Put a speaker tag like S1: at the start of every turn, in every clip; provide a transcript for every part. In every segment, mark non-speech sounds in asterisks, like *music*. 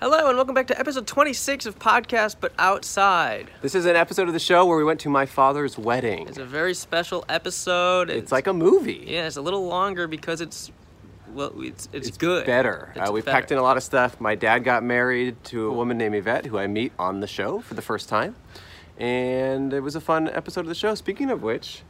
S1: Hello, and welcome back to episode 26 of Podcast But Outside.
S2: This is an episode of the show where we went to my father's wedding.
S1: It's a very special episode.
S2: It's like a movie.
S1: yeah, it's a little longer because it's well, it's it's, good.
S2: Better.
S1: It's
S2: Uh, we
S1: better.
S2: packed in a lot of stuff. My dad got married to a woman named Yvette, who I meet on the show for the first time. And it was a fun episode of the show. Speaking of which,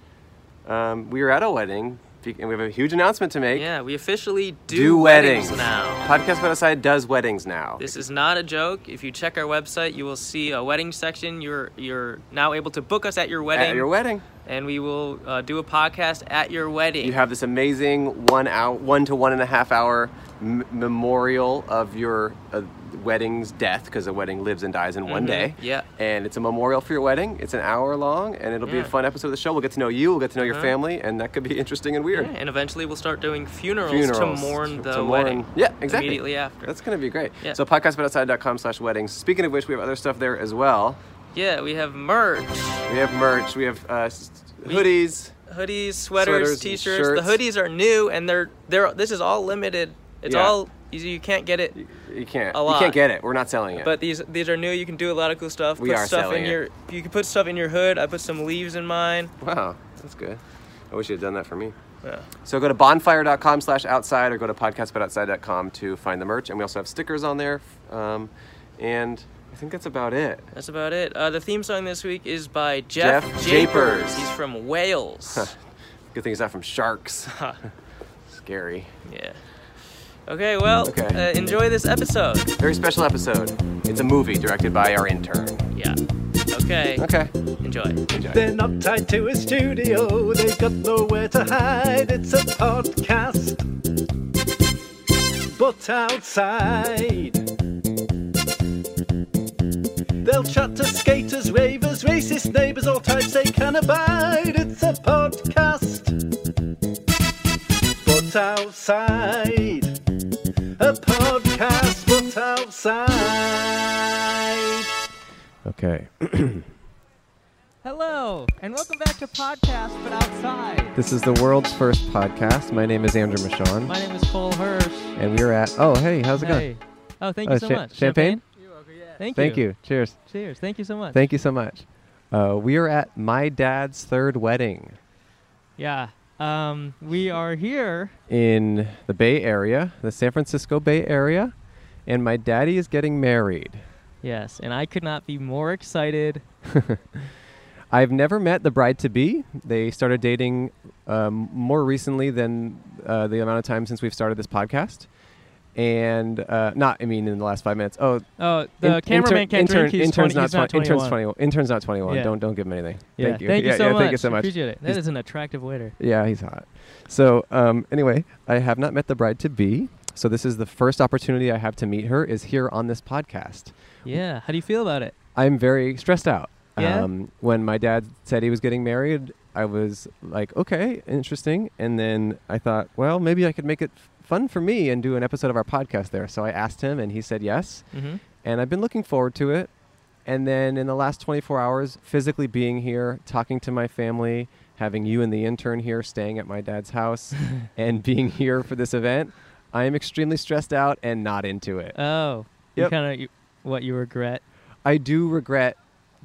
S2: um, we were at a wedding, and we have a huge announcement to make.
S1: Yeah, we officially do,
S2: Do weddings.
S1: now.
S2: Podcast But Outside does weddings now.
S1: This is not a joke. If you check our website, you will see a wedding section. You're you're now able to book us at your wedding,
S2: At your wedding.
S1: and we will uh, do a podcast at your wedding.
S2: You have this amazing one hour, one to one and a half hour m- memorial of your uh, wedding's death because a wedding lives and dies in one
S3: Mm-hmm.
S1: Mhm,
S2: day.
S1: yeah.
S2: And it's a memorial for your wedding. It's an hour long, and it'll be a
S1: Yeah.
S2: fun episode of the show. We'll get to know you. We'll get to know
S1: Uh-huh.
S2: your family, and that could be interesting and weird.
S1: Yeah, and eventually we'll start doing funerals,
S2: Funerals
S1: to mourn the
S2: to mourn-
S1: wedding.
S2: Yeah, exactly.
S1: Immediately after.
S2: That's gonna be great.
S1: Yeah.
S2: So podcastbutoutside.com slash weddings. Speaking of which, we have other stuff there as well.
S1: yeah, we have merch.
S2: We have merch. We have uh, s-
S1: We-
S2: hoodies.
S1: hoodies, sweaters,
S2: Sweaters,
S1: t-shirts.
S2: shirts.
S1: The hoodies are new and they're they're this is all limited. It's
S2: Yeah.
S1: all you, you can't get it.
S2: You can't.
S1: A
S2: You
S1: lot.
S2: can't get it. We're not selling it.
S1: But these these are new. You can do a lot of cool stuff.
S2: We
S1: put
S2: are
S1: stuff
S2: selling
S1: in
S2: it.
S1: your you can put stuff in your hood. I put some leaves in mine.
S2: wow, that's good. I wish you had done that for me.
S1: Yeah.
S2: So go to bonfire.com slash outside or go to podcastbutoutside.com to find the merch. And we also have stickers on there. Um, and I think that's about it.
S1: That's about it. Uh, the theme song this week is by Jeff,
S2: Jeff
S1: Japers.
S2: Japers.
S1: He's from Wales.
S2: Good thing it's not
S1: *laughs*
S2: from sharks. *laughs* Scary.
S1: yeah. Okay, well,
S2: Okay.
S1: Uh, enjoy this episode.
S2: Very special episode. It's a movie directed by our intern.
S1: Yeah. Okay.
S2: Okay.
S1: Enjoy.
S2: Enjoy.
S4: Then uptight to a studio, they got nowhere to hide. It's a podcast, but outside. They'll chat to skaters, ravers, racist neighbors, all types they can abide. It's a podcast, but outside. A podcast, but outside.
S2: Okay. *clears throat*
S5: Hello, and welcome back to Podcast But Outside.
S2: This is the world's first podcast. My name is Andrew Michon.
S5: My name is Cole Hirsch.
S2: And we're at, oh, hey, how's it
S5: Hey. Oh, thank you
S2: Oh,
S5: so
S2: cha-
S5: much.
S2: champagne?
S5: Thank you.
S2: Cheers.
S5: Cheers. Thank you so much.
S2: Thank you so much. Uh, we are at my dad's third wedding
S5: yeah. Um, we are here.
S2: in the Bay Area, the San Francisco Bay Area, and my daddy is getting married.
S5: Yes, and I could not be more excited.
S2: I've never met the bride to be. They started dating um, more recently than uh, the amount of time since we've started this podcast. And uh, not, I mean, in the last five minutes. Oh,
S5: Oh, the
S2: in-
S5: cameraman
S2: intern-
S5: can't
S2: intern-
S5: drink. He's
S2: intern's
S5: 20, he's
S2: not
S5: not
S2: 20 intern's
S5: 21.
S2: 21. Intern's not 21.
S5: Yeah.
S2: Don't don't give him anything.
S5: Yeah,
S2: thank you.
S5: so
S2: yeah,
S5: much.
S2: Thank you so much.
S5: Appreciate it. That
S2: He's-
S5: is an attractive waiter.
S2: Yeah, he's hot. So um, anyway, I have not met the bride to be. So this is the first opportunity I have to meet her is here on this podcast.
S5: Yeah. How do you feel about it?
S2: I'm very stressed out.
S5: Yeah?
S2: Um, when my dad said he was getting married, I was like, okay, interesting. And then I thought, well, maybe I could make it f- fun for me and do an episode of our podcast there. So I asked him, and he said yes.
S5: Mm-hmm.
S2: And I've been looking forward to it. And then in the last 24 hours, physically being here, talking to my family, having you and the intern here, staying at my dad's
S5: *laughs*
S2: house, and being here for this event, I am extremely stressed out and not into it.
S5: Oh. You
S2: Yep.
S5: kind of you, what you regret
S2: I do regret.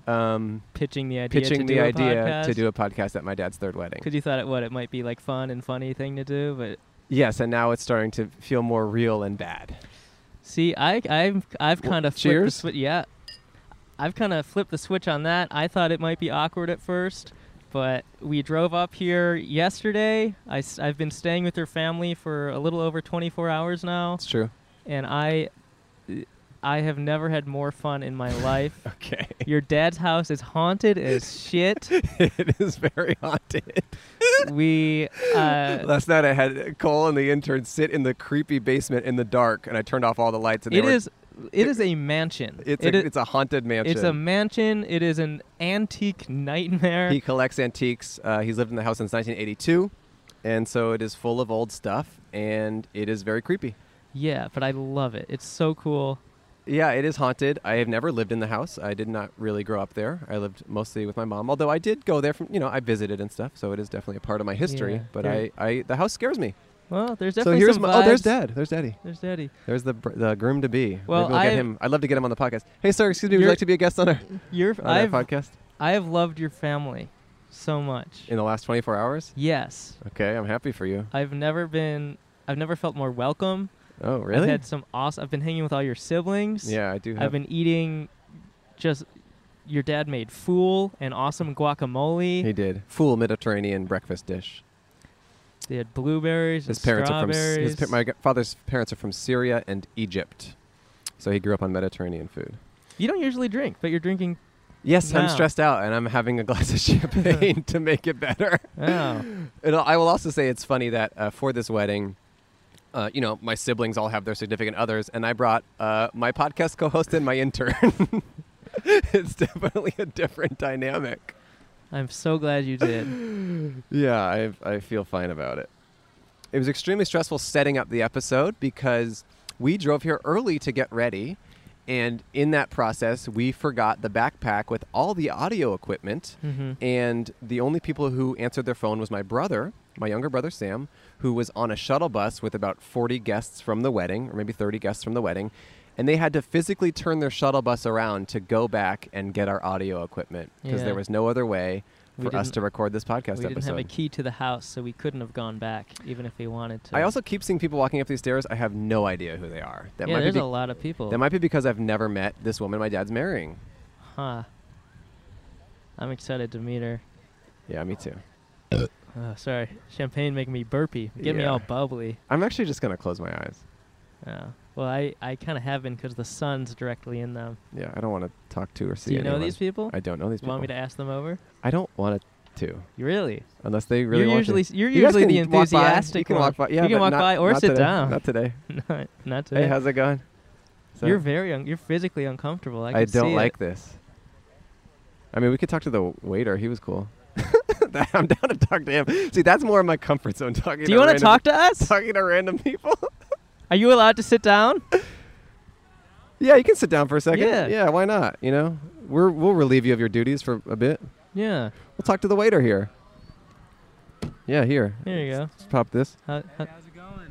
S2: Um,
S5: pitching the idea to
S2: pitching
S5: do
S2: the
S5: a
S2: idea
S5: podcast.
S2: to do a podcast at my dad's third wedding.
S5: Because you thought it what it might be like fun and funny thing to do, but
S2: yes, and now it's starting to feel more real and bad.
S5: See, I, I've, I've kind of
S2: cheers?
S5: Flipped the swi- yeah, I've kind of flipped the switch on that. I thought it might be awkward at first, but we drove up here yesterday. I, have been staying with her family for a little over 24 hours now,
S2: That's true.
S5: and I, I have never had more
S2: *laughs*
S5: fun in my life.
S2: Okay.
S5: Your dad's house is haunted as shit.
S2: *laughs* it is very haunted.
S5: *laughs* We, uh,
S2: Last night I had Cole and the intern sit in the creepy basement in the dark, and I turned off all the lights. And they
S5: it
S2: were-
S5: is, it is a mansion.
S2: It's
S5: It
S2: a,
S5: i-
S2: it's a haunted mansion.
S5: it's a mansion. It is an antique nightmare.
S2: he collects antiques. Uh, he's lived in the house since 1982, and so it is full of old stuff, and it is very creepy.
S5: Yeah, but I love it. It's so cool.
S2: Yeah, it is haunted. I have never lived in the house. I did not really grow up there. I lived mostly with my mom, although I did go there from, you know, I visited and stuff, so it is definitely a part of my history,
S5: Yeah,
S2: but
S5: yeah.
S2: I, I the house scares me.
S5: Well, there's
S2: So
S5: definitely
S2: here's
S5: some
S2: my, oh, there's
S5: vibes.
S2: Dad. There's Daddy.
S5: There's Daddy.
S2: There's the br- the groom to be.
S5: Well,
S2: Maybe we'll get
S5: I-
S2: him. I'd love to get him on the podcast. Hey, sir, excuse me. Would you
S5: You're-
S2: like to be a guest on our,
S5: Your
S2: on our
S5: I've
S2: podcast
S5: I have loved your family so much.
S2: in the last 24 hours?
S5: yes,
S2: Okay, I'm happy for you.
S5: I've never been. I've never felt more welcome.
S2: Oh, really?
S5: I've had some awesome. I've been hanging with all your siblings.
S2: yeah, I do have.
S5: I've been eating just your dad made fool and awesome guacamole.
S2: he did. Full Mediterranean breakfast dish.
S5: They had blueberries.
S2: His
S5: and
S2: parents are from S- his, pa-
S5: strawberries.
S2: my g- father's parents are from Syria and Egypt, so he grew up on Mediterranean food.
S5: you don't usually drink, but you're drinking.
S2: Yes, I'm
S5: Wow.
S2: stressed out, and I'm having a glass of champagne to make it better.
S5: Oh,
S2: And I will also say it's funny that uh, for this wedding, uh, you know, my siblings all have their significant others, and I brought uh, my podcast co-host and my intern. *laughs* it's definitely a different dynamic.
S5: I'm so glad you did.
S2: *laughs* Yeah, I, I feel fine about it. It was extremely stressful setting up the episode because we drove here early to get ready. And in that process, we forgot the backpack with all the audio equipment.
S5: Mhm.
S2: And the only people who answered their phone was my brother, my younger brother Sam, who was on a shuttle bus with about 40 guests from the wedding, or maybe 30 guests from the wedding. And they had to physically turn their shuttle bus around to go back and get our audio equipment because
S5: Yeah.
S2: there was no other way
S5: We
S2: for us
S5: didn't-
S2: to record this podcast
S5: we didn't
S2: episode.
S5: have a key to the house, so we couldn't have gone back, even if we wanted to.
S2: I also keep seeing people walking up these stairs. I have no idea who they are. That
S5: yeah,
S2: might be,
S5: there's
S2: be-
S5: a lot of people.
S2: that might be because I've never met this woman my dad's marrying.
S5: huh. I'm excited to meet her.
S2: Yeah, me too.
S5: Oh, sorry, champagne making me burpy, get me
S2: Yeah.
S5: all bubbly.
S2: I'm actually just gonna close my eyes.
S5: Yeah. Well, I, I kind of have been because the sun's directly in them.
S2: Yeah, I don't want to talk to or see.
S5: Do you
S2: anyone.
S5: know these people?
S2: I don't know these
S5: you want
S2: people.
S5: me to ask them over?
S2: I don't want to,
S5: You really?
S2: unless they really
S5: you're
S2: want
S5: usually
S2: to.
S5: you're
S2: You guys
S5: usually the
S2: can walk by.
S5: enthusiastic
S2: You can
S5: one.
S2: walk by. Yeah,
S5: you can
S2: but
S5: walk
S2: not-
S5: by or
S2: not
S5: sit
S2: today.
S5: down.
S2: Not today.
S5: *laughs* not, not today.
S2: Hey, how's it going? So-
S5: you're very un- you're physically uncomfortable. I,
S2: I,
S5: can
S2: don't
S5: see
S2: like
S5: it.
S2: this. I mean, we could talk to the waiter. He was cool. *laughs* I'm down to talk to him. See, that's more in my comfort zone. Talking.
S5: Do you
S2: want
S5: want to talk to us?
S2: talking to random people?
S5: Are you allowed to sit down?
S2: *laughs* yeah, you can sit down for a second.
S5: Yeah.
S2: why not? You know, we're we'll relieve you of your duties for a bit.
S5: yeah.
S2: We'll talk to the waiter here. Yeah, here.
S5: There you go.
S2: Let's pop this.
S5: How, how,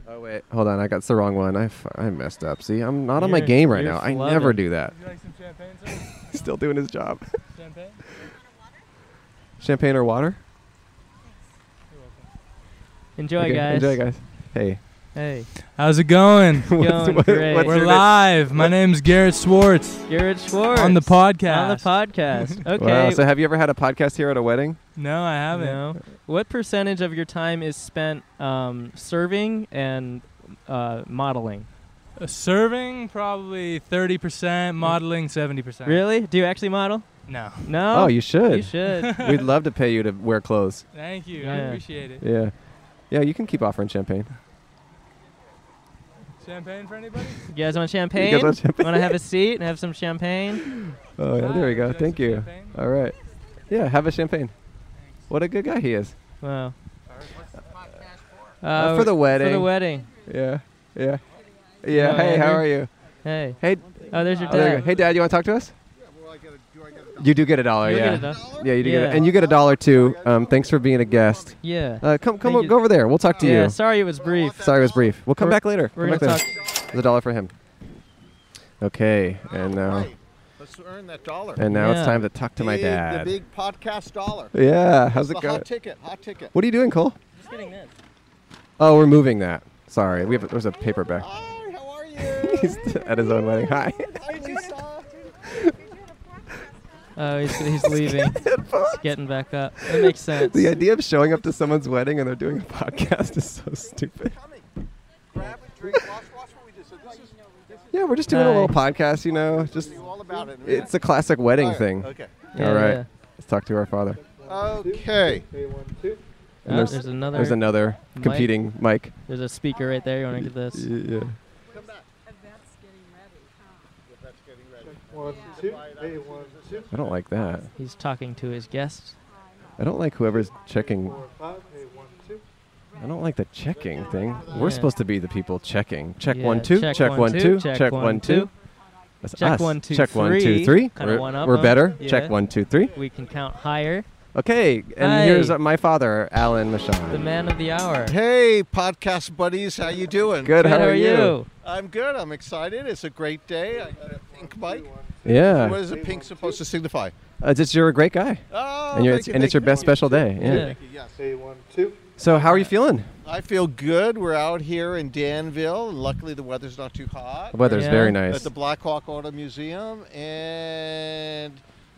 S2: Oh wait, hold on. I got the wrong one. I, f- I messed up. See, I'm not on my
S5: You're-
S2: game right
S5: you're
S2: now. I never
S5: flooded.
S2: do that.
S6: Would you like some champagne, sir?
S2: *laughs* Still doing his job.
S6: champagne?
S2: Champagne or water?
S5: enjoy,
S2: Okay,
S5: guys.
S2: Enjoy, guys. Hey.
S5: Hey,
S6: How's it going?
S2: *laughs* What's-
S5: Going
S2: what-
S5: great.
S2: what's
S6: We're
S2: your-
S6: live. My name's Garrett Schwartz
S5: Garrett Schwartz
S6: on the podcast.
S5: On the podcast. *laughs* Okay.
S2: Wow. So have you ever had a podcast here at a wedding?
S6: No, I haven't.
S5: No. What percentage of your time is spent um, serving and uh, modeling?
S6: Uh, serving probably 30%, modeling 70%.
S5: Really? Do you actually model?
S6: No.
S5: No.
S2: oh, you should.
S6: *laughs*
S5: You
S2: *laughs*
S5: should.
S2: We'd love to pay you to wear clothes.
S6: Thank you. I
S5: Yeah.
S6: appreciate it.
S2: Yeah. Yeah, you can keep offering champagne.
S6: Champagne for anybody?
S5: you guys want
S2: You
S5: champagne?
S2: guys want champagne?
S5: to have a seat and have some champagne?
S2: *laughs*
S5: Uh,
S2: Oh, yeah, there we
S6: Would you
S2: go.
S6: like
S2: Thank
S6: some
S2: you.
S6: champagne?
S2: All right. Yeah, have a champagne. What a good guy he is.
S5: Wow. Uh,
S2: Uh, for the wedding.
S5: For the wedding.
S2: Yeah. Yeah. Yeah.
S5: Hello,
S2: hey, how
S5: Andrew.
S2: are you?
S5: Hey.
S2: Hey.
S5: Oh, there's your
S2: oh, there you
S5: dad.
S2: go. Hey, Dad. You want to talk to us? You do get
S7: Oh,
S2: a dollar,
S5: You'll
S2: yeah.
S5: get a dollar?
S2: Yeah, you do get
S5: Yeah.
S2: it. And you get a dollar too. Um, thanks for being a guest.
S5: Yeah.
S2: Uh, come come
S5: Thank
S2: o-
S5: you.
S2: go over there. We'll talk to
S5: yeah.
S2: you.
S5: Sorry it was brief.
S2: Sorry it was brief. We'll come
S5: We're-
S2: back later.
S5: We're
S2: come
S5: gonna
S2: back later.
S5: talk.
S2: There's a dollar for him. Okay. And now
S8: Right. Let's earn that dollar.
S2: and now
S5: Yeah.
S2: it's time to talk to my
S8: Big-
S2: dad.
S8: The big podcast dollar.
S2: Yeah, how's
S8: the
S2: it going?
S8: hot ticket, hot ticket.
S2: What are you doing, Cole? Oh, we're moving that. Sorry, we have there's a paperback.
S8: Hi, how are you?
S2: *laughs* He's at his own wedding. Hi.
S8: Hi, Lisa.
S5: Oh, he's,
S2: *laughs*
S5: he's leaving. he's getting back up. That makes sense.
S2: The idea of showing up to someone's wedding and they're doing a *laughs* podcast is so stupid.
S8: Coming. Grab a drink. Watch, watch what we just did. This is, this is
S2: Yeah, we're just doing a little podcast, you know. Just
S8: you all about it.
S2: it's a classic wedding
S8: All right,
S2: thing.
S8: Okay.
S5: Yeah,
S2: All right,
S5: yeah.
S2: let's talk to our father.
S8: Okay.
S5: Oh,
S2: And there's,
S5: there's another.
S2: there's another
S5: mic.
S2: competing mic.
S5: There's a speaker right there. You want to get this?
S2: Y- Yeah. I don't like that.
S5: He's talking to his guests.
S2: I don't like whoever's checking. I don't like the checking thing.
S5: Yeah.
S2: We're supposed to be the people checking. Check
S5: Yeah,
S2: one two.
S5: check
S2: Check
S5: one,
S2: one
S5: two,
S2: two.
S5: check
S2: Check
S5: one,
S2: one two.
S5: two.
S2: That's
S5: Check
S2: us.
S5: one, two,
S2: Check one
S5: three.
S2: two three.
S5: Kinda
S2: We're-
S5: one-up
S2: We're
S5: 'em.
S2: better.
S5: Yeah.
S2: Check one two three.
S5: We can count higher.
S2: Okay, and
S5: Hi.
S2: here's uh, my father, Alan
S5: The
S2: Michon.
S5: man of the hour.
S8: Hey, podcast buddies, how you doing?
S2: Good,
S5: Good,
S2: how are you?
S8: I'm good. I'm excited. It's a great day. I got a pink bike. What
S2: Yeah,
S8: is a pink supposed to signify?
S2: uh, just you're a great guy,
S8: Oh,
S2: and you're
S8: thank
S2: it's,
S8: you,
S2: and it's
S8: thank
S2: your
S8: you.
S2: best special day. Yeah.
S5: Yeah.
S8: Yes.
S2: So how are you feeling?
S8: I feel good. We're out here in Danville. Luckily, the weather's not too hot.
S2: The weather's
S5: Yeah.
S2: very
S8: At
S2: nice.
S8: the Black Hawk Auto Museum, and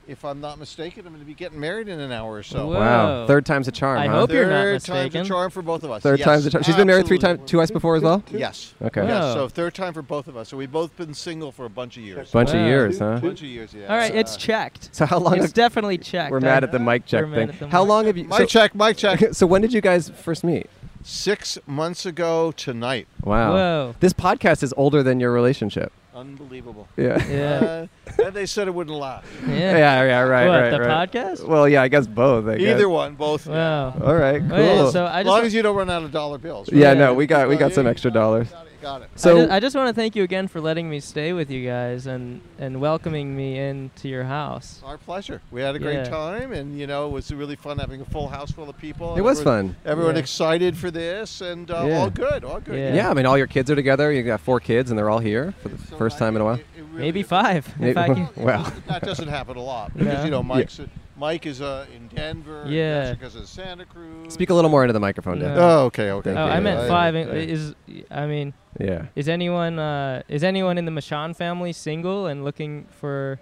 S8: if I'm not mistaken, I'm going to be getting married in an hour or so.
S5: Whoa.
S2: Wow, third time's a charm.
S5: I
S2: huh?
S5: hope you're not
S8: Third time's a
S5: mistaken.
S8: charm for both of us.
S2: Third
S8: yes,
S2: time's a charm. She's been married three times,
S8: absolutely.
S2: two times before as well.
S8: Yes.
S2: Okay.
S5: Yeah.
S8: Yes,
S5: Wow.
S8: so third time for both of us. So we've both been single for a bunch of years.
S2: Bunch of
S5: Wow.
S2: years, huh?
S8: bunch of years, yeah.
S5: All right, it's
S8: Uh,
S5: checked.
S2: So how long?
S5: It's
S2: Have,
S5: definitely checked.
S2: we're mad
S5: I-
S2: at the mic check
S5: We're mad
S2: thing.
S5: at the
S2: How
S5: mic
S2: long have you?
S8: my
S2: so,
S8: check, my check.
S2: *laughs* so when did you guys first meet?
S8: Six months ago tonight.
S2: Wow.
S5: Whoa.
S2: This podcast is older than your relationship.
S8: Unbelievable.
S2: Yeah.
S5: Yeah.
S8: Uh, and they said it wouldn't last.
S2: *laughs*
S5: yeah.
S2: yeah. Yeah. Right.
S5: What,
S2: right.
S5: the
S2: right.
S5: podcast?
S2: Well, yeah. I guess both. I guess.
S8: Either one, both.
S5: Wow.
S2: All right. Cool.
S5: Oh, yeah, so I
S8: As
S5: just
S8: long
S5: wa-
S8: as you don't run out of dollar bills. right?
S2: yeah,
S5: Yeah.
S2: No, we got we
S8: Well,
S2: got some
S8: yeah,
S2: extra
S8: got it,
S2: dollars.
S8: Got it, got it.
S5: I ju-
S2: So
S5: I just, want to thank you again for letting me stay with you guys and and welcoming me into your house.
S8: Our pleasure. We had a great
S5: Yeah.
S8: time, and you know, it was really fun having a full house full of people.
S2: It
S8: and
S2: was
S8: everyone-
S2: fun.
S8: Everyone
S5: Yeah.
S8: excited for this, and uh,
S2: Yeah.
S8: all good, all good.
S5: Yeah.
S2: yeah. I mean, all your kids are together. You got four kids, and they're all here for the
S8: So
S2: first
S8: I
S2: time in a
S8: think
S2: while.
S8: it- it really
S5: Maybe
S8: is-
S5: five.
S2: *laughs*
S5: If I can.
S2: Maybe- well,
S8: *laughs* That doesn't happen a lot because
S5: No.
S8: you
S5: Yeah.
S8: know Mike's Mike is uh, in Denver.
S5: Yeah.
S8: because of Santa Cruz.
S2: speak a little more into the microphone, Dan.
S5: No.
S8: Oh, okay, okay.
S5: Oh,
S2: Thank
S5: I
S2: you.
S5: meant
S2: Yeah.
S5: five.
S2: Yeah.
S5: Is I mean,
S2: Yeah.
S5: is anyone uh, is anyone in the Michon family single and looking for?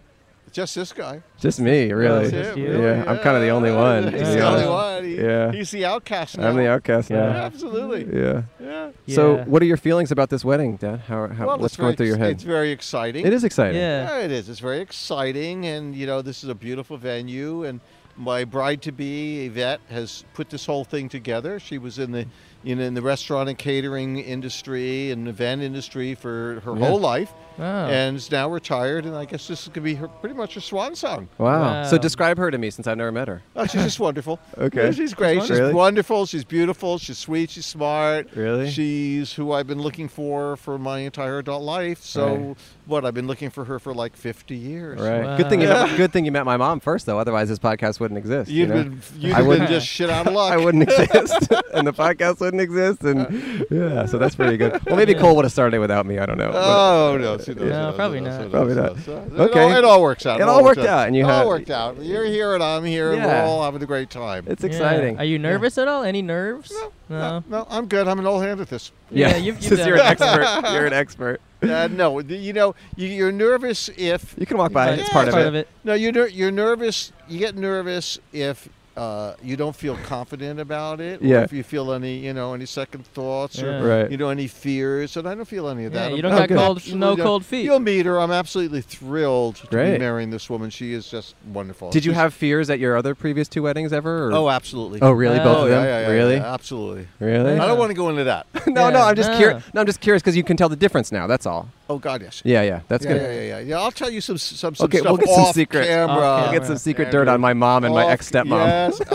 S8: Just this guy.
S2: Just me, really.
S5: That's it,
S2: yeah.
S5: really,
S2: I'm kind of the only
S8: yeah.
S2: one.
S8: He's
S2: to
S5: Yeah.
S2: be
S8: the only
S2: honest.
S8: one. He-
S2: Yeah.
S8: He's the outcast now.
S2: I'm the outcast
S5: Yeah.
S2: now.
S8: Absolutely.
S2: Yeah.
S8: Yeah.
S2: So,
S5: Yeah.
S2: what are your feelings about this wedding, Dan? How, how
S8: Well,
S2: what's
S8: it's very
S2: going through your
S8: ex-
S2: head?
S8: It's very exciting.
S2: It is exciting.
S5: Yeah.
S8: Yeah, it is. It's very exciting, and you know, this is a beautiful venue. And my bride-to-be Yvette has put this whole thing together. She was in the, you know, in the restaurant and catering industry and event industry for her
S2: Yeah.
S8: whole life,
S5: Oh.
S8: and is now retired. And I guess this is gonna be her, pretty much her swan song.
S2: Wow. So
S5: Wow.
S2: describe her to me since I've never met her.
S8: Oh, she's just wonderful.
S2: *laughs* Okay.
S8: Yeah, she's great. She's
S2: Really?
S8: wonderful. She's beautiful. She's sweet. She's smart.
S2: Really?
S8: She's who I've been looking for for my entire adult life. So,
S2: Right.
S8: what I've been looking for her for like 50 years.
S2: Right. Good thing you
S8: Wow. *laughs*
S2: met, good thing you met my mom first though, otherwise this podcast wouldn't exist. you
S8: You'd
S2: know?
S8: been, you'd
S2: I
S8: have been
S2: wouldn't-
S8: just
S2: *laughs*
S8: shit out of luck.
S2: I wouldn't exist, and the podcast wouldn't exist, and yeah, so that's pretty good. Well, maybe Cole would have started without me. I don't know. but
S8: *laughs* Oh
S2: *laughs*
S8: no, see,
S5: No, probably not.
S2: Probably not.
S8: Okay,
S2: Okay.
S8: it all, it all works out.
S2: It all worked out, and you
S8: it all
S2: had-
S8: worked out. You're here and I'm here, and
S2: Yeah.
S8: we're all having a great time.
S2: it's
S5: Yeah.
S2: exciting.
S5: Are you nervous at all? Any nerves?
S8: no, no, I'm good. I'm an old hand at this.
S2: *laughs*
S5: Yeah, you've- you've
S2: since
S5: done
S2: you're an
S5: it.
S2: expert, you're an expert.
S8: *laughs* Uh, no, th- you know, you, you're nervous if
S2: You can walk by;
S5: But
S2: it's part, of it.
S8: No, you're ner- you're nervous. You get nervous if uh, you don't feel confident about it.
S2: Yeah.
S8: Or if you feel any, you know, any second thoughts
S5: Yeah.
S8: or
S2: Right.
S8: you know any fears, and I don't feel any of
S5: Yeah,
S8: that.
S5: you
S8: I'm
S5: don't
S2: Oh,
S5: got
S2: good.
S5: cold, no
S8: absolutely-
S5: cold feet.
S8: You'll meet her. I'm absolutely thrilled to
S2: Great.
S8: be marrying this woman. She is just wonderful.
S2: Did you
S8: She's-
S2: have fears at your other previous two weddings ever? Or?
S8: Oh, absolutely.
S2: Oh, really?
S5: Oh,
S2: Both of
S8: yeah,
S2: them?
S8: yeah, yeah,
S2: really?
S8: yeah, absolutely.
S2: Really?
S8: I
S5: Yeah.
S8: don't want to go into that.
S2: *laughs* no, no.
S5: Yeah.
S2: I'm just
S5: No.
S2: curious. No, I'm just curious because you can tell the difference now. That's all.
S8: Oh God, yes.
S2: Yeah, yeah. That's
S8: yeah,
S2: good.
S8: yeah, yeah, yeah, yeah. I'll tell you some some, some
S2: Okay,
S8: stuff
S2: we'll get some
S8: off
S2: secret-
S8: camera.
S5: Off
S2: I'll
S5: camera.
S2: get some secret
S8: Yeah,
S2: dirt on my mom and my
S8: Off-
S2: ex stepmom.
S8: Yes, uh,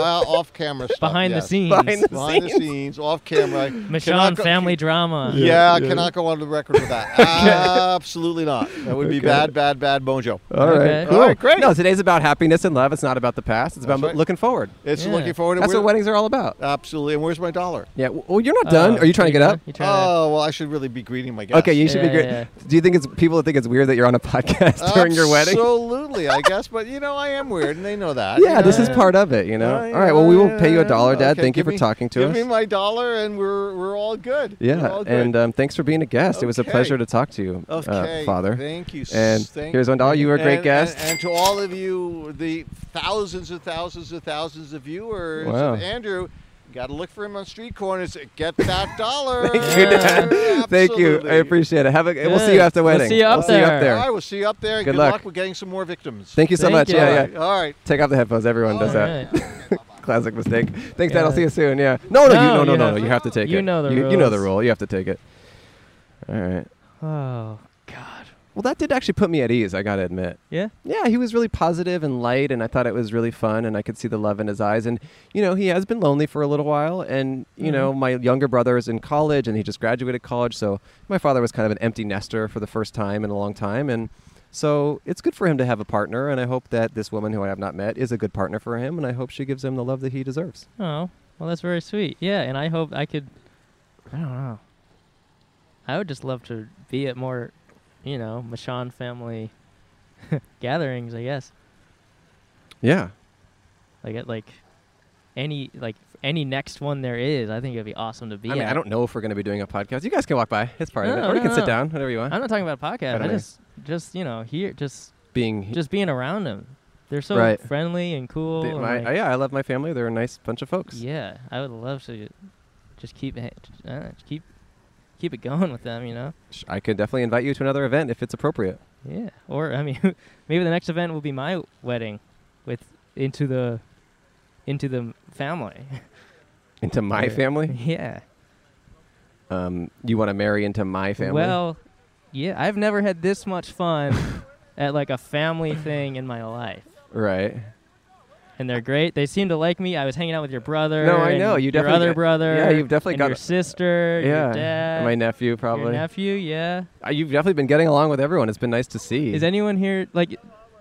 S5: *laughs*
S8: off camera stuff.
S5: Behind
S8: yes.
S5: the scenes.
S2: Behind the
S8: Behind the scenes,
S5: *laughs*
S8: off camera. I
S5: Michon
S8: cannot go-
S5: family drama.
S8: Yeah, I cannot go on the record
S5: *laughs*
S8: with that. Absolutely not. That would be
S2: Okay.
S8: bad, bad, bad mojo.
S2: All right,
S5: Okay.
S2: cool.
S8: All right, great.
S2: No, today's about happiness and love. It's not about the past. It's about
S8: That's right.
S2: looking forward.
S8: It's
S5: Yeah.
S8: looking forward to
S2: That's what
S8: we're-
S2: weddings are all about.
S8: Absolutely. And where's my dollar?
S2: Yeah. w- Well, you're not done. are you trying to get up?
S5: Uh, You trying to-
S8: Oh, well, I should really be greeting my guests.
S2: Okay, you should be
S5: Yeah,
S2: great.
S5: yeah,
S2: Do you think it's people that think it's weird that you're on a *laughs* podcast during your wedding?
S8: Uh, Absolutely, I guess. But, you know, I am weird, and they know that.
S2: yeah,
S8: you
S2: this
S8: know?
S2: is part of it, you know.
S8: Yeah,
S2: all right, well, we will
S8: yeah,
S2: pay you a
S8: yeah.
S2: dollar, Dad.
S8: Okay,
S2: Thank you
S8: give
S2: for
S8: me-
S2: talking to
S8: give
S2: us.
S8: me my dollar, and we're, we're all good. We're
S2: yeah,
S8: all good.
S2: and um, thanks for being a guest. It was a
S8: Okay.
S2: pleasure to talk to you, uh,
S8: okay,
S2: Father.
S8: Thank you. s-
S2: And
S8: thank
S2: here's one dollar. You were a great
S8: and,
S2: guest.
S8: And, and to all of you, the thousands and thousands and thousands of viewers
S2: Wow.
S8: of Andrew, got to look for him on street corners. Get
S2: *laughs*
S8: that dollar.
S2: Thank you, Dad. Thank you. I
S8: Absolutely.
S2: appreciate it. Have a. We'll see
S5: Good.
S2: you after the
S5: We'll
S2: wedding.
S5: see you up there.
S8: All right, we'll see you up there.
S2: Good
S8: Good,
S2: luck.
S8: luck. with getting some more victims.
S2: Thank you so
S5: Thank
S2: much.
S5: you.
S2: Yeah,
S5: All
S2: yeah.
S5: right.
S8: All right.
S2: Take off the headphones. Everyone does
S5: All
S2: that.
S5: right.
S2: *laughs* Classic mistake. Thanks, Dad. I'll
S5: Yeah.
S2: see you soon. Yeah. No, no, you,
S5: No,
S2: no, no,
S5: you
S2: no,
S5: have
S2: no.
S5: to-
S2: You have to take it.
S5: You know the
S2: You, you know the
S5: rules.
S2: rule. You have to take it. All right.
S5: Oh God.
S2: Well, that did actually put me at ease. I gotta admit.
S5: Yeah.
S2: Yeah, he was really positive and light, and I thought it was really fun, and I could see the love in his eyes. And you know, he has been lonely for a little while, and you
S5: Mm-hmm.
S2: know, my younger brother is in college, and he just graduated college, so my father was kind of an empty nester for the first time in a long time, and So it's good for him to have a partner, and I hope that this woman who I have not met is a good partner for him, and I hope she gives him the love that he deserves.
S5: Oh, well, that's very sweet. Yeah, and I hope I could. I don't know. I would just love to be at more, you know, Michon family *laughs* gatherings. I guess
S2: Yeah.
S5: like at like any like any next one there is. I think it'd be awesome to be.
S2: I mean,
S5: at.
S2: I don't know if we're going to be doing a podcast. You guys can walk by. It's part of
S5: No,
S2: it. Or you
S5: no,
S2: can
S5: no.
S2: sit down, whatever you want.
S5: I'm not talking about a podcast.
S2: Kinda
S5: I
S2: me.
S5: just just you know here just
S2: Being
S5: just being around them. They're so
S2: Right.
S5: friendly and cool.
S2: the-
S5: and,
S2: my,
S5: like,
S2: uh, yeah, I love my family. They're a nice bunch of folks.
S5: yeah, I would love to just keep ha- uh, keep keep it going with them. You know.
S2: Sh- I could definitely invite you to another event if it's appropriate.
S5: Yeah, or I mean, *laughs* maybe the next event will be my wedding, with into the, into the family.
S2: *laughs* Into my
S5: Yeah.
S2: family?
S5: yeah.
S2: Um, you want to marry into my family?
S5: Well, yeah, I've never had this
S2: *laughs*
S5: much fun at like a family thing in my life,
S2: right.
S5: and they're great. They seem to like me. I was hanging out with your brother.
S2: No, I
S5: and
S2: know. You
S5: your
S2: definitely
S5: other
S2: got-
S5: brother.
S2: yeah, you've definitely
S5: and
S2: got-
S5: your sister.
S2: yeah.
S5: your dad.
S2: And my nephew, probably.
S5: your nephew. Yeah.
S2: Uh, You've definitely been getting along with everyone. It's been nice to see.
S5: Is anyone here like?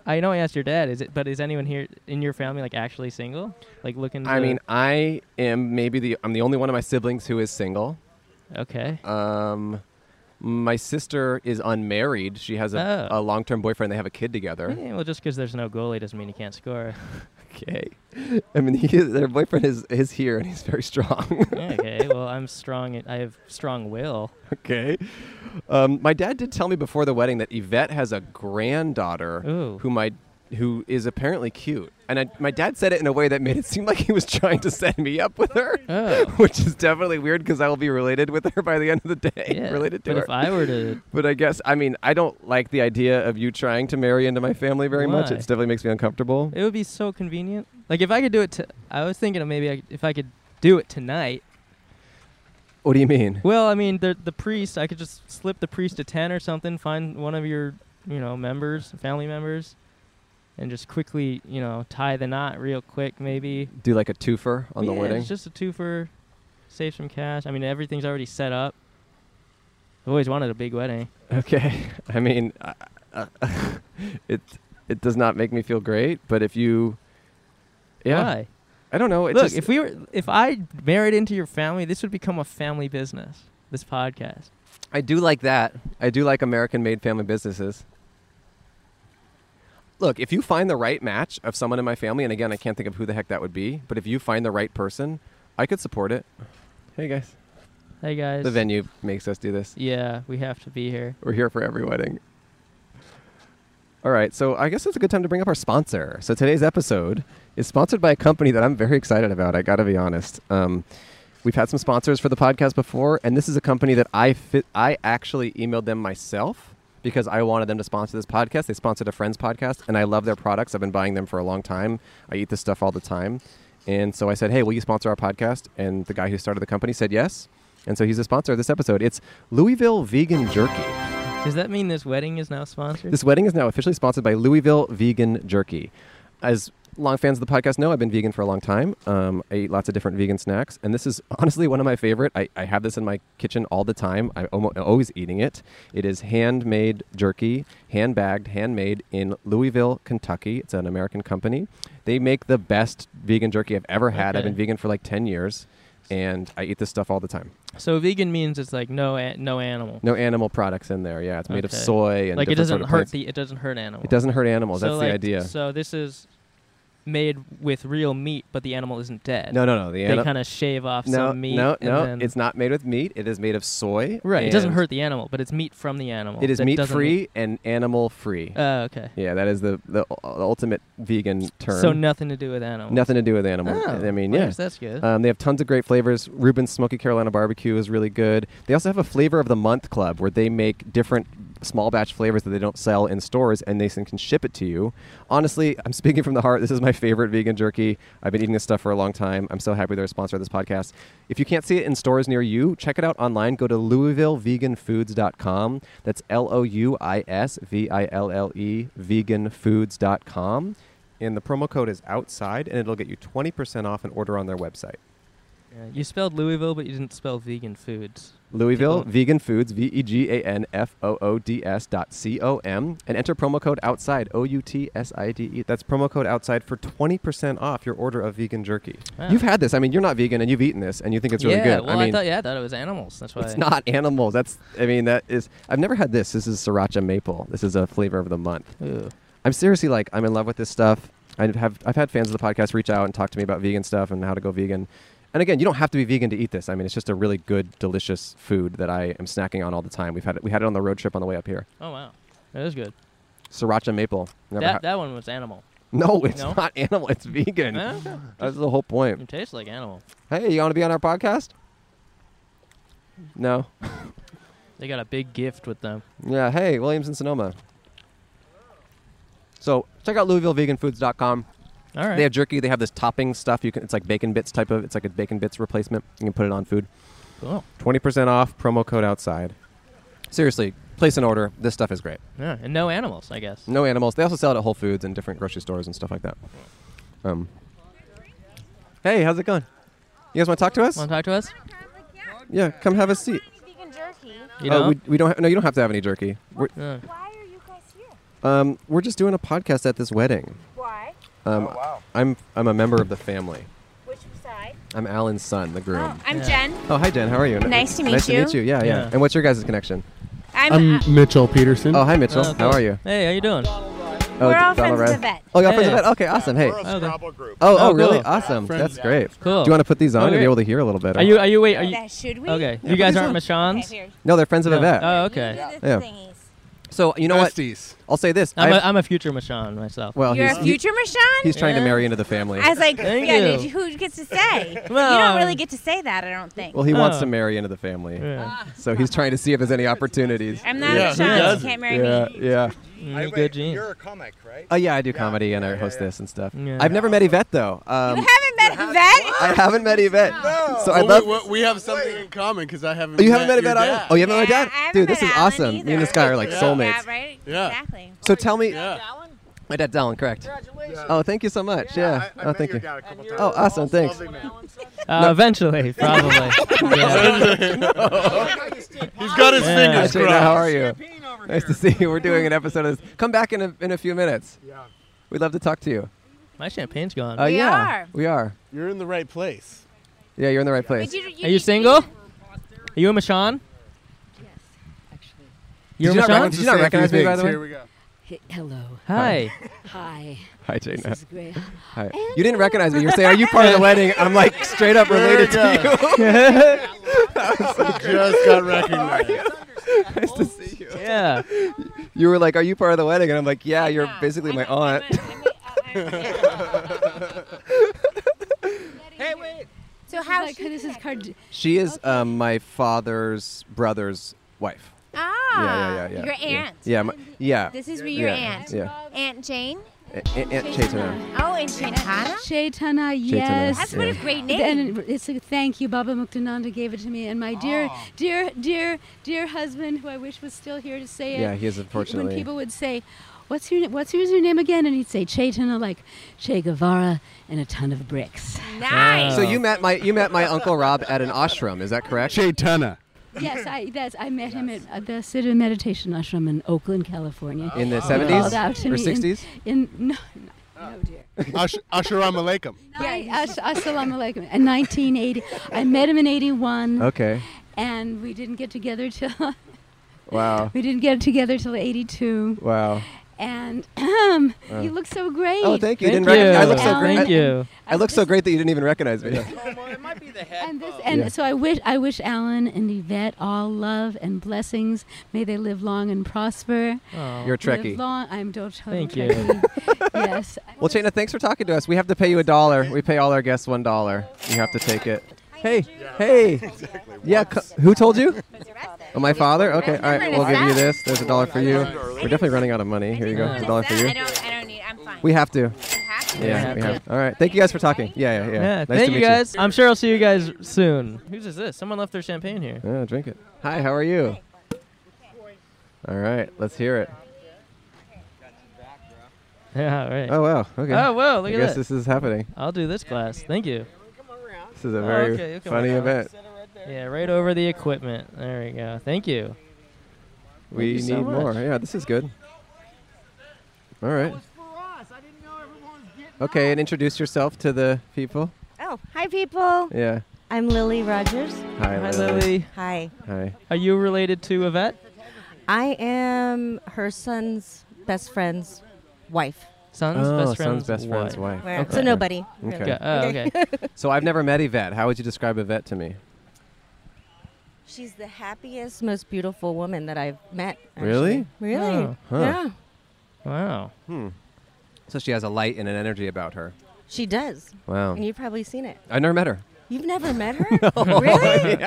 S5: I know I asked your dad, is it? But is anyone here in your family like actually single, like looking?
S2: I
S5: to-
S2: mean, I am maybe the I'm the only one of my siblings who is single.
S5: okay.
S2: Um, my sister is unmarried. She has a, a
S5: Oh.
S2: long-term boyfriend. They have a kid together.
S5: Yeah, well, just because there's no goalie doesn't mean he can't score. *laughs*
S2: Okay. I mean, he, their boyfriend is is here and he's very strong.
S5: Yeah,
S2: *laughs*
S5: okay, well, I'm strong. and- I have strong will.
S2: okay. Um, my dad did tell me before the wedding that Yvette has a granddaughter
S5: Ooh.
S2: who my who is apparently cute. And I, my dad said it in a way that made it seem like he was trying to set me up with her,
S5: Oh.
S2: which is definitely weird because I will be related with her by the end of the day.
S5: Yeah.
S2: related to
S5: but
S2: her.
S5: if I were to,
S2: But I guess I mean I don't like the idea of you trying to marry into my family very much. It
S5: Why?
S2: definitely makes me uncomfortable.
S5: it would be so convenient. Like if I could do it. To, I was thinking of maybe I, if I could do it tonight.
S2: What do you mean?
S5: Well, I mean, the the priest. I could just slip the priest a ten or something. Find one of your, you know, members, family members, and just quickly, you know, tie the knot real quick, maybe.
S2: Do like a twofer on the
S5: Yeah,
S2: wedding?
S5: It's just a twofer. Save some cash. I mean, everything's already set up. I've always wanted a big wedding.
S2: okay. *laughs* I mean, uh, uh, *laughs* it it does not make me feel great. But if you, yeah,
S5: Why?
S2: I don't know. It
S5: Look,
S2: just,
S5: if we were, if I married into your family, this would become a family business. This podcast.
S2: I do like that. I do like American-made family businesses. Look, if you find the right match of someone in my family, and again, I can't think of who the heck that would be, but if you find the right person, I could support it. Hey guys.
S5: Hey guys.
S2: The venue makes us do this.
S5: Yeah, we have to be here.
S2: We're here for every wedding. All right, so I guess it's a good time to bring up our sponsor. So today's episode is sponsored by a company that I'm very excited about. I got to be honest. Um, we've had some sponsors for the podcast before, and this is a company that I fit, I actually emailed them myself because I wanted them to sponsor this podcast. They sponsored a friend's podcast, and I love their products. I've been buying them for a long time. I eat this stuff all the time, and so I said, "Hey, will you sponsor our podcast?" And the guy who started the company said yes, and so he's a sponsor of this episode. It's Louisville Vegan Jerky.
S5: Does that mean this wedding is now sponsored?
S2: This wedding is now officially sponsored by Louisville Vegan Jerky. As long fans of the podcast know, I've been vegan for a long time. Um, I eat lots of different vegan snacks, and this is *laughs* honestly one of my favorite. I, I have this in my kitchen all the time. I'm almo- always eating it. It is handmade jerky, handbagged, handmade in Louisville, Kentucky. It's an American company. They make the best vegan jerky I've ever had. I've
S5: Okay.
S2: been vegan for like 10 years, and I eat this stuff all the time.
S5: so vegan means it's like no a- no animal.
S2: No animal products in there. Yeah, it's made of
S5: Okay.
S2: soy and
S5: like it
S2: different sort
S5: doesn't
S2: of
S5: hurt
S2: plants.
S5: the it doesn't hurt animals.
S2: It doesn't hurt animals.
S5: So
S2: That's
S5: like-
S2: the idea.
S5: So this is made with real meat, but the animal isn't dead.
S2: No, no, no. The
S5: They
S2: ani-
S5: kind of shave off
S2: no,
S5: some meat.
S2: no,
S5: and
S2: no.
S5: then-
S2: It's not made with meat. It is made of soy.
S5: right. It doesn't
S2: and
S5: hurt the animal, but it's meat from the animal.
S2: It is
S5: that
S2: meat
S5: doesn't-
S2: free and animal free.
S5: Oh, okay.
S2: yeah, that is the, the u- ultimate vegan term.
S5: So nothing to do with animals.
S2: nothing to do with animals.
S5: Oh,
S2: I mean,
S5: well,
S2: yeah.
S5: yes, that's good.
S2: Um, they have tons of great flavors. Reuben's Smoky Carolina Barbecue is really good. They also have a Flavor of the Month Club where they make different small batch flavors that they don't sell in stores and they can ship it to you. Honestly, I'm speaking from the heart. This is my favorite vegan jerky. I've been eating this stuff for a long time. I'm so happy they're a sponsor of this podcast. If you can't see it in stores near you, check it out online. Go to louisvilleveganfoods.com. That's L O U I S V I L L E veganfoods.com. And the promo code is outside, and it'll get you 20% off an order on their website.
S5: Yeah, you spelled Louisville, but you didn't spell vegan foods.
S2: Louisville
S5: People-
S2: Vegan Foods, V E G A N F O O D S dot C O M, and enter promo code outside, O U T S I D E. That's promo code outside for 20% off your order of vegan jerky.
S5: Wow.
S2: You've had this. I mean, you're not vegan and you've eaten this and you think it's really
S5: yeah,
S2: good.
S5: well, I,
S2: I mean,
S5: thought yeah, I thought it was animals. That's why.
S2: it's not animals. That's, I mean, that is, I've never had this. This is Sriracha Maple. This is a flavor of the month.
S5: Ooh.
S2: I'm seriously like, I'm in love with this stuff. I have, I've had fans of the podcast reach out and talk to me about vegan stuff and how to go vegan. And again, you don't have to be vegan to eat this. I mean, it's just a really good, delicious food that I am snacking on all the time. We've had it, we had it on the road trip on the way up here.
S5: Oh wow, that is good.
S2: Sriracha maple. Never ha-
S5: That that one was animal.
S2: no, it's
S5: No?
S2: not *laughs* animal. It's vegan.
S5: Eh, okay.
S2: That's the whole point.
S5: It tastes like animal.
S2: Hey, you want to be on our podcast? No.
S5: They got a big gift with them.
S2: Yeah. Hey, Williams and Sonoma. So check out LouisvilleVeganFoods.com.
S5: All right.
S2: They have jerky. They have this topping stuff. You can. It's like bacon bits type of. It's like a bacon bits replacement. You can put it on food.
S5: cool.
S2: Twenty percent off. Promo code outside. Seriously, place an order. This stuff is great.
S5: Yeah, and no animals, I guess.
S2: No animals. They also sell it at Whole Foods and different grocery stores and stuff like that. Um. Hey, how's it going? You guys want to talk to us?
S5: Want to talk to us?
S2: Yeah, come have a seat.
S9: Vegan jerky.
S5: You
S2: Uh,
S5: know.
S2: we, we don't. Ha- no, you don't have to have any jerky. We're,
S5: Uh,
S9: Why are you guys here?
S2: um, we're just doing a podcast at this wedding.
S9: Why?
S2: Um, I'm I'm a member of the family.
S9: Which side?
S2: I'm Alan's son, the groom.
S9: I'm
S5: Yeah.
S9: Jen.
S2: Oh, hi, Dan. How are you?
S9: Nice to meet
S2: Nice to
S9: you.
S2: meet you. Yeah, yeah.
S5: Yeah.
S2: And what's your guys' connection?
S9: I'm.
S7: I'm
S9: uh,
S7: Mitchell Peterson.
S2: Oh, hi, Mitchell. How
S5: oh, cool.
S2: are you?
S5: Hey, how you doing?
S2: Oh,
S9: We're
S2: D-
S9: all
S2: Donald
S9: friends of
S2: Ryan.
S9: the vet.
S2: Oh, y'all friends of
S5: Yeah.
S2: that? Okay, awesome. Hey.
S10: We're a
S5: Oh, the-
S10: Scrabble group.
S2: Oh, oh,
S5: Oh,
S2: really?
S5: cool.
S2: Awesome.
S7: Friends.
S2: That's great.
S5: Cool.
S2: Do you want to put these on to
S5: Okay.
S2: be able to hear a little better?
S5: Are you? Are you? Wait. Are you?
S9: that should we?
S5: Okay.
S2: put
S5: You guys
S2: these on.
S5: aren't Michon's.
S9: Okay, here.
S2: no, they're friends of a
S5: No.
S2: vet.
S5: Oh,
S9: You
S5: okay.
S9: do the
S2: Yeah.
S9: thingies.
S2: so you know what?
S7: Besties.
S2: I'll say this.
S5: I'm
S2: I've-
S5: a,
S9: *laughs*
S5: I'm a future Michon myself.
S2: well,
S9: You're
S2: he's,
S9: a
S2: he-
S9: future Michonne?
S2: he's trying to
S5: Yeah.
S2: marry into the family.
S9: I was like,
S5: Thank
S9: yeah,
S5: you.
S9: did you- who gets to say? you
S5: Well, um,
S9: don't really get to say that, I don't think.
S2: Well, he wants
S5: Oh.
S2: to marry into the family,
S5: Yeah.
S2: so he's trying to see if there's any opportunities.
S9: Ah. I'm not
S10: Yeah,
S9: a
S10: who
S9: Michonne.
S10: doesn't?
S9: You can't marry
S2: Yeah,
S9: me.
S2: yeah.
S5: Mm,
S10: Hey,
S5: good
S10: wait,
S5: gene.
S10: You're a comic, right?
S2: Oh yeah, I do
S10: Yeah,
S2: comedy and
S10: yeah,
S2: I
S10: yeah,
S2: host
S10: yeah.
S2: this and stuff.
S5: Yeah.
S2: I've never met Yvette though. Um,
S9: You haven't met a vet?
S2: I haven't met Yvette.
S10: No.
S2: So I
S7: Well,
S2: love.
S7: we, we- we have something in common because I haven't.
S2: Oh, you haven't met
S7: your
S2: Yvette either?
S7: dad.
S2: Oh, you haven't met
S9: Yeah,
S2: my
S9: I
S2: dad?
S9: haven't
S2: Dude, this
S9: met
S2: is
S9: Alan
S2: awesome. Me and
S9: either.
S2: this guy are like
S7: Yeah.
S2: soulmates.
S9: Yeah, right?
S7: Yeah.
S9: Exactly.
S2: So tell me,
S7: Yeah.
S2: my dad's Alan, correct?
S10: Congratulations.
S2: Oh, thank you so much. Yeah.
S10: I, I
S2: oh,
S10: met
S2: thank
S10: your
S2: you.
S10: dad a couple
S2: Oh,
S10: times.
S2: awesome. Thanks.
S10: Lovely man.
S5: Uh,
S2: *laughs*
S5: Eventually, probably. Yeah.
S10: *laughs*
S7: He's got his
S5: Yeah.
S2: Hi,
S7: fingers
S2: Jada,
S7: crossed.
S2: how are you? Nice to see you. We're doing an episode of this. Come back in a, in a few minutes.
S10: Yeah.
S2: We'd love to talk to you.
S5: My champagne's gone.
S2: Uh,
S9: We
S2: yeah,
S9: are.
S2: we are.
S7: You're in the right place.
S2: Yeah, you're in the right
S9: But
S2: place.
S9: you-
S5: Are you single? Are you a Michon? Yes, actually. You're
S2: Did you not
S5: a Michon?
S2: recognize- did you not recognize me, by the way?
S7: Here we go.
S11: Hello.
S5: Hi.
S11: Hi.
S2: Hi, Jada.
S11: This is great.
S2: Hi. You didn't recognize me. You're saying, "Are you part of
S9: *laughs*
S2: the wedding?" I'm like straight up related
S7: There
S2: to
S7: you
S2: you.
S9: *laughs*
S7: Just got recognized.
S2: *laughs* nice to see you.
S5: yeah.
S2: You were like, "Are you part of the wedding?" And I'm like, "Yeah, you're
S9: Yeah,
S2: basically
S9: I'm
S2: my
S9: a-
S2: aunt."
S9: I'm a- I'm a- I'm a-
S1: Hey, wait.
S9: So how
S11: like,
S9: she
S11: this is
S9: connected?
S11: card.
S2: She is um, my father's brother's wife.
S9: Ah,
S2: yeah, yeah, yeah, yeah.
S9: Your
S2: yeah.
S9: aunt.
S2: Yeah, my, yeah.
S9: This is your
S2: Yeah.
S9: aunt.
S2: Yeah.
S9: Aunt Jane.
S2: A- Aunt, Aunt Chaitanya.
S9: Oh, and Chaitana.
S11: Chaitana, yes.
S9: That's what a great name.
S11: And it's a thank you. Baba Muktananda gave it to me, and my dear,
S9: Oh.
S11: dear, dear, dear husband, who I wish was still here to say it.
S2: Yeah, he is unfortunately.
S11: When people would say, "What's your na- What's who's your name again?" and he'd say Chaitana, like Che Guevara, and a ton
S9: *laughs*
S11: of bricks.
S9: Nice.
S2: so you met my you met my uncle Rob at an ashram, is that correct?
S7: Chaitana.
S11: yes, I that's I met him at uh, the Siddha Meditation Ashram in Oakland, California.
S2: in the
S5: Oh,
S11: Called out
S2: seventies
S11: to
S2: or
S11: me in-
S2: sixties?
S11: In no, no, no dear.
S7: Ash- Asharam alaikum.
S11: Yeah, as- assalamu alaikum. In 1980, I met him in 81,
S2: Okay.
S11: and we didn't get together till
S2: Wow.
S11: we didn't get together till 82.
S2: Wow.
S11: And um, you look so great.
S2: Oh, thank you. didn't
S5: Thank
S2: recognize I
S5: you.
S2: look so
S11: Alan.
S2: great.
S5: Thank
S2: I,
S5: you.
S2: I look so great that you didn't even recognize me.
S11: *laughs*
S1: it might be the head.
S11: And this, and
S2: Yeah.
S11: so I wish, I wish Alan and Yvette all love and blessings. May they live long and prosper.
S5: Aw.
S2: You're a
S11: Live
S2: Trekkie.
S11: long. I'm do- total
S5: Thank you.
S11: Trekkie. *laughs* yes.
S2: Well, Chaitanya, thanks for talking to us. We have to pay you a dollar. We pay all our guests one dollar. You have to take it. Hey, hey. Yeah, co- who told you? Oh, my father? Okay, all right, we'll give you this. There's a dollar for you. We're definitely running out of money. Here you go. It's a dollar for you.
S9: I don't. I don't need. I'm fine.
S2: We have to.
S9: I'm happy.
S2: Yeah, we
S5: Yeah.
S2: have. All right. Thank you guys for talking. Yeah, yeah, yeah.
S5: Yeah,
S2: nice
S5: thank
S2: to
S5: you
S2: meet
S5: guys. I'm sure I'll see you guys soon. Whose is this? Someone left their champagne here.
S2: Yeah, drink it. Hi, how are you? All right, let's hear it.
S5: Yeah, all right.
S2: Oh wow. Okay.
S5: Oh, whoa,
S2: I
S5: Oh, look at
S2: guess
S5: that.
S2: this is happening.
S5: I'll do this glass. Thank you.
S2: This is a
S5: Oh,
S2: very funny event.
S5: Yeah, right over the equipment. There we go. Thank you.
S2: We
S5: you
S2: need
S5: so much.
S2: more. Yeah, this is good. All right. Okay, and introduce yourself to the people.
S10: Oh, hi, people.
S2: Yeah.
S10: I'm Lily Rogers.
S2: Hi,
S5: Hi, Lily.
S10: Hi.
S2: Hi.
S5: Are you related to Yvette?
S10: I am her son's best friend's wife.
S5: Son's
S2: oh,
S5: best friend's
S2: son's best friend's
S5: wife.
S2: wife.
S10: Where- So nobody. really.
S2: Okay.
S5: Oh, okay.
S10: *laughs*
S2: So I've never met Yvette. How would you describe Yvette to me?
S10: She's the happiest, most beautiful woman that I've met. actually.
S2: Really?
S10: Really?
S5: Oh.
S2: Huh.
S10: Yeah.
S5: wow.
S2: Hmm. So she has a light and an energy about her.
S10: She does.
S2: Wow.
S10: And you've probably seen it.
S2: I never met her.
S10: You've
S2: *laughs*
S10: never met her? Really?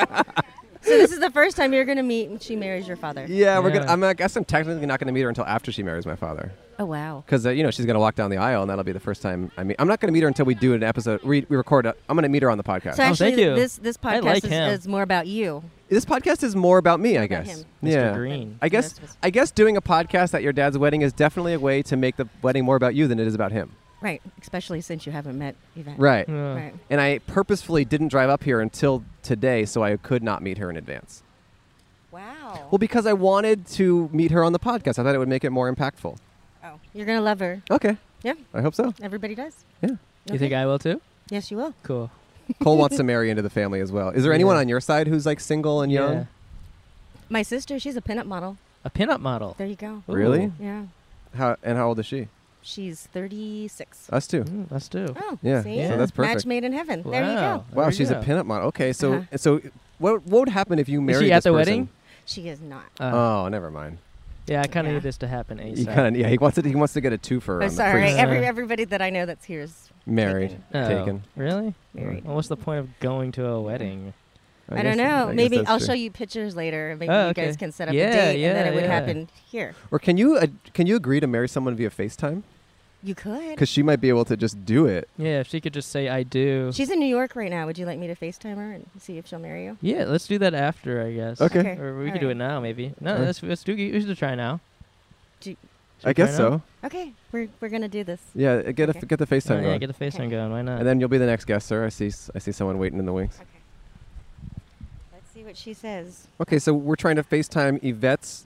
S10: So this is the first time you're going to meet when she marries your father.
S2: Yeah, we're
S5: Yeah.
S2: gonna. I'm, I guess I'm technically not gonna meet her until after she marries my father,
S10: Oh, wow.
S2: because uh, you know she's gonna walk down the aisle, and that'll be the first time I meet. I'm not gonna meet her until we do an episode. We, we record. i am I'm gonna meet her on the podcast.
S10: So
S5: Oh,
S10: actually,
S5: thank you.
S10: this this
S5: I
S10: podcast
S5: like
S10: is,
S5: him.
S10: is more about you.
S2: this podcast is more about me, I
S10: about
S2: guess.
S10: him.
S2: Yeah.
S5: Mr. Green.
S2: I guess
S10: that's what's-
S2: I guess doing a podcast at your dad's wedding is definitely a way to make the wedding more about you than it is about him.
S10: Right. Especially since you haven't met Yvette.
S2: Right.
S5: Yeah.
S10: Right.
S2: And I purposefully didn't drive up here until today, so I could not meet her in advance.
S10: Wow.
S2: Well, because I wanted to meet her on the podcast, I thought it would make it more impactful.
S10: oh, you're going to love her.
S2: Okay.
S10: Yeah.
S2: I hope so.
S10: Everybody does.
S2: Yeah.
S5: You think I will too?
S10: Yes, you will.
S5: Cool.
S2: Cole wants
S5: *laughs*
S2: to marry into the family as well. Is there
S5: Yeah.
S2: anyone on your side who's like single and young?
S5: Yeah.
S10: My sister, she's a pinup model.
S5: A pinup model.
S10: There you go.
S5: Ooh.
S2: Oh. Really?
S10: Yeah.
S2: How and how old is she?
S10: She's 36.
S2: Us too.
S5: Mm, let's do.
S10: Oh,
S2: Yeah,
S10: see?
S5: so
S2: that's perfect.
S10: Match made in heaven.
S5: Wow.
S10: There you go.
S2: Wow,
S5: There
S2: she's
S5: go.
S2: a pinup model. Okay, so
S10: Uh-huh.
S2: so what what would happen if you
S5: Is
S2: married
S5: she at
S2: this
S5: the
S2: person?
S5: wedding?
S10: She is not.
S5: Uh,
S2: Oh, never mind.
S5: yeah, I kind of
S10: Yeah.
S5: need this to happen ASAP.
S2: He kind of yeah. He wants it. He wants to get a twofer.
S10: Oh,
S2: on
S10: sorry.
S2: The
S5: priest.
S10: Every,
S5: Uh,
S10: everybody that I know that's here is
S2: married,
S5: Oh,
S2: taken.
S5: Really?
S10: married.
S5: Well, what's the point of going to a wedding?
S10: I, don't
S2: guess-
S10: know.
S2: I guess
S10: Maybe
S2: that's
S10: I'll
S2: true.
S10: show you pictures later. Maybe
S5: Oh,
S10: you
S5: okay.
S10: guys can set up
S5: Yeah,
S10: a date and then
S5: yeah,
S10: it would
S5: yeah.
S10: happen here.
S2: Or can you uh, can you agree to marry someone via FaceTime?
S10: You could.
S2: Because she might be able to just do it.
S5: Yeah, if she could just say I do.
S10: She's in New York right now. Would you like me to FaceTime her and see if she'll marry you?
S5: yeah, let's do that after, I guess.
S2: Okay.
S10: Okay.
S5: Or we
S10: All
S5: could do
S10: right.
S5: it now, maybe. No,
S2: Alright.
S5: let's let's do. We should try now.
S10: Do-
S2: I guess
S5: try it
S2: so.
S10: Okay, we're, we're going to do this.
S2: Yeah, uh, get a,
S10: Okay.
S2: get the FaceTime
S5: Oh, yeah,
S2: going,
S5: get the FaceTime
S10: Okay.
S5: going. Why not?
S2: and then you'll be the next guest, sir. I see s- I see someone waiting in the wings.
S10: Okay. Let's see what she says.
S2: Okay, so we're trying to FaceTime Yvette's.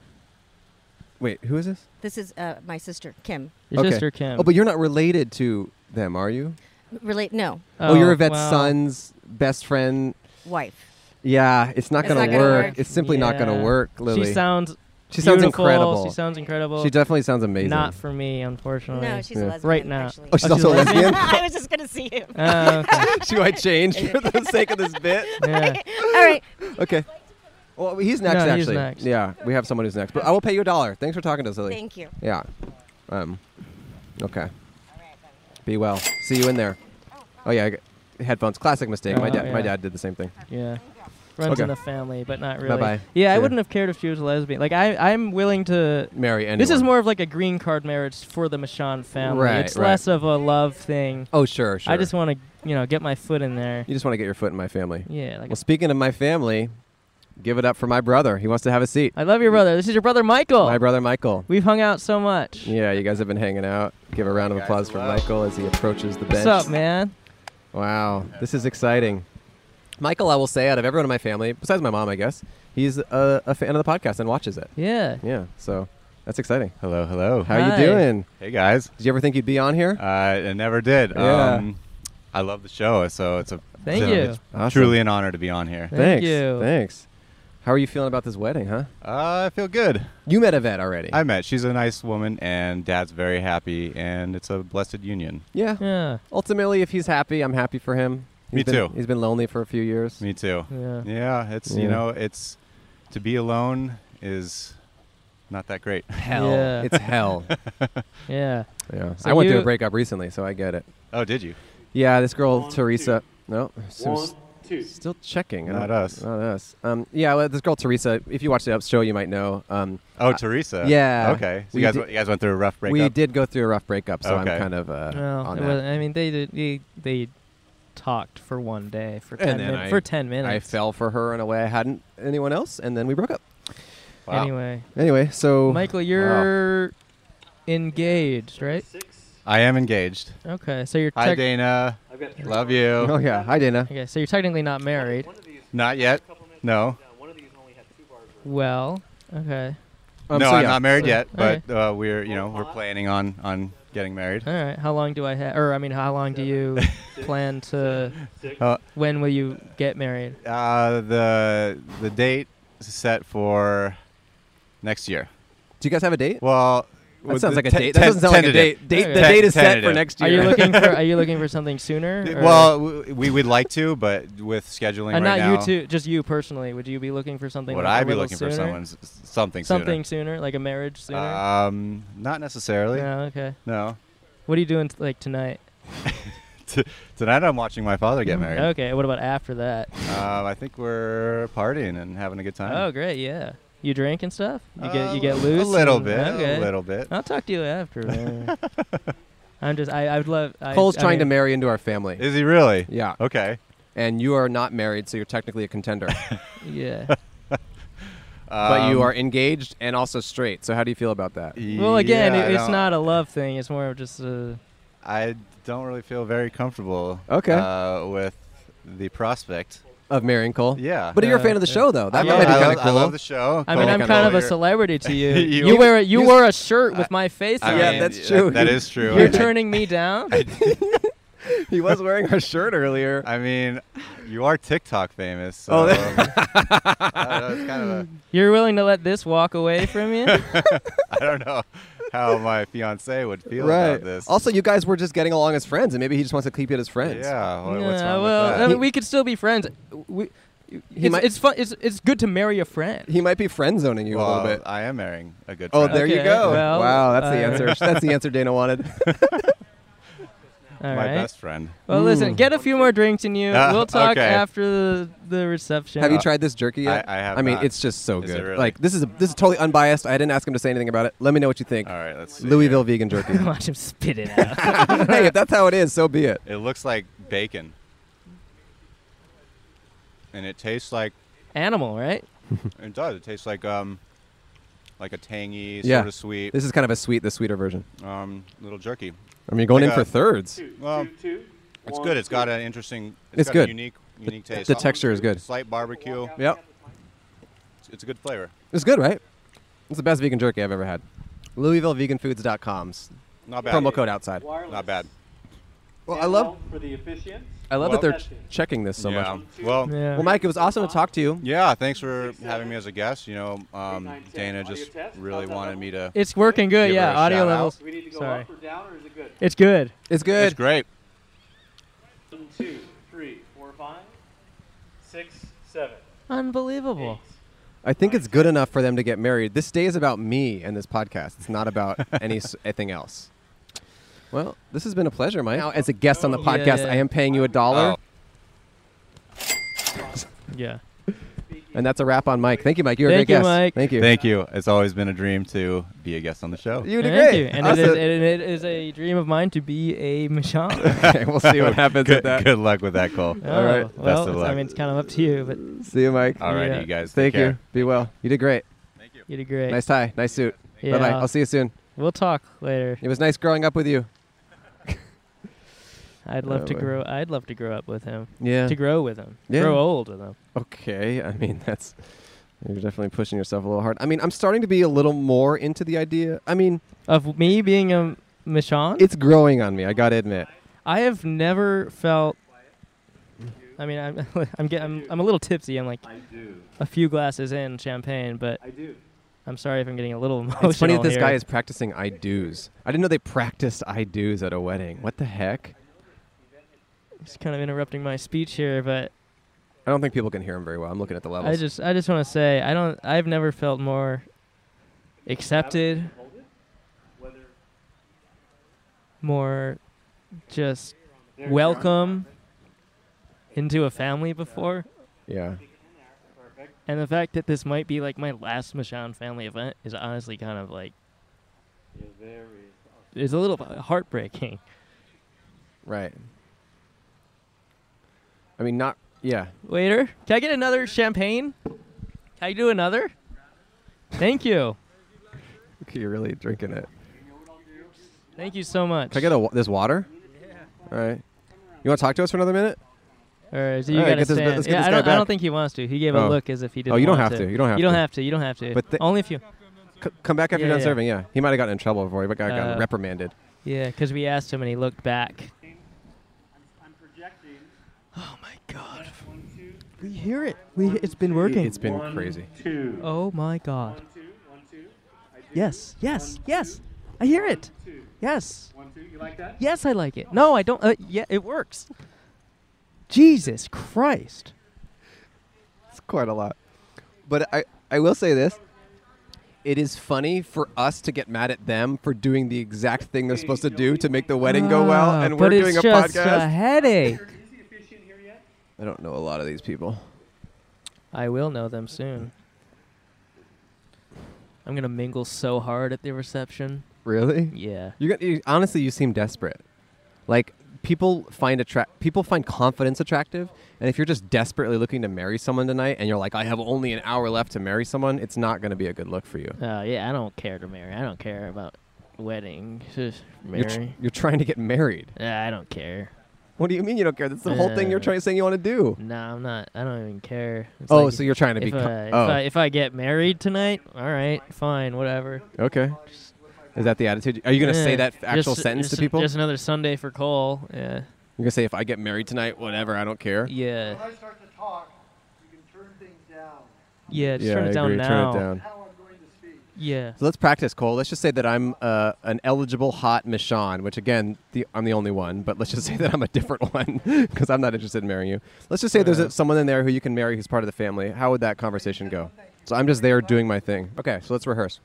S2: Wait, who is this?
S10: This is uh, my sister, Kim.
S5: Your
S2: okay.
S5: sister Kim.
S2: Oh, but you're not related to them, are you?
S10: Relate? No,
S2: Oh, you're Yvette's
S5: wow.
S2: son's best friend.
S10: wife.
S2: Yeah, it's not
S10: It's
S2: gonna
S10: not gonna
S2: work.
S10: work.
S2: It's simply not gonna
S5: Yeah.
S2: work, Lily.
S5: She sounds.
S2: She sounds
S5: beautiful,
S2: incredible.
S5: She sounds incredible.
S2: She definitely sounds amazing.
S5: Not for me, unfortunately.
S10: No, she's
S2: Yeah.
S10: a lesbian.
S5: Right now.
S10: Actually.
S2: oh, she's
S5: she's
S2: also a
S5: lesbian?
S2: lesbian.
S10: *laughs* I was just gonna see him.
S5: Oh,
S2: *laughs*
S10: *laughs*
S5: okay.
S2: she might change for the *laughs* sake of this bit.
S5: *laughs* yeah.
S10: All right.
S2: Okay. Well, he's next,
S5: No,
S2: actually.
S5: he's next.
S2: Yeah, we have someone who's next. But I will pay you a dollar. Thanks for talking to us, Lily.
S10: Thank you.
S2: yeah. Um, okay. Be well. See you in there. Oh, yeah. I got- Headphones. Classic mistake. my,
S5: Oh,
S2: dad, my
S5: yeah.
S2: dad did the same thing.
S5: Yeah. Runs
S2: Okay.
S5: in the family, but not really.
S2: Bye-bye.
S5: Yeah, I
S2: See ya.
S5: wouldn't have cared if she was a lesbian. Like I, I'm willing to.
S2: Marry anyone.
S5: This is more of like a green card marriage for the Michon family.
S2: Right,
S5: it's
S2: right.
S5: less of a love thing.
S2: Oh, sure, sure.
S5: I just want to, you know, get my foot in there.
S2: You just want to get your foot in my family.
S5: Yeah. Like
S2: Well, speaking of my family, give it up for my brother. He wants to have a seat.
S5: I love your brother. This is your brother Michael.
S2: My brother, Michael.
S5: We've hung out so much.
S2: Yeah, you guys have been hanging out. Give a round of
S7: Guys,
S2: applause for
S7: hello.
S2: Michael as he approaches the bench.
S5: What's up, man?
S2: Wow, this is exciting. Michael, I will say, out of everyone in my family, besides my mom, I guess, he's a, a fan of the podcast and watches it.
S5: Yeah.
S2: Yeah, so that's exciting.
S7: Hello, hello.
S2: How
S5: Hi.
S2: you doing?
S7: Hey guys.
S2: Did you ever think you'd be on here?
S7: Uh, I never did.
S2: Yeah.
S7: Um, I love the show, so it's a
S5: Thank
S7: so
S5: you.
S7: It's
S2: Awesome.
S7: truly an honor to be on here.
S5: Thank
S2: Thanks.
S5: you.
S2: Thanks. How are you feeling about this wedding, huh?
S7: Uh, I feel good.
S2: You met Yvette already.
S7: I met. She's a nice woman, and Dad's very happy, and it's a blessed union.
S2: yeah.
S5: Yeah.
S2: Ultimately, if he's happy, I'm happy for him.
S7: Me
S2: He's been-
S7: too.
S2: He's been lonely for a few years.
S7: Me too.
S5: Yeah.
S7: Yeah, it's
S2: Yeah.
S7: you know, it's to be alone is not that great.
S2: *laughs* Hell.
S5: Yeah.
S2: It's hell.
S5: Yeah.
S2: yeah.
S5: So
S2: I went through a
S5: you-
S2: breakup recently, so I get it.
S7: *laughs* Oh, did you?
S2: Yeah, this girl Teresa. No, so s- still checking. I
S7: Not
S2: don't-
S7: us.
S2: Not us. Um, yeah, well, this girl Teresa. If you watch the up show, you might know. Um,
S7: Oh,
S2: I-
S7: Teresa.
S2: yeah.
S7: Okay. So
S2: We
S7: you guys,
S2: did-
S7: you guys went through a rough breakup.
S2: we did go through a rough breakup, so
S7: Okay.
S2: I'm kind of uh,
S5: Well,
S2: on
S5: it
S2: that.
S5: wasn't- I mean, they did. They, they talked for one day for
S2: And
S5: ten
S2: then
S5: minutes.
S2: I-
S5: for ten
S2: I
S5: minutes.
S2: fell for her in a way I hadn't anyone else, and then we broke up.
S7: Wow.
S5: Anyway,
S2: Anyway, so
S5: Michael, you're engaged, right?
S7: I am engaged.
S5: Okay, so you're.
S7: Hi,
S5: tech-
S7: Dana. Love you.
S2: Oh yeah, hi Dana.
S5: Okay, so you're technically not married.
S7: Not yet. No.
S5: Well, okay.
S2: Um,
S7: no, I'm not married
S5: So-
S7: yet,
S5: okay.
S7: but uh, we're you know we're planning on on getting married.
S5: All right. How long do I have? Or I mean, how long do you plan to?
S7: Uh,
S5: when will you get married?
S7: Uh, the the date is set for next year.
S2: Do you guys have a date?
S7: Well,
S2: That
S7: with
S2: sounds
S7: the
S2: like a
S7: te-
S2: date. That
S7: te-
S2: doesn't sound like a
S7: tentative.
S2: date. Date- the
S7: Te-
S2: date is set for
S7: tentative.
S2: next
S5: Are you looking for?
S2: *laughs*
S5: Are you looking for something sooner? or-
S7: well, w- we would like to, but with scheduling
S5: and
S7: right
S5: not
S7: now,
S5: you too. Just you personally. Would you be looking for something?
S7: would
S5: like
S7: I
S5: a
S7: be
S5: little
S7: looking
S5: sooner?
S7: for someone's something
S5: Something sooner, like a marriage
S7: sooner?
S5: sooner.
S7: Um, not necessarily.
S5: No, okay.
S7: No. *laughs*
S5: What are you doing t- like tonight?
S7: T- tonight I'm watching my father get married.
S5: Okay. What about after that?
S7: Um, I think we're partying and having a good time.
S5: Oh, great. Yeah. You drink and stuff. You get
S7: Uh,
S5: you get
S7: a
S5: loose.
S7: little
S5: and-
S7: bit, a
S5: Okay.
S7: little bit.
S5: I'll talk to you after.
S7: *laughs*
S5: man. I'm just. I. I would love. I,
S2: Cole's
S5: I
S2: trying to
S5: mean-
S2: marry into our family.
S7: Is he really?
S2: Yeah.
S7: Okay.
S2: And you are not married, so you're technically a
S7: *laughs*
S2: contender.
S5: Yeah.
S2: but you
S7: Um,
S2: are engaged and also straight. So how do you feel about that?
S5: Well, again,
S7: Yeah, I
S5: it, it's
S7: don't-
S5: not a love thing. It's more of just a.
S7: I don't really feel very comfortable.
S2: Okay.
S7: Uh, with the prospect.
S2: Of marrying Cole.
S7: Yeah.
S2: But you're a fan of the show, though. That
S7: I
S2: might
S7: love- I
S2: be kind
S7: love-
S2: of
S7: I
S2: cool.
S7: love the show.
S5: I mean,
S7: Cole
S5: I'm
S7: kinda
S5: kind of a
S7: lawyer. *laughs*
S5: celebrity to you.
S7: You-
S5: you, wear a, you
S2: you-
S5: wore a shirt with
S7: I-
S5: my face
S7: I
S5: on
S2: Yeah,
S5: it.
S7: mean,
S2: that's
S7: yeah,
S2: true.
S7: That is true. *laughs*
S5: You're
S7: I-
S5: turning me down.
S2: *laughs* he was wearing our shirt earlier.
S7: I mean, you are TikTok famous. So *laughs* I
S2: Oh,
S7: don't know, it's kind of a,
S5: You're willing to let this walk away from
S7: *laughs*
S5: you?
S7: I don't know how my fiance would feel
S2: right.
S7: about this.
S2: Also, you guys were just getting along as friends, and maybe he just wants to keep you as friends.
S7: yeah. What,
S5: Yeah,
S7: what's wrong
S5: well,
S7: with
S5: I
S7: that?
S5: mean, we could still be friends. We, it's,
S2: might-
S5: it's fun. It's, it's good to marry a friend.
S2: He might be friend zoning you a
S7: Well,
S2: little bit.
S7: I am marrying a good.
S2: Oh,
S7: friend.
S2: there you
S5: Okay,
S2: go.
S5: well,
S2: wow, that's the
S5: uh, *laughs*
S2: answer. that's the answer Dana wanted.
S5: All right.
S7: my best friend. Hmm.
S5: Well, listen, get a few more drinks in you.
S7: Ah,
S5: we'll talk
S7: okay.
S5: after the, the reception.
S2: Have you tried this jerky yet?
S7: I- I have
S2: I mean,
S7: not.
S2: it's just so
S7: Is it
S2: good.
S7: really?
S2: Like this is a, this is totally unbiased. I didn't ask him to say anything about it. Let me know what you think.
S7: All right, let's see.
S2: Louisville vegan jerky.
S5: *laughs* Watch him spit it out.
S2: *laughs* hey, if that's how it is, so be it.
S7: It looks like bacon, and it tastes like
S5: Animal, right?
S7: it does. It tastes like um, like a tangy
S2: Yeah.
S7: sort of sweet
S2: This is kind of a sweet, the sweeter version.
S7: um little jerky.
S2: I mean, you're going
S7: Like
S2: in for
S7: a-
S2: thirds.
S7: Well, it's good. It's got an interesting.
S2: It's
S7: got
S2: good.
S7: A unique, unique taste.
S2: The texture is good.
S7: Slight barbecue.
S2: Yep,
S7: It's, it's a good flavor.
S2: it's good, right? It's the best vegan jerky I've ever had. LouisvilleVeganFoods.com's
S7: Not bad.
S2: promo code outside.
S7: Not bad.
S2: Well, I love
S4: For the efficients.
S2: I love
S7: Well,
S2: that they're ch- checking this so
S7: yeah.
S2: much.
S7: Well. Yeah.
S5: Yeah.
S2: Well, Mike, it was awesome to talk to you.
S7: Thanks for having me as a guest. You know, um, Dana just really wanted me to.
S5: It's working good,
S7: Give her
S5: yeah.
S7: a
S5: Audio
S7: shout-out.
S5: levels.
S4: We need to go
S5: Sorry.
S4: up or down, or is it good?
S5: It's good.
S2: It's
S7: It's
S2: good.
S7: great.
S4: One, two, three, four, five, six, seven,
S5: Unbelievable.
S4: eight.
S2: I think it's good enough for them to get married. This day is about me and this podcast. It's not
S5: *laughs*
S2: about anything else. Well, this has been a pleasure, Mike. Now, as a guest on the
S5: Oh, Yeah,
S2: podcast,
S5: yeah. Oh.
S2: I am paying you a dollar,
S5: Yeah.
S2: and that's a wrap on Mike. Thank you, Mike. You're a
S5: Thank
S2: great
S5: you,
S2: guest.
S5: Mike.
S2: Thank you.
S7: Thank you. It's always been a dream to be a guest on the show.
S2: You did
S5: Thank
S2: great.
S5: you. And it, is,
S2: Awesome.
S5: and it is a dream of mine to be a Michonne.
S2: okay, we'll see what happens
S7: good,
S2: with that.
S7: good luck with that, Cole.
S5: Oh,
S2: right. Best
S5: Well,
S7: of
S5: it's- I
S7: luck.
S5: mean, it's kind of up to you, but
S2: See you, Mike.
S7: All right,
S5: Yeah.
S7: you guys.
S2: Thank
S7: take care.
S2: you. Be well. You did great.
S5: you did great.
S2: Nice tie. Nice suit.
S5: Yeah.
S2: Bye bye. I'll see you soon.
S5: We'll talk later.
S2: It was nice growing up with you.
S5: *laughs* I'd love
S2: Oh,
S5: to
S2: boy.
S5: grow. I'd love to grow up with him.
S2: Yeah.
S5: To grow with him.
S2: Yeah.
S5: Grow old with him.
S2: Okay. I mean, that's you're definitely pushing yourself a little hard. I mean, I'm starting to be a little more into the idea. I mean,
S5: Of me being a Michonne,
S2: it's growing on me. I gotta admit.
S5: I have never felt. I mean, I'm *laughs* I'm, get, I'm I'm a little tipsy. I'm like
S4: I do.
S5: a few glasses in champagne, but
S4: I do.
S5: I'm sorry if I'm getting a little emotional.
S2: It's funny that this
S5: Oh, here.
S2: guy is practicing I do's. I didn't know they practiced I do's at a wedding. What the heck?
S5: It's kind of interrupting my speech here, but
S2: I don't think people can hear him very well. I'm looking at the levels.
S5: I just I just want to say I don't I've never felt more accepted, more just welcome into a family before,
S2: yeah.
S5: and the fact that this might be like my last Michonne family event is honestly kind of like is a little heartbreaking.
S2: Right. I mean, not. Yeah.
S5: Waiter, can I get another champagne? Can I do another? Thank you.
S2: *laughs* Okay, you're really drinking it.
S5: Thank you so much.
S2: Can I get a, wa- this water? All right. You want to talk to us for another minute?
S5: All right, so you
S2: All right,
S5: gotta
S2: get this-
S5: stand.
S2: let's get
S5: yeah,
S2: this
S5: I,
S2: guy
S5: don't, I
S2: back.
S5: don't think he wants to. He gave
S2: Oh.
S5: a look as if he didn't.
S2: Oh, you don't
S5: want
S2: have to. You don't have to.
S5: You don't have to. You don't have to.
S2: But the-
S5: Only if you.
S2: C- come back after
S5: Yeah,
S2: you're done
S5: yeah.
S2: serving. Yeah, he might have gotten in trouble before, but got, got
S5: Uh,
S2: reprimanded.
S5: Yeah, because we asked him and he looked back. Oh, We hear it. We it's been working.
S2: It's been crazy.
S5: Oh my god. Yes, yes, yes. I hear it. Yes.
S12: You like that?
S5: Yes, I like it. No, I don't. Uh, yeah, it works. Jesus Christ.
S2: It's quite a lot. But I, I will say this. It is funny for us to get mad at them for doing the exact thing they're supposed to do to make the wedding go well,
S5: Ah,
S2: and
S5: but
S2: we're
S5: it's
S2: doing a
S5: just
S2: podcast.
S5: a headache.
S2: I don't know a lot of these people.
S5: I will know them soon. I'm gonna mingle so hard at the reception.
S2: Really?
S5: Yeah.
S2: You, got, you honestly, you seem desperate. Like people find attract people find confidence attractive, and if you're just desperately looking to marry someone tonight, and you're like, I have only an hour left to marry someone, it's not going to be a good look for you.
S5: Uh, yeah, I don't care to marry. I don't care about wedding. *laughs* Just
S2: You're, tr-
S5: marry.
S2: you're trying to get
S5: *laughs*
S2: married.
S5: Yeah, I don't care.
S2: What do you mean you don't care? That's the whole
S5: Uh.
S2: thing you're trying saying you want to do.
S5: No, I'm not. I don't even care.
S2: Oh, so you're trying to
S5: if
S2: be co-
S5: I-
S2: oh.
S5: If I, if I get married tonight, all right, fine, whatever.
S2: Okay. Is that the attitude? Are you going to say
S5: Yeah,
S2: that actual
S5: just-
S2: sentence
S5: just-
S2: to people?
S5: Just another Sunday for Cole. Yeah.
S2: you're going to say, if I get married tonight, whatever, I don't care.
S5: Yeah.
S12: When I start to talk, you can turn things down.
S5: Yeah. Just
S2: Yeah,
S5: turn
S2: I
S5: it down
S2: agree.
S5: now.
S2: Turn it down.
S12: How I'm going to speak.
S5: Yeah.
S2: So let's practice, Cole. Let's just say that I'm uh, an eligible hot Michonne, which again, the, I'm the only one, but let's just *laughs* say that I'm a different one *laughs* because I'm not interested in marrying you. Let's just say there's a, someone in there who you can marry who's part of the family. How would that conversation go? So I'm just there doing my thing. Okay, so let's rehearse.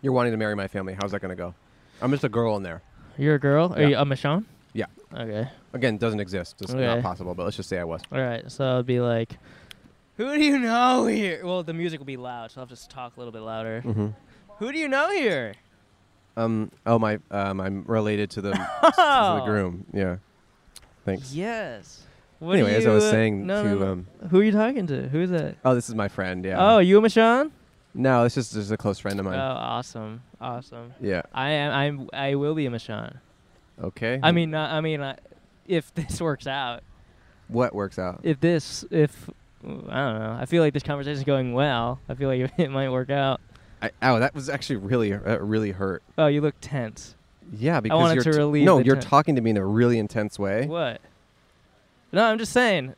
S2: You're wanting to marry my family. How's that going to go? I'm just a girl in there.
S5: You're a girl. Oh, Are
S2: Yeah.
S5: you a Michonne?
S2: Yeah.
S5: Okay.
S2: Again, doesn't exist. It's not
S5: Okay.
S2: possible, but let's just say I was.
S5: All right. So I'd be like, who do you know here? Well, the music will be loud, so I'll just talk a little bit louder.
S2: Mhm.
S5: Who do you know here?
S2: Um. Oh my. Um. I'm related to the, to the
S5: *laughs*
S2: groom. Yeah. Thanks.
S5: Yes. What do
S2: Anyway, as I was
S5: you, uh,
S2: saying
S5: no,
S2: to
S5: no, no.
S2: um.
S5: Who are you talking to? Who's that?
S2: Oh, this is my friend. Yeah.
S5: Oh, you a Michonne?
S2: No, it's just just a close friend of mine.
S5: Oh, awesome, awesome.
S2: Yeah.
S5: I am. I'm. I will be a Michonne.
S2: Okay.
S5: Oh. I mean, not, I mean, I, if *laughs* this works out,
S2: what works out?
S5: if this, if I don't know, I feel like this conversation's going well. I feel like *laughs* it might work out.
S2: I, oh, that was actually really that really hurt.
S5: Oh, you look tense.
S2: Yeah, because
S5: wanted
S2: you're
S5: to
S2: t-
S5: relieve
S2: no,
S5: the
S2: you're eh?
S5: ten-
S2: talking to me in a really intense way.
S5: What? No, I'm just saying.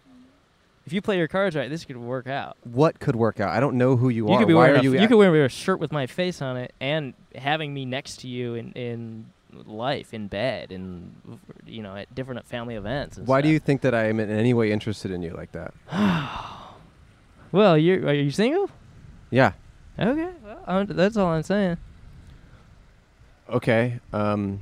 S5: If you play your cards right, this could work out.
S2: What could work out? I don't know who you,
S5: You
S2: are.
S5: could be
S2: Why
S5: wearing
S2: are
S5: a,
S2: you?
S5: you
S2: act-
S5: could wear a shirt with my face on it and having me next to you in in life in bed and you know at different family events. And
S2: why do
S5: stuff.
S2: you think that I am in any way interested in you like that?
S5: *sighs* Well, you are you single?
S2: Yeah.
S5: Okay, well, I'm, that's all I'm saying.
S2: Okay. Um.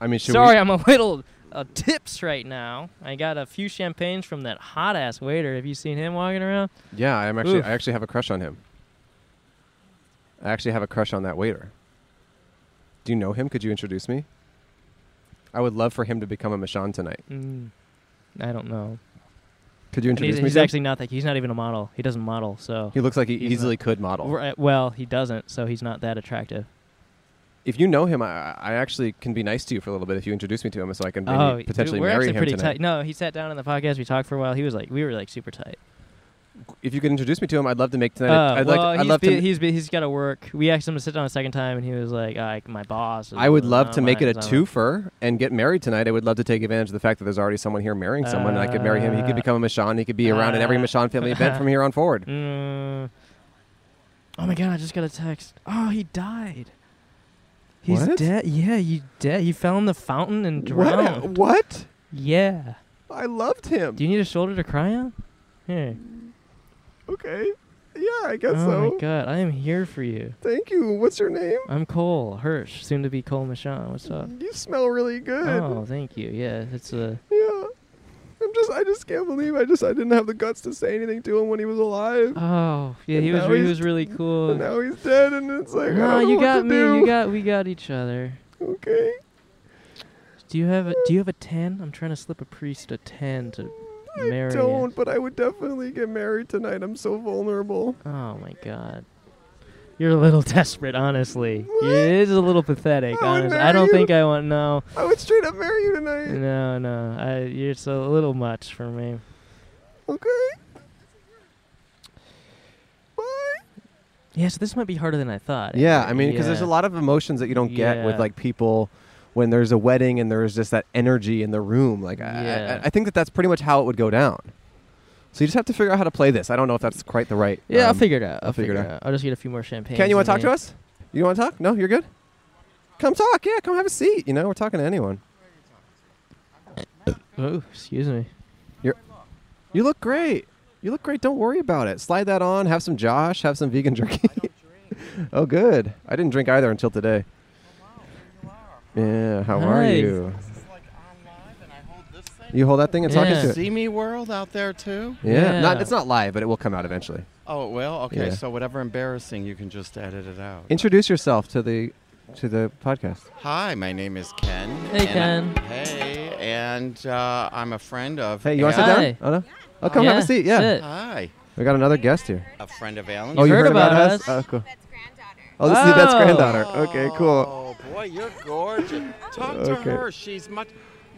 S2: I mean, should
S5: Sorry,
S2: we?
S5: I'm a little uh, tips right now. I got a few champagnes from that hot ass waiter. Have you seen him walking around?
S2: Yeah, I'm actually.
S5: Oof.
S2: I actually have a crush on him. I actually have a crush on that waiter. Do you know him? Could you introduce me? I would love for him to become a Michonne tonight.
S5: Mm, I don't know.
S2: Could you
S5: And
S2: introduce
S5: he's,
S2: me?
S5: He's
S2: to him?
S5: actually not that. He's not even a model. He doesn't model. So
S2: He looks like he
S5: he's
S2: easily
S5: not-
S2: could model.
S5: Right, well, he doesn't. So he's not that attractive.
S2: If you know him, I, I actually can be nice to you for a little bit if you introduce me to him, so I can maybe
S5: oh, dude,
S2: potentially
S5: we're
S2: marry
S5: actually
S2: him
S5: pretty
S2: tonight.
S5: tight. No, he sat down in the podcast. We talked for a while. He was like, we were like super tight.
S2: If you could introduce me to him, I'd love to make tonight.
S5: Uh,
S2: I'd
S5: well,
S2: like. I'd
S5: he's
S2: love
S5: bu-
S2: to.
S5: He's bu- he's got to work. We asked him to sit down a second time, and he was like, "Ah, "My boss." is
S2: I would
S5: on
S2: love to make it a
S5: online."
S2: twofer and get married tonight. I would love to take advantage of the fact that there's already someone here marrying someone. and I could marry him. He could
S5: Uh,
S2: become a Michonne. He could be around at every
S5: uh,
S2: Michonne family event
S5: *laughs*
S2: from here on forward.
S5: Mm. Oh my god! I just got a text. Oh, he died. He's
S2: What?
S5: dead. Yeah, he dead. He fell in the fountain and
S2: What?
S5: drowned.
S2: What?
S5: Yeah.
S2: I loved him.
S5: Do you need a shoulder to cry on? Here.
S2: Okay. Yeah, I guess
S5: oh
S2: so.
S5: my god! I am here for you.
S2: Thank you. What's your name?
S5: I'm Cole Hirsch, soon to be Cole Michon. What's up?
S2: You smell really good.
S5: Oh, thank you. Yeah, it's a.
S2: Yeah. I'm just. I just can't believe. I just. I didn't have the guts to say anything to him when he was alive.
S5: Oh, yeah.
S2: And
S5: He was
S2: now
S5: re- he
S2: he's-
S5: was really cool.
S2: And now he's dead, and it's like, I
S5: No,
S2: don't
S5: you
S2: know what
S5: got
S2: to
S5: me.
S2: do.
S5: You got we got each other.
S2: Okay.
S5: Do you have a Do you have a ten? I'm trying to slip a priest a ten to
S2: *laughs*
S5: marry.
S2: I
S5: it.
S2: don't, but I would definitely get married tonight. I'm so vulnerable.
S5: Oh my god. You're a little *laughs* desperate, honestly. It is a little pathetic,
S2: Oh,
S5: honestly. I don't think I want no.
S2: I would straight up marry you tonight.
S5: No, no. I, you're so a little much for me.
S2: Okay.
S5: Yeah, so this might be harder than I thought.
S2: Yeah, I mean, because there's a
S5: Yeah.
S2: lot of emotions that you don't get with
S5: Yeah.
S2: like people when there's a wedding and there's just that energy in the room. Like, I-
S5: Yeah.
S2: I, I think that that's pretty much how it would go down. So you just have to figure out how to play this. I don't know if that's quite the right.
S5: Yeah, I'll
S2: um,
S5: figure it out.
S2: I'll, figure it out.
S5: I'll just get a few more champagne.
S2: Ken, you want to talk to us? You want to talk? No, you're good. Come talk. Yeah, come have a seat. You know, we're talking to anyone.
S5: Oh, excuse me.
S2: You're, you look great. You look great. Don't worry about it. Slide that on. Have some Josh. Have some vegan *laughs* jerky. oh, good. I didn't drink either until today.
S13: Oh,
S2: Yeah. How are
S5: Hi.
S2: you? You hold that thing and talk into it.
S13: See me world out there too.
S2: Yeah. Not. It's not live, but it will come out eventually.
S13: Oh well, okay.
S2: Yeah.
S13: So whatever embarrassing, you can just edit it out.
S2: Introduce yourself to the to the podcast.
S13: Hi, my name is Ken.
S5: Hey,
S13: and Ken. Hey, and uh, I'm a friend of.
S2: Hey, you want to sit
S13: Al-
S2: down? Oh no. Oh, come have a seat. Yeah.
S13: Hi.
S2: We got another guest here.
S13: A friend of Alan's.
S2: Oh, you heard, about, us? Oh, cool. Oh, this is Yvette's
S13: Oh.
S2: granddaughter. Okay, cool.
S13: Oh boy, you're gorgeous. Talk to
S2: Okay.
S13: her. She's much.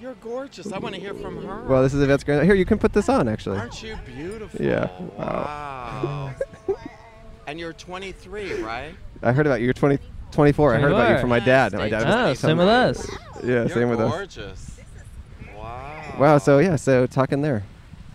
S13: You're gorgeous. I want to hear from her.
S2: Well, this is Yvette's granddaughter. Here, you can put this on, actually.
S13: Oh. Aren't you beautiful?
S2: Yeah.
S13: Wow. and you're 23, right?
S2: *laughs* I heard about you. You're 20, 24. I heard about you from my dad. My dad was
S5: Oh,
S2: like
S5: same with us.
S2: Yeah, same with us.
S13: Gorgeous.
S2: Wow. So yeah. So talking there.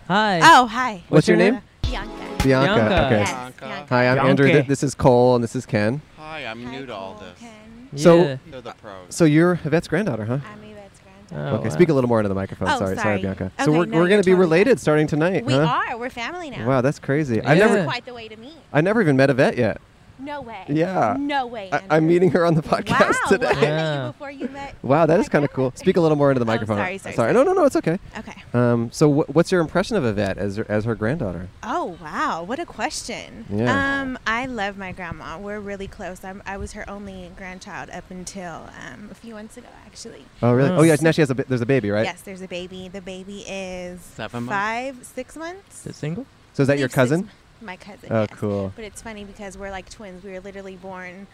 S5: Hi.
S14: Oh, hi.
S2: What's, your name?
S14: Bianca.
S2: Bianca. Okay.
S14: Yes, Bianca.
S2: Hi, I'm Andrew.
S14: Bianca.
S2: Th- This is Cole, and this is Ken.
S13: Hi, I'm new to all this.
S2: So,
S13: They're the pros.
S2: so you're Yvette's granddaughter, huh?
S14: I'm Yvette's
S13: granddaughter.
S2: okay,
S13: Oh,
S2: speak a
S13: wow.
S2: little more into the microphone.
S14: Oh,
S2: sorry,
S14: sorry.
S2: Bianca.
S14: Okay,
S2: so we're,
S14: no,
S2: we're
S14: you're
S2: going to be
S14: totally
S2: related starting tonight,
S14: We
S2: huh?
S14: are. We're family now.
S2: Wow, that's crazy. I've never
S14: That's quite the way to meet.
S2: I never even met Yvette yet.
S14: No way.
S2: Yeah.
S14: No way.
S2: I, am meeting her on the podcast
S14: Wow,
S2: today.
S14: well, I met you before you met. Oh,
S2: Wow, that is kind of cool. Speak a little more into the microphone.
S14: sorry, sorry,
S2: No, no, no, it's okay.
S14: Okay.
S2: Um, so, wh- what's your impression of Yvette as her, as her granddaughter?
S14: Oh wow, what a question.
S2: Yeah.
S14: Um, I love my grandma. We're really close. I'm, I was her only grandchild up until um, a few months ago, actually.
S2: Oh, really? Oh, yeah. Now she has a ba- there's a baby, right?
S14: Yes, there's a baby. The baby is
S2: Seven months?
S14: five, six months.
S2: Is it single? So is that your
S14: Believe six
S2: cousin?
S14: m- my cousin.
S2: Oh,
S14: yes.
S2: cool.
S14: But it's funny because we're like twins. We were literally born